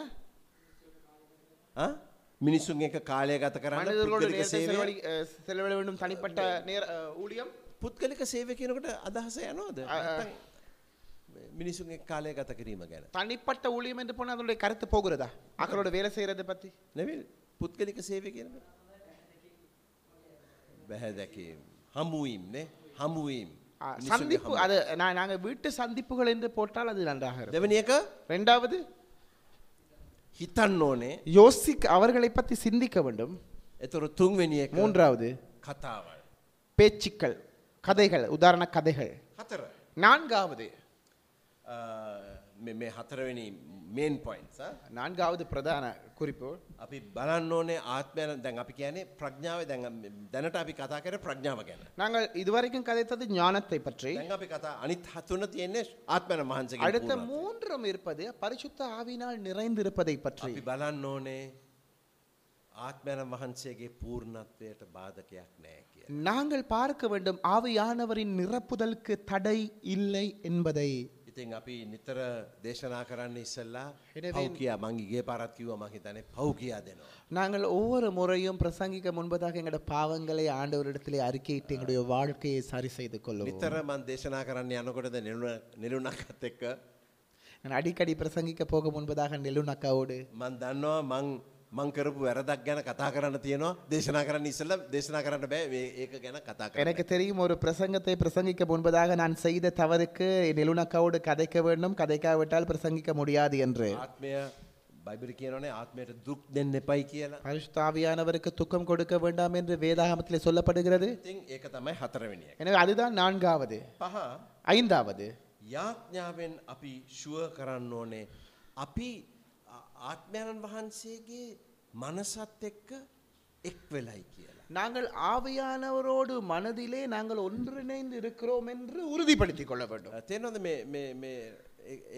Speaker 2: ආ? මිනිස්සුන් එක காலය ගත කරන්න
Speaker 1: மனிதர்களோடு
Speaker 2: පුද්ගලික
Speaker 1: நேரத்தை
Speaker 2: සේවය
Speaker 1: செலவழி- அஹ், செலவிட வேண்டும் தனிப்பட்ட நேர அஹ், ஊழியம்
Speaker 2: පුද්ගලික සේවය කියනකට අදහස යනවාද නැත්තම් මිනිසුන් එක්ක කාලය ගත කිරීම ගැන
Speaker 1: தனிப்பட்ட ஊழியம் என்று போனால் அதனுடைய கருத்து போகிறதா அக்களோட வேலை செய்யறதை பத்தி
Speaker 2: නෙවිල් පුද්ගලික සේවය කියන බැහැ දැකීම් හමුවීම් නේ හමුවීම්
Speaker 1: ஆ,
Speaker 2: මිනිස්සුන්ගේ
Speaker 1: சந்திப்பு
Speaker 2: හමුවීම්.
Speaker 1: அது நான் நாங்க வீட்டு சந்திப்புகள் என்று போட்டால் அது நன்றாக இருக்கும்
Speaker 2: දෙවැනි එක
Speaker 1: ரெண்டாவது
Speaker 2: හිතන්න ඕනේ
Speaker 1: யோசிக்க அவர்களை பத்தி சிந்திக்க வேண்டும்
Speaker 2: එතොර තුන්වෙනි එක
Speaker 1: மூன்றாவது
Speaker 2: කතාවල්
Speaker 1: பேச்சுக்கள் கதைகள் உதாரண கதைகள்
Speaker 2: හතර
Speaker 1: நான்காவது
Speaker 2: අ, මේ- මේ හතරවෙනි මේන් පොයින්ස
Speaker 1: நான்காவது பிரதான குறிப்பு
Speaker 2: අපි බලන්න ඕනේ ආත්මයන දැන් අපි කියන්නේ ප්‍රඥාව දැන් අම් දැනට අපි කතා කර ප්‍රඥාව ගැන
Speaker 1: நாங்கள் இதுவரைக்கும் கதைத்தது ஞானத்தை பற்றி
Speaker 2: දැන් අපි කතා අනිත් හතුන තියෙන්නේ ආත්මයන
Speaker 1: அடுத்த
Speaker 2: මහන්සගේ
Speaker 1: மூன்றும் இருப்பது பரிசுத்த ஆவினால் நிறைந்திருப்பதை பற்றி
Speaker 2: අපි බලන්න ඕනේ ආත්මයන වහන්සේගේ පූර්ණත්වයට බාධකයක් නෑ කිය.
Speaker 1: நாங்கள் பார்க்க வேண்டும் ஆவியானவரின் நிரப்புதலுக்கு தடை இல்லை என்பதை
Speaker 2: ඉතින් අපි නිතර දේශනා කරන්න ඉස්සල්ලා
Speaker 1: එනවෙන්-
Speaker 2: පව් කියා මංගේගේ පරත් කිව්ව මගේ තන පව් කියා දෙනවා.
Speaker 1: நாங்கள் ஒவ்வொரு முறையும் பிரசங்கிக்க முன்பதாக எங்களோட பாவங்களை ஆண்டவரிடத்திலே அறிக்கையிட்டு எங்களுடைய வாழ்க்கையை சரி செய்து கொள்ளுவோம்
Speaker 2: නිතර මන් දේශනා කරන්න යනකොටද නිලුණක්ත් එක්ක
Speaker 1: நான் அடிக்கடி பிரசங்கிக்க போக முன்பதாக நெலுன் அக்காவோடு
Speaker 2: මන් දන්නවා මං මංකරපු වැරදක් ගැන කතා කරන්න තියෙනවා දේශනා කරන්න ඉස්සල්ල දේශනා කරන්න බෑ මේ ඒක ගැන කතා කර
Speaker 1: எனக்கு தெரியும் ஒரு பிரசங்கத்தை பிரசங்கிக்க முன்பதாக நான் செய்த தவறுக்கு நெலுன் அக்காவோடு கதைக்க வேண்டும் கதைக்காவிட்டால் பிரசங்கிக்க முடியாது என்று
Speaker 2: ආත්මය බයිබරි කියනනේ ආත්මයට දුක් දෙන්න එපයි කියලා
Speaker 1: பரிசுத்த ஆவியானவருக்கு துக்கம் கொடுக்க வேண்டாம் என்று வேதாகமத்திலே சொல்லப்படுகிறது
Speaker 2: ඉතින් ඒක තමයි හතරවෙනිය.
Speaker 1: எனவே அதுதான் நான்காவது
Speaker 2: පහ
Speaker 1: ஐந்தாவது
Speaker 2: යාඥාවෙන් අපි ශුව කරන්න ඕනේ අපි ආ- ආත්මයණන් වහන්සේගේ මනසත් එක්ක එක් වෙලයි කියලා.
Speaker 1: நாங்கள் ஆவியானவரோடு மனதிலே நாங்கள் ஒன்றிணைந்து இருக்கிறோம் என்று உறுதிப்படுத்திக் கொள்ள வேண்டும்
Speaker 2: තේනොද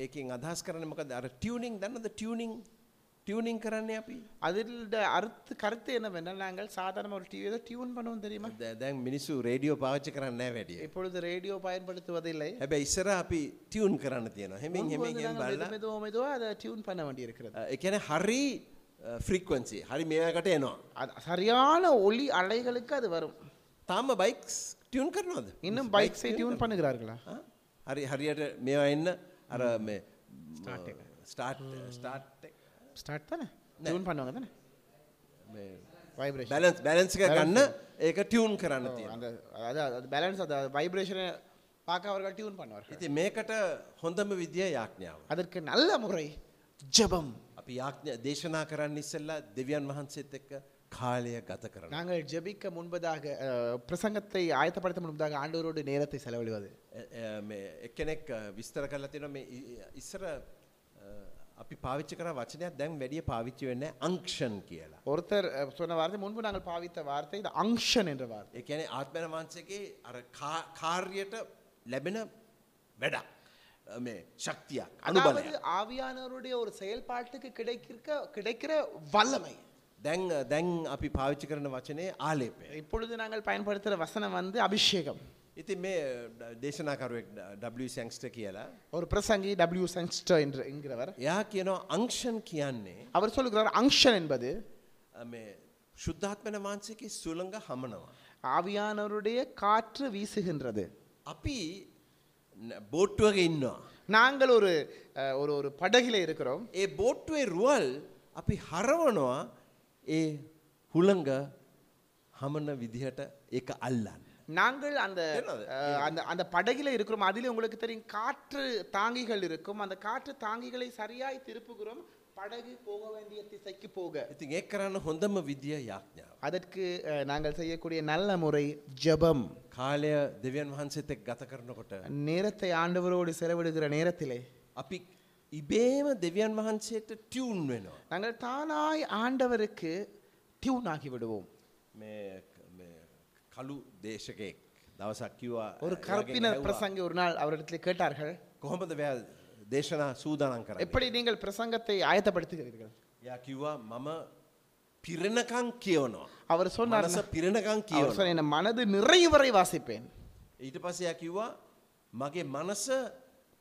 Speaker 2: ඒකින් අදහස් කරන මොකද අර ටියනිින් දන්නද ටියනිින් ටියනිින් කරන්න අපි
Speaker 1: அதில் அர்த்த கருத்து என்னவென்றால் நாங்கள் சாதாரண ஒரு டிவியை டியூன் பண்ணுவோம் தெரியுமா
Speaker 2: දැ- දැන් මිනිස්සු රේඩියෝ පාච්ච කරන්න වැඩිය.
Speaker 1: இப்பொழுது රேடியோ பயன்படுத்துவதில்லை
Speaker 2: හැබැ இස්සර අපි ටියවන් කරන්න තියෙන හෙමින්
Speaker 1: முன்பு
Speaker 2: හෙම
Speaker 1: வந்து நாங்கள்
Speaker 2: බල්ල
Speaker 1: மெது- மெதுவா மெதுவா அதை டியூன் பண்ண வேண்டியிருக்கிறது
Speaker 2: එකන හරි ෆ්‍රික්වන්සි හරි මේකට එනවා.
Speaker 1: அது சரியான ஒளி அலைகளுக்கு அது வரும்
Speaker 2: තාම බයික්ස් ටියවන් කරනවාද.
Speaker 1: இன்னும் பைக்ஸை டியூன் பண்ணுகிறார்களா
Speaker 2: ආ? හරි හරියට මේවා එන්න අර මේ ස්ටාට් ස්ටාට්
Speaker 1: ஸ்டார்ட் தானே டியூன் பண்ணுவாங்க தானே வைப்ரேஷன்
Speaker 2: බැලන්ස් බැලන්සික ගන්න ඒක ටියවුන් කරන්න තියෙන
Speaker 1: அந்த அதாவது அது பேலன்ஸ் அந்த வைப்ரேஷனை பார்க்க அவர்கள் டியூன் பண்ணுவார்கள்
Speaker 2: ඉති මේකට හොඳම විදිය යාඥාව
Speaker 1: அதற்கு நல்ல முறை ஜெபம்
Speaker 2: අපි යාඥ දේශනා කරන්න ඉස්සල්ලා දෙවියන් වහන්සේත් එක්ක කාලය ගත කරන
Speaker 1: நாங்கள் ஜெபிக்க முன்பதாக அஹ், பிரசங்கத்தை ஆயத்தப்படுத்த முன்பதாக ஆண்டவரோடு நேரத்தை செலவிடுவது
Speaker 2: එක්කෙනෙක් විස්තර කරලා තියෙන මේ ඉ- ඉ- ඉස්සර අ, අපි පාවිච්චි කර වචනයක් දැන් වැඩිය පාවිච්චි වෙන්න අංක්ෂන් කියලා
Speaker 1: ஒருத்தர் அஹ், சொன்ன வார்த்தை முன்பு நாங்கள் பாவித்த வார்த்தை இது அங்ஷன் என்ற வார்த்தை
Speaker 2: එකන ආත්මන වහන්සේගේ අර කා- කාර්යට ලැබෙන වැඩක් අ, මේ ශක්තියක් අනුබලයක්
Speaker 1: அதாவது ஆவியானவருடைய ஒரு செயல்பாட்டுக்கு கிடைக்கிற கிடைக்கிற வல்லமை
Speaker 2: දැන් දැන් අපි පාවිච්චි කරන වචනේ ආලේපය.
Speaker 1: இப்பொழுது நாங்கள் பயன்படுத்துகிற වසனம் வந்து அபிஷேகம்
Speaker 2: ඉති මේ ඩ- දේශනාකරුවෙක් ඩ- සංස්ට කියලා.
Speaker 1: ஒரு பிரசங்கி டபிள்யூ சென்ஸ்டர் என்று என்கிறவர்
Speaker 2: එයා කියනවා අංක්ෂන් කියන්නේ
Speaker 1: அவர் சொல்லுகிறார் அங்ஷன் என்பது
Speaker 2: අ, මේ ශුද්ධාත්මන වහන්සේගේ සුළඟ හමනවා.
Speaker 1: ஆவியானவருடைய காற்று வீசுகின்றது
Speaker 2: අපි න- බෝට්ටුවක ඉන්නවා.
Speaker 1: நாங்கள் ஒரு அஹ், ஒரு ஒரு படகிலே இருக்கிறோம்
Speaker 2: ඒ බෝට්ටුවේ රුවල් අපි හරවනවා ඒ හුළඟ හමන විදිහට ඒක අල්ලන්න.
Speaker 1: நாங்கள் அந்த
Speaker 2: என்னது?
Speaker 1: அஹ், அந்த அந்த படகில இருக்கிறோம் அதிலே உங்களுக்கு தெரியும் காற்று தாங்கிகள் இருக்கும் அந்த காற்று தாங்கிகளை சரியாய் திருப்புகிறோம் படகு போக வேண்டிய திசைக்கு போக
Speaker 2: ඉතින් ඒ කරන්න ஹொந்தம විදිිය යාඥාව.
Speaker 1: அதற்கு அஹ், நாங்கள் செய்யக்கூடிய நல்ல முறை ஜெபம்
Speaker 2: කාලය දෙවන් වහන්සේතෙක් ගත කරනකොට.
Speaker 1: நேரத்தை ஆண்டவரோடு செலவிடுகிற நேரத்திலே
Speaker 2: අපි ඉබේම දෙවියන් වහන්සේට ටියවුන් වෙනවා.
Speaker 1: நாங்கள் தானாய் ஆண்டவருக்கு டியூன் ஆகி விடுவோம்
Speaker 2: මේ ක- මේ කළු දේශකයෙක් දවසක් කිව්වා
Speaker 1: ஒரு
Speaker 2: එයාගෙන්
Speaker 1: கற்பினர்
Speaker 2: ඇහුවා,
Speaker 1: பிரசங்கி ஒரு நாள் அவரிடத்தில் கேட்டார்கள்
Speaker 2: කොහොමද වැ දේශනා සූදානම් කර
Speaker 1: எப்படி நீங்கள் பிரசங்கத்தை ஆயத்தப்படுத்துகிறீர்கள்
Speaker 2: යා කිව්වා මම පිරණකං කියවනවා.
Speaker 1: அவர் சொன்னார்
Speaker 2: මනස පිරණකං
Speaker 1: அவர்
Speaker 2: කියවනවා.
Speaker 1: சொன்னார், "என் மனது நிறைவு வரை வாசிப்பேன்
Speaker 2: ඊට පස්සේ යා කිව්වා මගේ මනස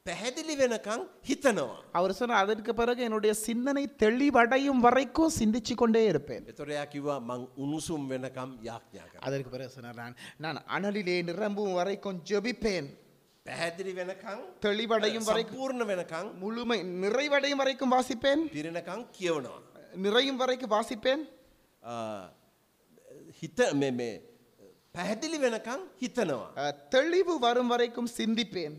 Speaker 2: පැහැදිලි වෙනකං හිතනවා.
Speaker 1: அவர் சொன்னார் அதற்கு பிறகு என்னுடைய சிந்தனை தெளிவடையும் வரைக்கும் சிந்திச்சு கொண்டே இருப்பேன்
Speaker 2: එතොර යා කිව්වා මං උණුසුම් වෙනකම් යාඥා කර.
Speaker 1: அதற்கு பிறகு சொன்னார் நான் நான் அனலிலே நிரம்பும் வரைக்கும் ஜெபிப்பேன்
Speaker 2: පැහැදිලි වෙනකං
Speaker 1: தெளிவடையும் வரைக்கும்
Speaker 2: සම්පූර්ණ වෙනකං
Speaker 1: முழுமை நிறைவடையும் வரைக்கும் வாசிப்பேன்
Speaker 2: පිරණකං කියවනවා.
Speaker 1: நிறையும் வரைக்கும் வாசிப்பேன்
Speaker 2: ආ, හිත මේ- මේ පැහැදිලි වෙනකං හිතනවා.
Speaker 1: அஹ், தெளிவு வரும் வரைக்கும் சிந்திப்பேன்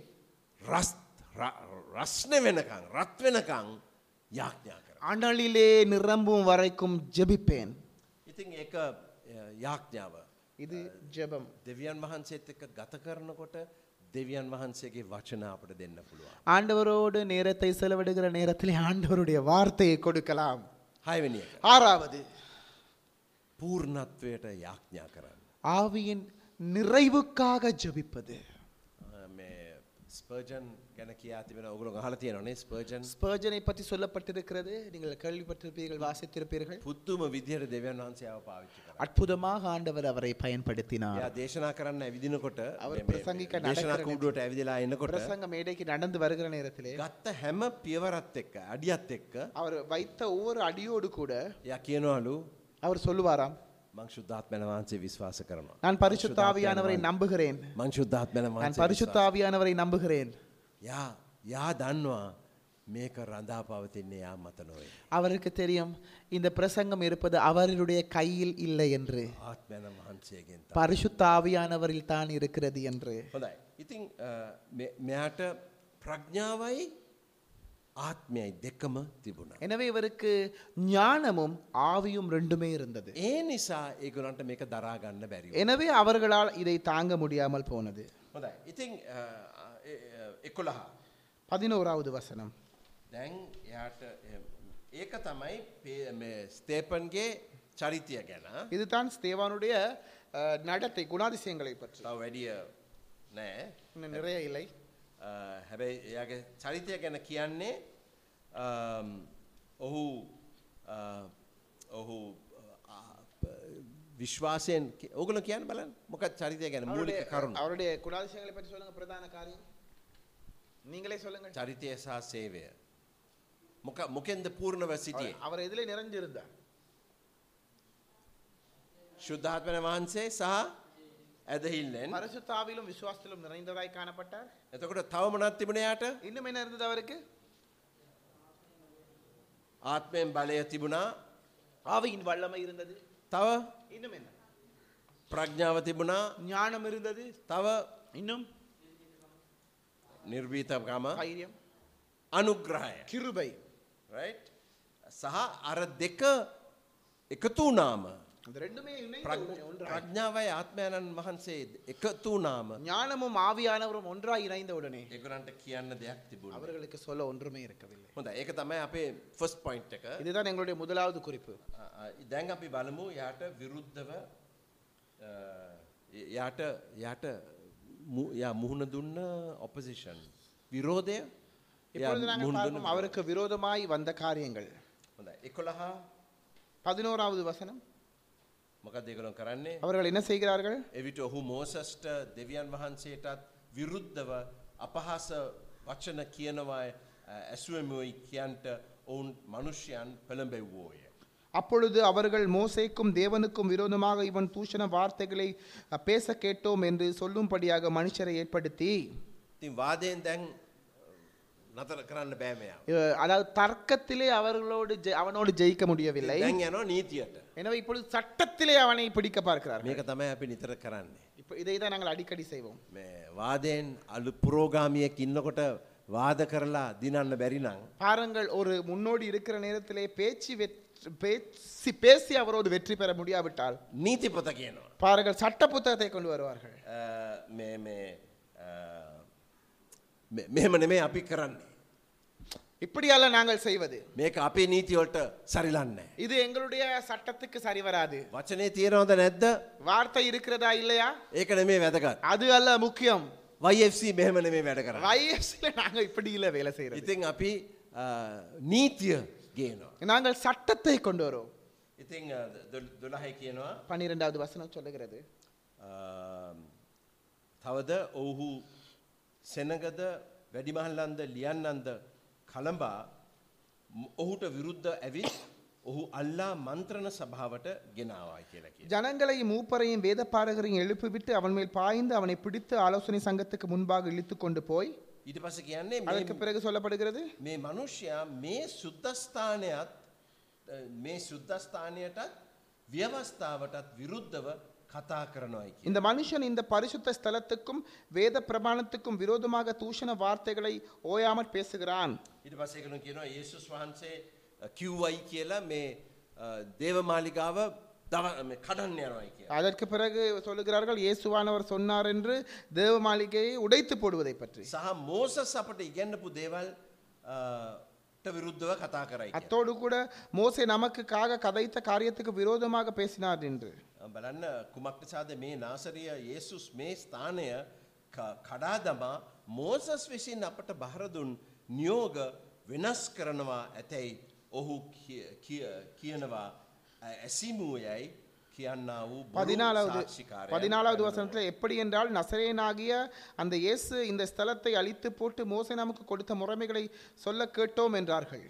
Speaker 2: රස් ර- රස්න වෙනකං රත් වෙනකං යාඥා කර.
Speaker 1: அனலிலே நிரம்பும் வரைக்கும் ஜெபிப்பேன்
Speaker 2: ඉතින් ඒ යාඥාව
Speaker 1: இது ஜெபம்
Speaker 2: දෙවියන් වහන්සේත් එක ගත කරනකොට දෙවියන් වහන්සේගේ වචන අපට දෙන්න පුළුවන්.
Speaker 1: ஆண்டவரோடு நேரத்தை செலவிடுகிற நேரத்திலே ஆண்டவருடைய வார்த்தையை கொடுக்கலாம்
Speaker 2: හයවැනි එක
Speaker 1: ஆறாவது
Speaker 2: පූර්ණත්වයට යාඥා කරන්න.
Speaker 1: ஆவியின் நிறைவுக்காக ஜெபிப்பது
Speaker 2: අ, මේ ස්පර්ජන් ගැන කියා තිබෙන ඔගුලු හල තියෙනනේ ස්පර්ජන්
Speaker 1: ஸ்பர்ஜனை பற்றி சொல்லப்பட்டிருக்கிறது நீங்கள் கேள்விப்பட்டிருப்பீர்கள் வாசித்திருப்பீர்கள்
Speaker 2: පුත්තුම විදිහයට දෙවන් වහන්සයාව පාවිච්චි කර.
Speaker 1: அற்புதமாக ஆண்டவர் அவரை பயன்படுத்தினார்
Speaker 2: එයා දේශනා කරන්න ඇවිදිනකොට
Speaker 1: අවර
Speaker 2: මේ- මේ-
Speaker 1: ප්‍රසංගික නඩ
Speaker 2: දේශනා
Speaker 1: කරන
Speaker 2: කූඩුවට ඇවිදලා එන්නකොට
Speaker 1: பிரசங்க மேடைக்கு நடந்து வருகிற நேரத்திலே
Speaker 2: ගත්ත හැම පියවරත් එක්ක අඩියත් එක්ක
Speaker 1: அவர் வைத்த ஒவ்வொரு அடியோடு கூட
Speaker 2: එයා කියනවලු
Speaker 1: அவர் சொல்லுவாராம்
Speaker 2: මං ශුද්ධාත්මන වහන්සේ விශ්වාස කරනවා.
Speaker 1: நான் பரிசுத்தாவியானவரை நம்புகிறேன்
Speaker 2: මං ශුද්ධාත්මන
Speaker 1: நான்
Speaker 2: වහන්සේ
Speaker 1: பரிசுத்தாவியானவரை நம்புகிறேன்
Speaker 2: යා යා දන්නවා මේක රඳා පවතින්නේ යා මත නොවේ.
Speaker 1: அவருக்கு தெரியும் இந்த பிரசங்கம் இருப்பது அவருடைய கையில் இல்லை என்று
Speaker 2: ආත්මන වහන්සේගෙන් තමයි.
Speaker 1: பரிசுத்தாவியானவரில் தான் இருக்கிறது என்று
Speaker 2: හොඳයි. ඉතින් අ, මෙ- මෙයාට ප්‍රඥාවයි ආත්මයයි දෙකම තිබුණා.
Speaker 1: எனவே இவருக்கு ஞானமும் ஆவியும் ரெண்டுமே இருந்தது
Speaker 2: ඒ නිසා ඒගොලන්ට මේක දරාගන්න බැරිව.
Speaker 1: எனவே அவர்களால் இதை தாங்க முடியாமல் போனது
Speaker 2: හොඳයි. ඉතින් එකොළහා.
Speaker 1: பதினோராவது வசனம்
Speaker 2: දැන් එයාට එ- ඒක තමයි පේ- මේ ස්තේපන්ගේ චරිතය ගැන
Speaker 1: இதுதான் ஸ்தேவானுடைய அஹ், நடத்தை குணாதிசயங்களை பற்றி
Speaker 2: තව වැඩිය නෑ.
Speaker 1: இன்னும் நிறைய இல்லை
Speaker 2: අ, හැබැයි එයාගේ චරිතය ගැන කියන්නේ අම්, ඔහු අ, ඔහු අ, ප- විශ්වාසයෙන් කිය- ඕගොල්ලෝ කියන්න බලන්න මොකක් චරිතය ගැන මූලික කරුණු
Speaker 1: அவருடைய குணாதிசயங்களை பற்றி சொல்லுங்க பிரதான காரியம் நீங்களே சொல்லுங்க
Speaker 2: චරිතය සහ සේවය මොක මොකෙන්ද පූර්ණව සිටියේ
Speaker 1: அவர் எதிலே நிறைஞ்சிருந்தார்
Speaker 2: ශුද්ධාත්මන වහන්සේ සහ ඇදහිල්ලෙන්
Speaker 1: பரிசுத்தாவிலும் விசுவாசத்திலும் நிறைந்ததாய் காணப்பட்டார்
Speaker 2: එතකොට තව මොනක් තිබුණයාට
Speaker 1: இன்னும் என்ன இருந்தது அவருக்கு
Speaker 2: ආත්මයෙන් බලය තිබුණා
Speaker 1: ஆவியின் வல்லமை இருந்தது
Speaker 2: තව
Speaker 1: இன்னும் என்ன
Speaker 2: ප්‍රඥාව තිබුණා
Speaker 1: ஞானம் இருந்தது
Speaker 2: තව
Speaker 1: இன்னும்
Speaker 2: නිර්වීතකම
Speaker 1: தைரியம்
Speaker 2: අනුග්‍රහය
Speaker 1: கிருபை
Speaker 2: right? සහ අර දෙක එකතු වුණාම
Speaker 1: அந்த ரெண்டுமே இணைந்த
Speaker 2: ප්‍රඥ-
Speaker 1: ஒன்று- ஒன்றாய்
Speaker 2: ප්‍රඥාවයි ආත්මයණන් வහන්සේ එකතු වුණාම
Speaker 1: ஞானமும் ஆவியானவரும் ஒன்றாய் இணைந்த உடனே
Speaker 2: ඒගොල්ලන්ට කියන්න දෙයක් තිබුණා.
Speaker 1: அவர்களுக்கு சொல்ல ஒன்றுமே இருக்கவில்லை
Speaker 2: හොඳ ඒක තමයි අපේ ෆස්ට් පොයින්ට් එක.
Speaker 1: இதுதான் எங்களுடைய முதலாவது குறிப்பு
Speaker 2: අ, අ, දැන් අපි බලමු යාට විරුද්ධව අ, යාට යාට මු- යා මුහුණ දුන්න ඔපොසිෂන් විරෝධය එයා
Speaker 1: இப்பொழுது நாங்கள்
Speaker 2: මුහුණ දුන්න
Speaker 1: பார்ப்போம் அவருக்கு விரோதமாய் வந்த காரியங்கள்
Speaker 2: හොඳයි 11
Speaker 1: பதினோராவது வசனம்
Speaker 2: මොකද ඒගොල්ලෝ කරන්නේ?
Speaker 1: அவர்கள் என்ன செய்கிறார்கள்
Speaker 2: එවිට ඔහු මෝසස්ට දෙවියන් වහන්සේටත් විරුද්ධව අපහාස වචන කියනවා ඇසුවමයි කියන්ට ඔවුන් මනුෂ්‍යයන් පළඹෙව්වෝය.
Speaker 1: அப்பொழுது அவர்கள் மோசேக்கும் தேவனுக்கும் விரோதமாக இவன் தூஷண வார்த்தைகளை அஹ், பேச கேட்டோம் என்று சொல்லும்படியாக மனுஷரை ஏற்படுத்தி
Speaker 2: ඉතින් වාදයෙන් දැන් නතර කරන්න බෑමයා.
Speaker 1: அஹ், அதாவது தர்க்கத்திலே அவர்களோடு ஜெ- அவனோடு ஜெயிக்க முடியவில்லை
Speaker 2: දැන් යනවා නීතියට.
Speaker 1: எனவே இப்பொழுது சட்டத்திலே அவனை பிடிக்க பார்க்கிறார்கள்
Speaker 2: මේක තමයි අපි නිතර කරන්නේ.
Speaker 1: இப்போ இதை தான் நாங்கள் அடிக்கடி செய்வோம்
Speaker 2: මේ වාදයෙන් අලු පුරෝගාමියක් ඉන්නකොට වාද කරලා දිනන්න බැරි නම්
Speaker 1: பாருங்கள் ஒரு முன்னோடி இருக்கிற நேரத்திலே பேச்சு வெற்றி பேசி பேசி அவரோடு வெற்றி பெற முடியாவிட்டால்
Speaker 2: නීතිපොත කියනවා.
Speaker 1: பாருங்கள் சட்ட புத்தகத்தை கொண்டு வருவார்கள்
Speaker 2: අ, මේ- මේ, අ, මෙ- මෙහෙම නෙමේ අපි කරන්නේ.
Speaker 1: இப்படியெல்லாம் நாங்கள் செய்வது
Speaker 2: මේක අපේ නීතිවලට සරිලන්නේ.
Speaker 1: இது எங்களுடைய சட்டத்துக்கு சரி வராது
Speaker 2: වචනේ තියෙනවද නැද්ද
Speaker 1: வார்த்தை இருக்கிறதா இல்லையா
Speaker 2: ඒක නෙමේ වැදගත්.
Speaker 1: அது அல்ல முக்கியம்
Speaker 2: වFC මෙහෙම නෙමේ වැඩ කර.
Speaker 1: வயசுல நாங்க இப்படி இல்ல வேலை செய்யறது
Speaker 2: ඉතින් අපි අ, නීතිය ගේනවා.
Speaker 1: நாங்கள் சட்டத்தை கொண்டு வரோம்
Speaker 2: ඉතිං දොළහයි කියනවා
Speaker 1: பன்னிரெண்டாவது வசனம் சொல்லுகிறது
Speaker 2: අ, තවද ඔවුහු සෙනගද වැඩිමහල්ලන්ද ලියන්නන්ද කළඹා ම- ඔහුට විරුද්ධ ඇවිත් ඔහු අල්ලා මන්ත්‍රණ සභාවට ගෙනවා කියලා කිය.
Speaker 1: ஜனங்களை மூப்பரையும் வேத பாடகரையும் எழுப்பிவிட்டு அவன் மேல் பாய்ந்து அவனை பிடித்து ஆலோசனை சங்கத்துக்கு முன்பாக இழுத்து கொண்டு போய்
Speaker 2: ඊට පස කියන්නේ මේ
Speaker 1: அதற்கு பிறகு சொல்லப்படுகிறது
Speaker 2: මේ මනුෂ්‍යයා මේ සුද්ධස්ථානයත් අ, මේ සුද්ධස්ථානයටත් ව්‍යවස්ථාවටත් විරුද්ධව කතා කරනවායි කිය.
Speaker 1: இந்த மனுஷன் இந்த பரிசுத்த ஸ்தலத்துக்கும் வேத பிரமாணத்துக்கும் விரோதமாக தூஷண வார்த்தைகளை ஓயாமல் பேசுகிறான்
Speaker 2: ඉට පසේකනු කියනවා ඒසුස් වහන්සේ අ, කිව්වයි කියලා මේ අ, දේවමාලිගාව දව මේ කඩන්න යනවායි කිය.
Speaker 1: அதற்கு பிறகு சொல்லுகிறார்கள் இயேசுவானவர் சொன்னார் என்று தேவ மாளிகையை உடைத்து போடுவதை பற்றி
Speaker 2: සහ මෝසස් අපට ඉගැන්නපු දේවල් අ, ට විරුද්ධව කතා කරයි කියලා.
Speaker 1: அத்தோடு கூட மோசே நமக்கு காக கதைத்த காரியத்துக்கு விரோதமாக பேசினார் என்று
Speaker 2: බලන්න කුමක් නිසාද මේ නාසරිය යේසුස් මේ ස්ථානය ක- කඩා දමා මෝසස් විසින් අපට බහරදුන් නියෝග වෙනස් කරනවා ඇතැයි ඔහු කිය- කිය- කියනවා "ඇ- ඇසිමුව යැයි කියන්න වූ බොරු
Speaker 1: பதினாலாவது
Speaker 2: සාක්ෂිකාරයන්
Speaker 1: பதினாலாவது
Speaker 2: කරනවා."
Speaker 1: வசனத்தில் எப்படி என்றால் நசரேனாகிய அந்த இயேசு இந்த ஸ்தலத்தை அழித்து போட்டு மோசே நமக்கு கொடுத்த முறைமைகளை சொல்ல கேட்டோம் என்றார்கள்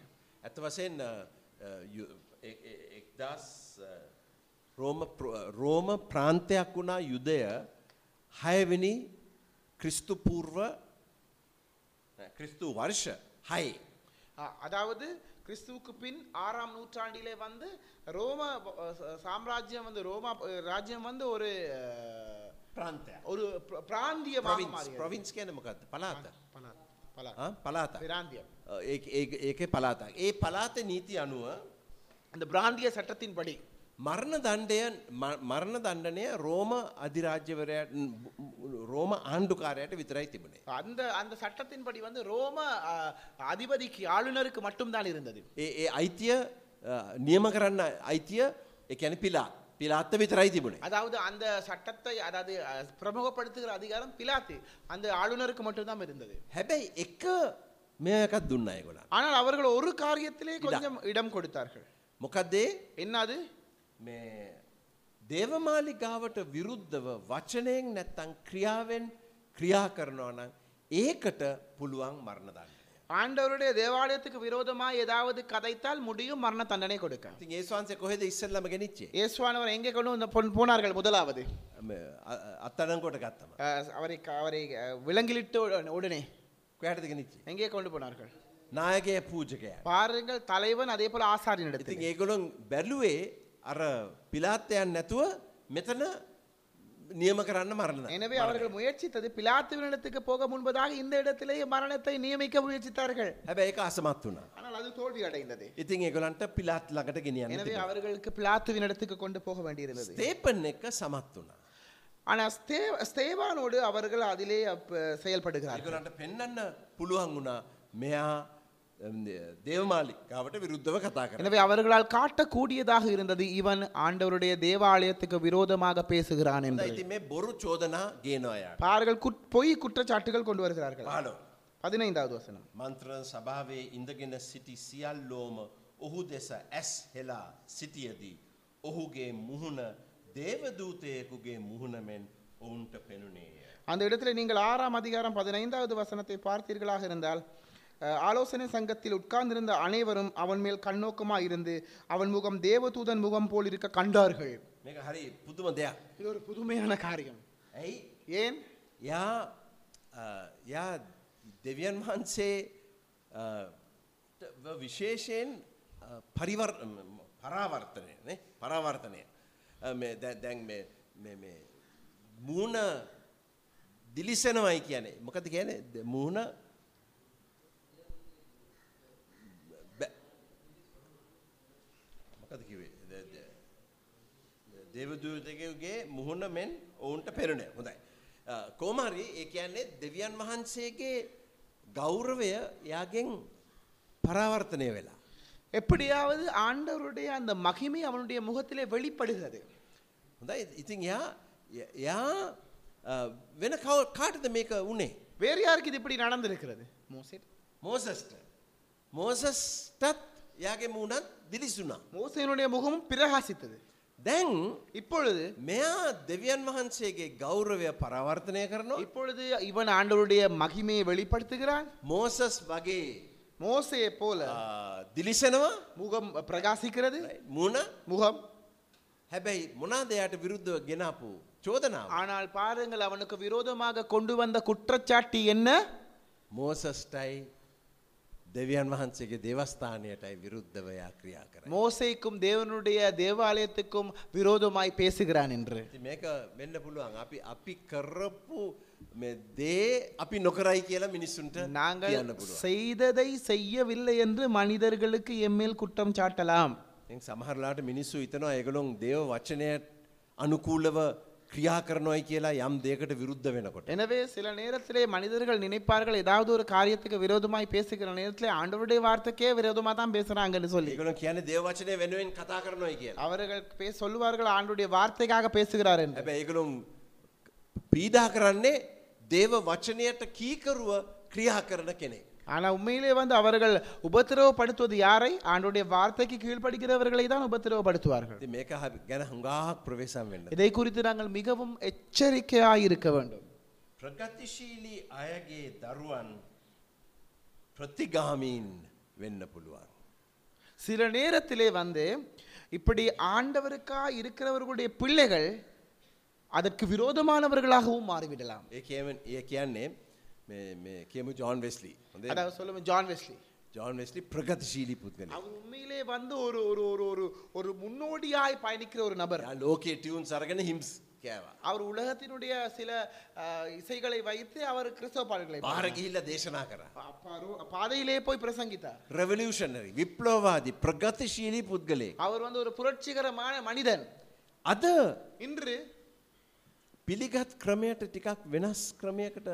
Speaker 2: ඇත වසයෙන් එක්දස් රෝම ප්‍ර- රෝම ප්‍රාන්තයක් වුණා යුදය හයවෙනි ක්‍රිස්තුපූර්ව ක්‍රිස්තු වර්ෂ හයි.
Speaker 1: அ- அதாவது கிறிஸ்துவுக்கு பின் ஆறாம் நூற்றாண்டிலே வந்து ரோம அஹ், ச- சாம்ராஜ்யம் வந்து ரோமா அஹ், ராஜ்யம் வந்து ஒரு அஹ்,
Speaker 2: ප්‍රාන්තයක්
Speaker 1: ஒரு பிர- பிராந்தியமாக
Speaker 2: ප්‍රවින්ස්
Speaker 1: மாறியது.
Speaker 2: ප්‍රවින්ස් කියනමකත් පලාත
Speaker 1: பலா- பலா-
Speaker 2: ආ, පලාත
Speaker 1: பிராந்தியம்
Speaker 2: අ, ඒ- ඒ- ඒකේ පලාතක්. ඒ පලාත නීති අනුව
Speaker 1: அந்த பிராந்திய சட்டத்தின்படி
Speaker 2: මරණ දණ්ඩය ම- මරණ දණ්ඩනය රෝම අධිරාජ්‍යවරයට රෝම ආණ්ඩුකාරයට විතරයි තිබුණේ.
Speaker 1: அந்த அந்த சட்டத்தின்படி வந்து ரோம அஹ், அதிபதிக்கு ஆளுநருக்கு மட்டும்தான் இருந்தது
Speaker 2: ඒ ඒ අයිතිය අ, නියම කරන්න අයිතිය එකැන පිලා පිලාත්ත විතරයි තිබුණේ.
Speaker 1: அதாவது அந்த சட்டத்தை அதாவது அஹ், பிரமுகப்படுத்துகிற அதிகாரம் பிலாத்து அந்த ஆளுநருக்கு மட்டும்தான் இருந்தது
Speaker 2: හැබැයි එක මේකත් දුන්න අයගොලා.
Speaker 1: ஆனால் அவர்கள் ஒரு காரியத்திலே கொஞ்சம் இடம் கொடுத்தார்கள்
Speaker 2: මොකක්දේ
Speaker 1: என்னது
Speaker 2: මේ දේවමාලිගාවට විරුද්ධව වචනයෙන් නැත්තං ක්‍රියාවෙන් ක්‍රියා කරනවා නම් ඒකට පුළුවන් මරණ දන්න.
Speaker 1: ஆண்டவருடைய தேவாலயத்துக்கு விரோதமா ஏதாவது கதைத்தால் முடியும் මරණ தண்டனை கொடுக்க
Speaker 2: ඉතින් ඒස්වාන්සේ කොහෙද ඉස්සල්ලම ගෙනනිච්චේ
Speaker 1: இயேசுவானவர் எங்கே கொண்டு வந்து பொன் போனார்கள் முதலாவது
Speaker 2: අත්තනකොට ගත්තම.
Speaker 1: அஹ், அவரை அவரை அஹ், விலங்கிலிட்டு உட- உடனே
Speaker 2: කෑටදගෙනනිච්චේ.
Speaker 1: எங்கே கொண்டு போனார்கள்
Speaker 2: නායගේ පූජකය.
Speaker 1: பாருங்கள் தலைவன் அதே போல ஆசாரியன்
Speaker 2: ඉතින්
Speaker 1: இடத்தில்
Speaker 2: ඒගොළොන් බැලුවේ අර පිලාත්තයන් නැතුව මෙතන නියම කරන්න මරණ.
Speaker 1: எனவே அவர்கள் முயற்சித்தது பிலாத்துவினிடத்துக்கு போக முன்பதாக இந்த இடத்திலேயே மரணத்தை நியமிக்க முயற்சித்தார்கள்
Speaker 2: හැබැ ඒක අසමත් වුණා.
Speaker 1: ஆனால் அது தோல்வி අடைந்தது
Speaker 2: ඉතින් ඒගොලන්ට පිලාත් ලඟට ගෙනියන්න.
Speaker 1: எனவே அவர்களுக்கு பிலாத்துவின் இடத்துக்கு கொண்டு போக வேண்டியிருந்தது
Speaker 2: තේපන් එක සමත් වුණා.
Speaker 1: ஆனால் ஸ்தே- ஸ்தேவானோடு அவர்கள் அதிலே அப்ப செயல்படுகிறார்கள்
Speaker 2: ඒගොලන්ට පෙන්න්න පුළුවන් වුණා මෙයා දේවමාලිකාවට විරුද්ධව කතා කර.
Speaker 1: எனவே அவர்களால் காட்டக்கூடியதாக இருந்தது இவன் ஆண்டவருடைய தேவாலயத்துக்கு விரோதமாக பேசுகிறான் என்பது
Speaker 2: ඉති මේ බොරු චෝදනා ගේනොයා.
Speaker 1: பாருங்கள் குட் பொய் குற்றச்சாட்டுகள் கொண்டு வருகிறார்கள்
Speaker 2: පාලෝ.
Speaker 1: பதினைந்தாவது வசனம்
Speaker 2: මන්ත්‍රණ සභාවේ ඉඳගෙන සිටි සියල්ලෝම ඔහු දෙස ඇස් හෙලා සිටියදී. ඔහුගේ මුහුණ දේවදූතයකුගේ මුහුණමෙන් ඔවුන්ට පෙනුනේය.
Speaker 1: அந்த இடத்துல நீங்கள் ஆறாம் அதிகாரம் பதினைந்தாவது வசனத்தை பார்த்தீர்களாக இருந்தால் அஹ், ஆலோசனை சங்கத்தில் உட்கார்ந்திருந்த அனைவரும் அவன் மேல் கண்ணோக்கமாக இருந்து அவன் முகம் தேவதூதன் முகம் போல் இருக்க கண்டார்கள்
Speaker 2: මේක හරි පුදුම දෙයක්.
Speaker 1: இது ஒரு புதுமையான காரியம்
Speaker 2: ඇයි
Speaker 1: ஏன்
Speaker 2: යා අ, යා දෙවියන් වහන්සේ අ, ට- ව විශේෂයෙන් අ, පරිවර් ම- ම- පරාවර්තනය නේ? පරාවර්තනය අ, මේ දැ- දැන් මේ- මේ- මේ මූුණ දිලිසෙනවයි කියන්නේ මොකද කියන මූුණ මොකද කිවේ ද- ද- දේවදූතකගේ මුහුණ මෙන් ඔවුන්ට පෙරණ හොඳයි. කෝමරි ඒ කියන්නේ දෙවියන් වහන්සේගේ ගෞරවය යාගෙන් පරාවර්තනය වෙලා.
Speaker 1: எப்படியாவது ஆண்டவருடைய அந்த மகிமை அவனுடைய முகத்திலே வெளிப்படுகிறது
Speaker 2: හොඳයි ඉතින් යා ය- යා අ, වෙන කව කාටද මේක වනේ
Speaker 1: வேறு யாருக்கு இது இப்படி நடந்திருக்கிறது மோசே
Speaker 2: මෝසස්ට මෝසස්ටත් යාගේ මුණත් දිලිසුනා.
Speaker 1: மோசேனுடைய முகமும் பிரகாசித்தது
Speaker 2: දැන්
Speaker 1: இப்பொழுது
Speaker 2: මෙයා දෙවියන් වහන්සේගේ ගෞරවය පරාවර්තනය කරනවා.
Speaker 1: இப்பொழுது இவன் ஆண்டவருடைய மகிமையை வெளிப்படுத்துகிறான்
Speaker 2: මෝසස් වගේ
Speaker 1: மோசையை போல
Speaker 2: අ, දිලිසෙනවා
Speaker 1: முகம் பிரகாசிக்கிறது
Speaker 2: මුණ
Speaker 1: முகம்
Speaker 2: හැබැයි මොනාද එයාට විරුද්ධව ගෙනාපු චෝදනාව
Speaker 1: ஆனால் பாருங்கள் அவனுக்கு விரோதமாக கொண்டு வந்த குற்றச்சாட்டு என்ன
Speaker 2: මෝසස්ටයි දෙවියන් වහන්සේගේ දෙවස්ථානයටයි විරුද්ධව එයා ක්‍රියා කර.
Speaker 1: மோசேக்கும் தேவனுடைய தேவாலயத்துக்கும் விரோதமாய் பேசுகிறான் என்று
Speaker 2: මේක වෙන්න පුළුවන් අපි අපි කරපු මේ දේ අපි නොකරයි කියලා මිනිස්සුන්ට
Speaker 1: நாங்கள்
Speaker 2: කියන්න පුළුවන්.
Speaker 1: செய்ததை செய்யவில்லை என்று மனிதர்களுக்கு எம்மேல் குற்றம் சாட்டலாம்
Speaker 2: දැන් සමහරලාට මිනිස්සු හිතනවා ඒගොල්ලොන් දේව වචනයට අනුකූලව ක්‍රියා කරනවායි කියලා යම් දෙයකට විරුද්ධ වෙනකොට.
Speaker 1: எனவே சில நேரத்திலே மனிதர்கள் நினைப்பார்கள் ஏதாவது ஒரு காரியத்துக்கு விரோதமாய் பேசுகிற நேரத்திலே ஆண்டவருடைய வார்த்தைக்கே விரோதமா தான் பேசுறாங்கன்னு சொல்லி
Speaker 2: ඒගොල්ලොන් කියන්නේ දේව වචනය වෙනුවෙන් කතා කරනවායි කියලා.
Speaker 1: அவர்கள் பே சொல்லுவார்கள் ஆண்டுடைய வார்த்தைக்காக பேசுகிறார் என்று
Speaker 2: හැබැයි ඒගොල්ලොන් පීඩා කරන්නේ දේව වචනයට කීකරුව ක්‍රියා කරන කෙනෙක්.
Speaker 1: ஆனா உண்மையிலே வந்து அவர்கள் உபத்திரவப்படுத்துவது யாரை ஆண்டுடைய வார்த்தைக்கு கீழ்ப்படுகிறவர்களை தான் உபத்திரவப்படுத்துவார்கள்
Speaker 2: ඉතින් මේක හරි- ගැන හුඟාක් ප්‍රවේශම් වෙන්න.
Speaker 1: இதை குறித்து நாங்கள் மிகவும் எச்சரிக்கையாய் இருக்க வேண்டும்
Speaker 2: ප්‍රගතිශීලී අයගේ දරුවන් ප්‍රතිගාමීන් වෙන්න පුළුවන්.
Speaker 1: சில நேரத்திலே வந்து இப்படி ஆண்டவருக்கா இருக்கிறவர்களுடைய பிள்ளைகள் அதற்கு விரோதமானவர்களாகவும் மாறிவிடலாம்
Speaker 2: ඒ කියවෙන්- ඒ කියන්නේ මේ- මේ කියමු ජෝන් වෙස්ලි හොඳේ?
Speaker 1: அதாவது சொல்லுங்க ஜான் வெஸ்லி
Speaker 2: ජෝන් වෙස්ලි ප්‍රගතිශීලී පුද්ගල
Speaker 1: அவர் உண்மையிலே வந்து ஒரு ஒரு ஒரு ஒரு ஒரு முன்னோடியாய் பயணிக்கிற ஒரு நபர்
Speaker 2: ලෝකේ ටියවුන් සරගෙන හිම්ස් කෑවා.
Speaker 1: அவர் உலகத்தினுடைய சில அஹ், இசைகளை வைத்து அவர் கிறிஸ்தவ பாடல்களை
Speaker 2: පාරගිහිල්ල දේශනා කර.
Speaker 1: பா- பாரு- பாதையிலே போய் பிரசங்கித்தார்
Speaker 2: රෙවලියෂනරි විප්ලෝවාදී ප්‍රගතිශීලී පුද්ගලේ.
Speaker 1: அவர் வந்து ஒரு புரட்சிகரமான மனிதன்
Speaker 2: අද
Speaker 1: இன்று
Speaker 2: පිළිගත් ක්‍රමයට ටිකක් වෙනස් ක්‍රමයකට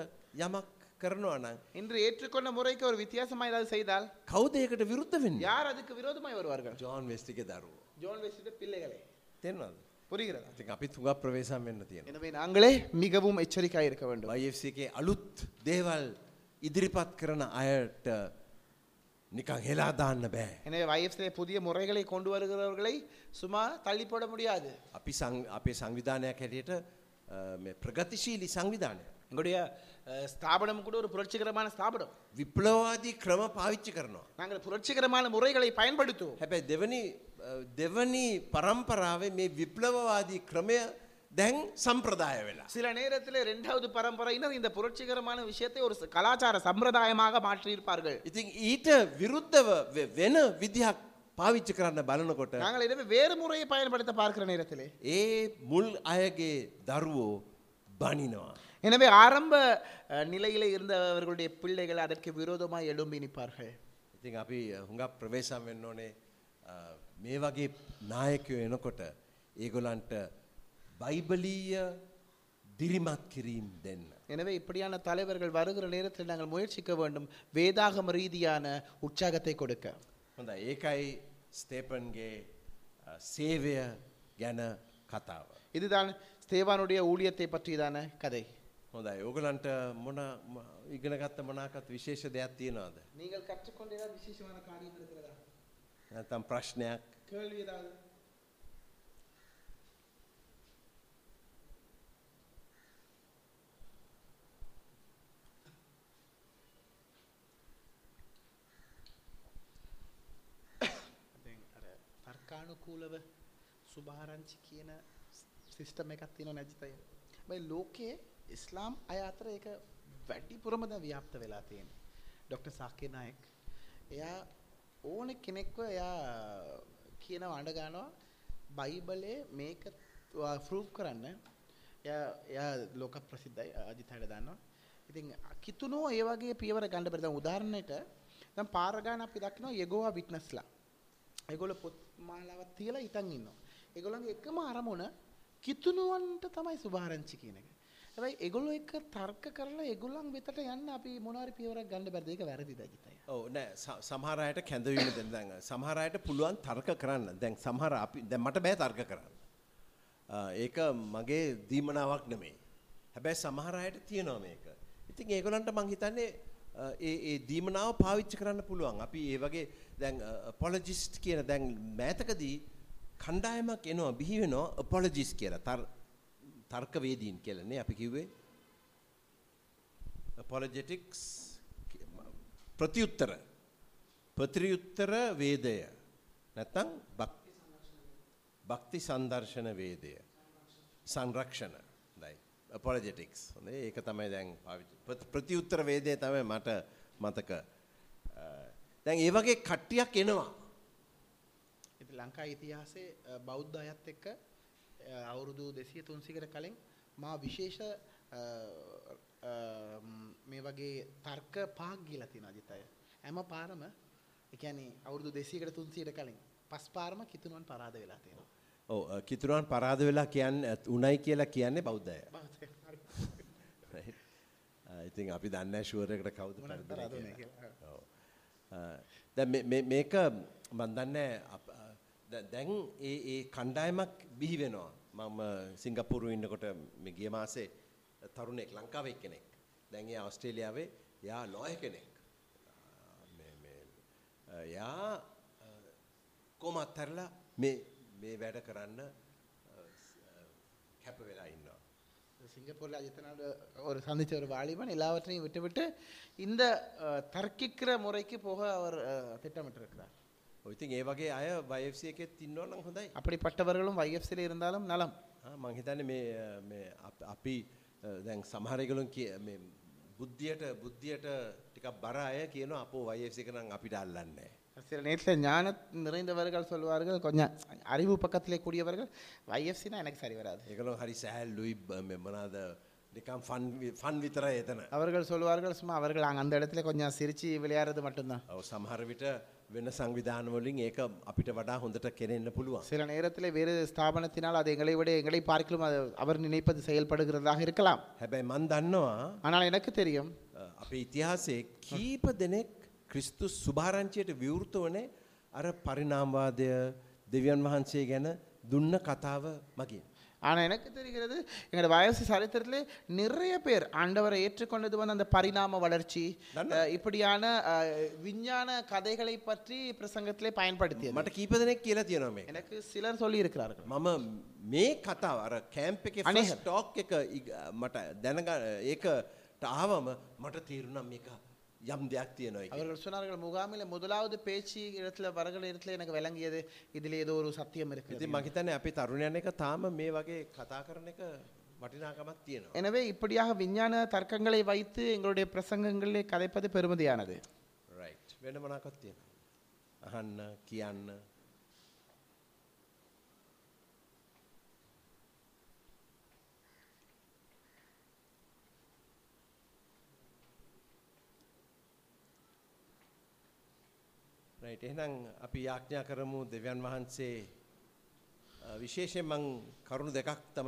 Speaker 2: යමක් කරනවා නම්
Speaker 1: இன்று ஏற்றுக்கொண்ட முறைக்கு ஒரு வித்தியாசமா ஏதாவது செய்தால்
Speaker 2: කෞදයකට විරුද්ධ වෙන්න
Speaker 1: யார் அதுக்கு விரோதமாய் வருவார்கள்
Speaker 2: ජෝන් වෙස්ටික දරුවෝ.
Speaker 1: ஜோன் வெஸ்ட் பிள்ளைகளே
Speaker 2: තෙන්වද
Speaker 1: புரிகிறதா
Speaker 2: ති අපි තුඟා ප්‍රවේශම් වෙන්න තියෙන.
Speaker 1: எனவே நாங்களே மிகவும் එච්චරිකා இருக்க வேண்டும்
Speaker 2: වයිFCගේ අලුත් දේවල් ඉදිරිපත් කරන අයට නිකං හෙලාදාන්න බෑ.
Speaker 1: எனவே வயசிலே புதிய முறைகளை கொண்டு வருகிறவர்களை சும்மா தள்ளி போட முடியாது
Speaker 2: අපි සං- අපේ සංවිධානයක් හැටියට අ, මේ ප්‍රගතිශීලි සංවිධානය.
Speaker 1: எங்களுடைய அஹ், ஸ்தாபனம் கூட ஒரு புரட்சிகரமான ஸ்தாபனம்
Speaker 2: විප්ලවාදී ක්‍රම පාවිච්චි කරනවා.
Speaker 1: நாங்கள் புரட்சிகரமான முறைகளை பயன்படுத்துவோம்
Speaker 2: හැබැයි දෙවනි අ, දෙවනි පරම්පරාවේ මේ විප්ලවවාදී ක්‍රමය දැන් සම්ප්‍රදාය වෙලා.
Speaker 1: சில நேரத்தில் இரண்டாவது பரம்பரையினர் இந்த புரட்சிகரமான விஷயத்தை ஒரு ச- கலாச்சார சம்பிரதாயமாக மாற்றியிருப்பார்கள்
Speaker 2: ඉතින් ඊට විරුද්ධව වෙ- වෙන විදිහක් පාවිච්චි කරන්න බලනකොට
Speaker 1: நாங்கள் எனவே வேறு முறையை பயன்படுத்த பார்க்கிற நேரத்திலே
Speaker 2: ඒ මුල් අයගේ දරුවෝ බනිනවා.
Speaker 1: எனவே ஆரம்ப அஹ், நிலையிலே இருந்தவர்களுடைய பிள்ளைகள் அதற்கு விரோதமாய் எழும்பி நிற்பார்கள்
Speaker 2: ඉතින් අපි හුඟක් ප්‍රවේශම් වෙන්න ඕනේ අ, මේ වගේ නායකයෝ එනකොට ඒගොලන්ට බයිබලීය දිරිමත් කිරීම් දෙන්න.
Speaker 1: எனவே இப்படியான தலைவர்கள் வருகிற நேரத்தில் நாங்கள் முயற்சிக்க வேண்டும் வேதாகம ரீதியான உற்சாகத்தை கொடுக்க
Speaker 2: හොඳ ඒකයි ස්තේපන්ගේ අ, සේවය ගැන කතාව.
Speaker 1: இதுதான் ஸ்தேவானுடைய ஊழியத்தை பற்றியதான கதை
Speaker 2: හොඳයි ඕගලන්ට මොන ම- ඉගෙනගත්ත මනාකත් විශේෂ දෙයක් තියෙනවාද.
Speaker 1: நீங்கள் கற்றுக்கொண்ட ஏதாவது விசேஷமான காரியம் இருக்கிறதா
Speaker 2: නැතම් ප්‍රශ්නයක්
Speaker 1: கேள்வி ஏதாவது තර්කානුකූලව සුභාරංචි කියන සිිස්ටම එකත් තින නැජිතය. බයි ලෝකයේ ඉස්ලාම් අය අතර එක වැඩි පුරමද ව්‍යාප්ත වෙලා තියෙන. ඩොක්ට. සාකනායෙක් එයා ඕන කෙනෙක්ව එයා කියන අඩගානවා බයිබලේ මේක ෆරූප් කරන්න එයා- එයා ලෝක ප්‍රසිද්ධයි අජිතයට දන්නවා. ඉතින් කිතුනෝ ඒ වගේ පියවර ගණඩ පෙරිද උදාරණයට දම් පාරගාන අපි දක්නවා යෙගෝවා විට්නස්ලා ඒගොල පොත් මාලාවත් තියලා ඉතන් ඉන්නවා. ඒගොල්ලන්ගේ එකම අරමුණ කිතුනුවන්ට තමයි සුභාරංචි කියන එක. හැබැයි ඒගොල්ලෝ එක තර්ක කරලා ඒගොල්ලන් වෙතට යන්න අපි මොනාරි පියවරක් ගන්න බැරිද? ඒක වැරදිද කිතයි.
Speaker 2: ඔව නෑ ස- සමහරයට කැඳවීම දෙන දැන් සමහරයට පුළුවන් තර්ක කරන්න දැන් සමහර අපි දැන් මට බෑ තර්ක කරන්න. අ, ඒක මගේ දීමනාවක් නෙමේ. හැබැයි සමහරයට තියෙනවා මේක. ඉතින් ඒගොලන්ට මං හිතන්නේ අ, ඒ ඒ දීමනාව පාවිච්චි කරන්න පුළුවන්. අපි ඒ වගේ දැන් පොලජිස්ට් කියන දැන් මෑතකදී කණ්ඩායමක් එනවා බිහි වෙනවා පොලජිස් කියලා තර් තර්කවේදීන් කියලනේ අපි කිව්වේ පොලජෙටික්ස් ප්‍රතියුත්තර ප්‍රතියුත්තර වේදය නැත්තං භක්ති සංදර්ශන වේදය සංරක්ෂණ දයි පොලජෙටික්ස් හොඳේ ඒක තමයි දැන් පාවිච්චි- ප්‍රති- ප්‍රතියුත්තර වේදය තමයි මට මතක අ, දැන් ඒ වගේ කට්ටියක් එනවා
Speaker 1: ඉතින් ලංකා ඉතිහාසයේ අ, බෞද්ධ අයත් එක්ක අ, අවුරුදු 200 300කට කලින් මා විශේෂ අ, අ, ම්, මේ වගේ තර්ක පහක් ගිහලා තියෙනවා අජිතය. හැම පාරම ඒ කියන්නේ අවුරුදු 200කට 300කට කලින් පස් පාරම කිතුනුවන් පරාද වෙලා තියෙනවා.
Speaker 2: ඔව් අ, කිතුරුවන් පරාද වෙලා කියන්න උණයි කියලා කියන්නේ බෞද්ධය ඉතින් අපි දන්න ශුවරකට කවුද
Speaker 1: මොනවට
Speaker 2: පරාද
Speaker 1: පරාද වුනේ
Speaker 2: කියලා.
Speaker 1: කියලා.
Speaker 2: ඔව්. අ, දැන් මේ- මේ- මේක මන් දන්නේ අප- අ, දැ- දැන් ඒ ඒ කණ්ඩායමක් බිහි වෙනවා මම සිංගප්පූරු ඉන්නකොට මේ ගිය මාසේ තරුණෙක් ලංකාවේ කෙනෙක් දැන් එයා ඔස්ට්‍රේලියාවේ යා ලෝය කෙනෙක් අ, මේ- මේ, අ, යා අ, කොම අත්තරලා මේ මේ වැඩ කරන්න අ, ස්- අ, කැප වෙලා ඉන්නවා
Speaker 1: சிங்கப்பூர்ல அஜித்தனோட ஒரு சந்திச்ச ஒரு வாலிபன் எல்லாவற்றையும் விட்டுவிட்டு இந்த அஹ், தர்க்கிக்கிற முறைக்கு போக அவர் அஹ், திட்டமிட்டிருக்கிறார்
Speaker 2: ඔය ඉතින් ඒ වගේ අය වයෆ්සි එකෙත් ඉන්නවා නම් හොඳයි
Speaker 1: அப்படிப்பட்டவர்களும் YFC-ல இருந்தாலும் நலம்
Speaker 2: ආ, මං හිතන්නේ මේ අ, මේ අප- අපි අ, දැන් සමහරගලුන් මේ බුද්ධියට බුද්ධියට ටිකක් බර අය කියනවා අපෝ වයෆ්සි එක නම් අපිට අල්ලන්නේ නැහැ.
Speaker 1: சில நேரத்தில் ஞான நிறைந்தவர்கள் சொல்வார்கள் கொஞ்சம் அறிவு பக்கத்திலே கூடியவர்கள் YFC-னா எனக்கு சரி வராது
Speaker 2: ඒගොල්ලෝ හරි සෑහලුයි බ- මේ මොනවාද නිකන් ෆන් ෆන් විතරයි එතන.
Speaker 1: அவர்கள் சொல்வார்கள் சும்மா அவர்கள் அங்க அந்த இடத்துல கொஞ்சம் சிரிச்சு விளையாடுறது மட்டும்தான்
Speaker 2: ඔව් සමහර විට වෙන සංවිධාන වලින් ඒක අපිට වඩා හොඳට කෙරෙන්න පුළුවන්.
Speaker 1: சில நேரத்தில் வேறு ஸ்தாபனத்தினால் அது எங்களை விட எங்களை பார்க்கலும் அது அவர் நினைப்பது செயல்படுகிறதாக இருக்கலாம்
Speaker 2: හැබැයි මන් දන්නවා
Speaker 1: ஆனால் எனக்கு தெரியும்
Speaker 2: අ, අපේ ඉතිහාසයේ කීප දෙනෙක් ක්‍රිස්තුස් සුභාරංචියට විවෘත වනේ අර පරිණාමවාදය දෙවියන් වහන්සේ ගැන දුන්න කතාව මගින්.
Speaker 1: ஆனால் எனக்கு தெரிகிறது எங்களோட வயசு சரித்திரத்திலே நிறைய பேர் ஆண்டவரை ஏற்றுக்கொண்டது வந்து அந்த பரிணாம வளர்ச்சி அஹ், இப்படியான அஹ், விஞ்ஞான கதைகளை பற்றி பிரசங்கத்திலே பயன்படுத்தியது
Speaker 2: මට කීප දෙනෙක් කියලා තියෙනවා මේ.
Speaker 1: எனக்கு சிலர் சொல்லி இருக்கிறார்கள்
Speaker 2: මම මේ කතාව අර කෑම්ප් එකේ
Speaker 1: අනේ.
Speaker 2: ෆස්ට් ටෝක් එක ඉග- මට දැනගන්න ඒකට ආවම මට තීරුණා මේක යම් දෙයක් තියෙනවා කියලා.
Speaker 1: அவர்கள் சொன்னார்கள் முகாமில் முதலாவது பேச்சு இடத்துல வருகிற இடத்துல எனக்கு விளங்கியது இதில் ஏதோ ஒரு சத்தியம் இருக்குது
Speaker 2: ඉතින් මං හිතන්නේ අපි තරුණයන් එක තාම මේ වගේ කතා කරන එක වටිනාකමක් තියෙනවා.
Speaker 1: எனவே இப்படியாக விஞ்ஞான தர்க்கங்களை வைத்து எங்களுடைய பிரசங்கங்களிலே கதைப்பது பெருமதியானது
Speaker 2: රයිට් වෙන මොනකත් තියෙනවා. අහන්න කියන්න රයිට් එහෙනම් අපි යාඥා කරමු දෙවියන් වහන්සේ අ, විශේෂයෙන් මං කරුණු දෙකක් තමයි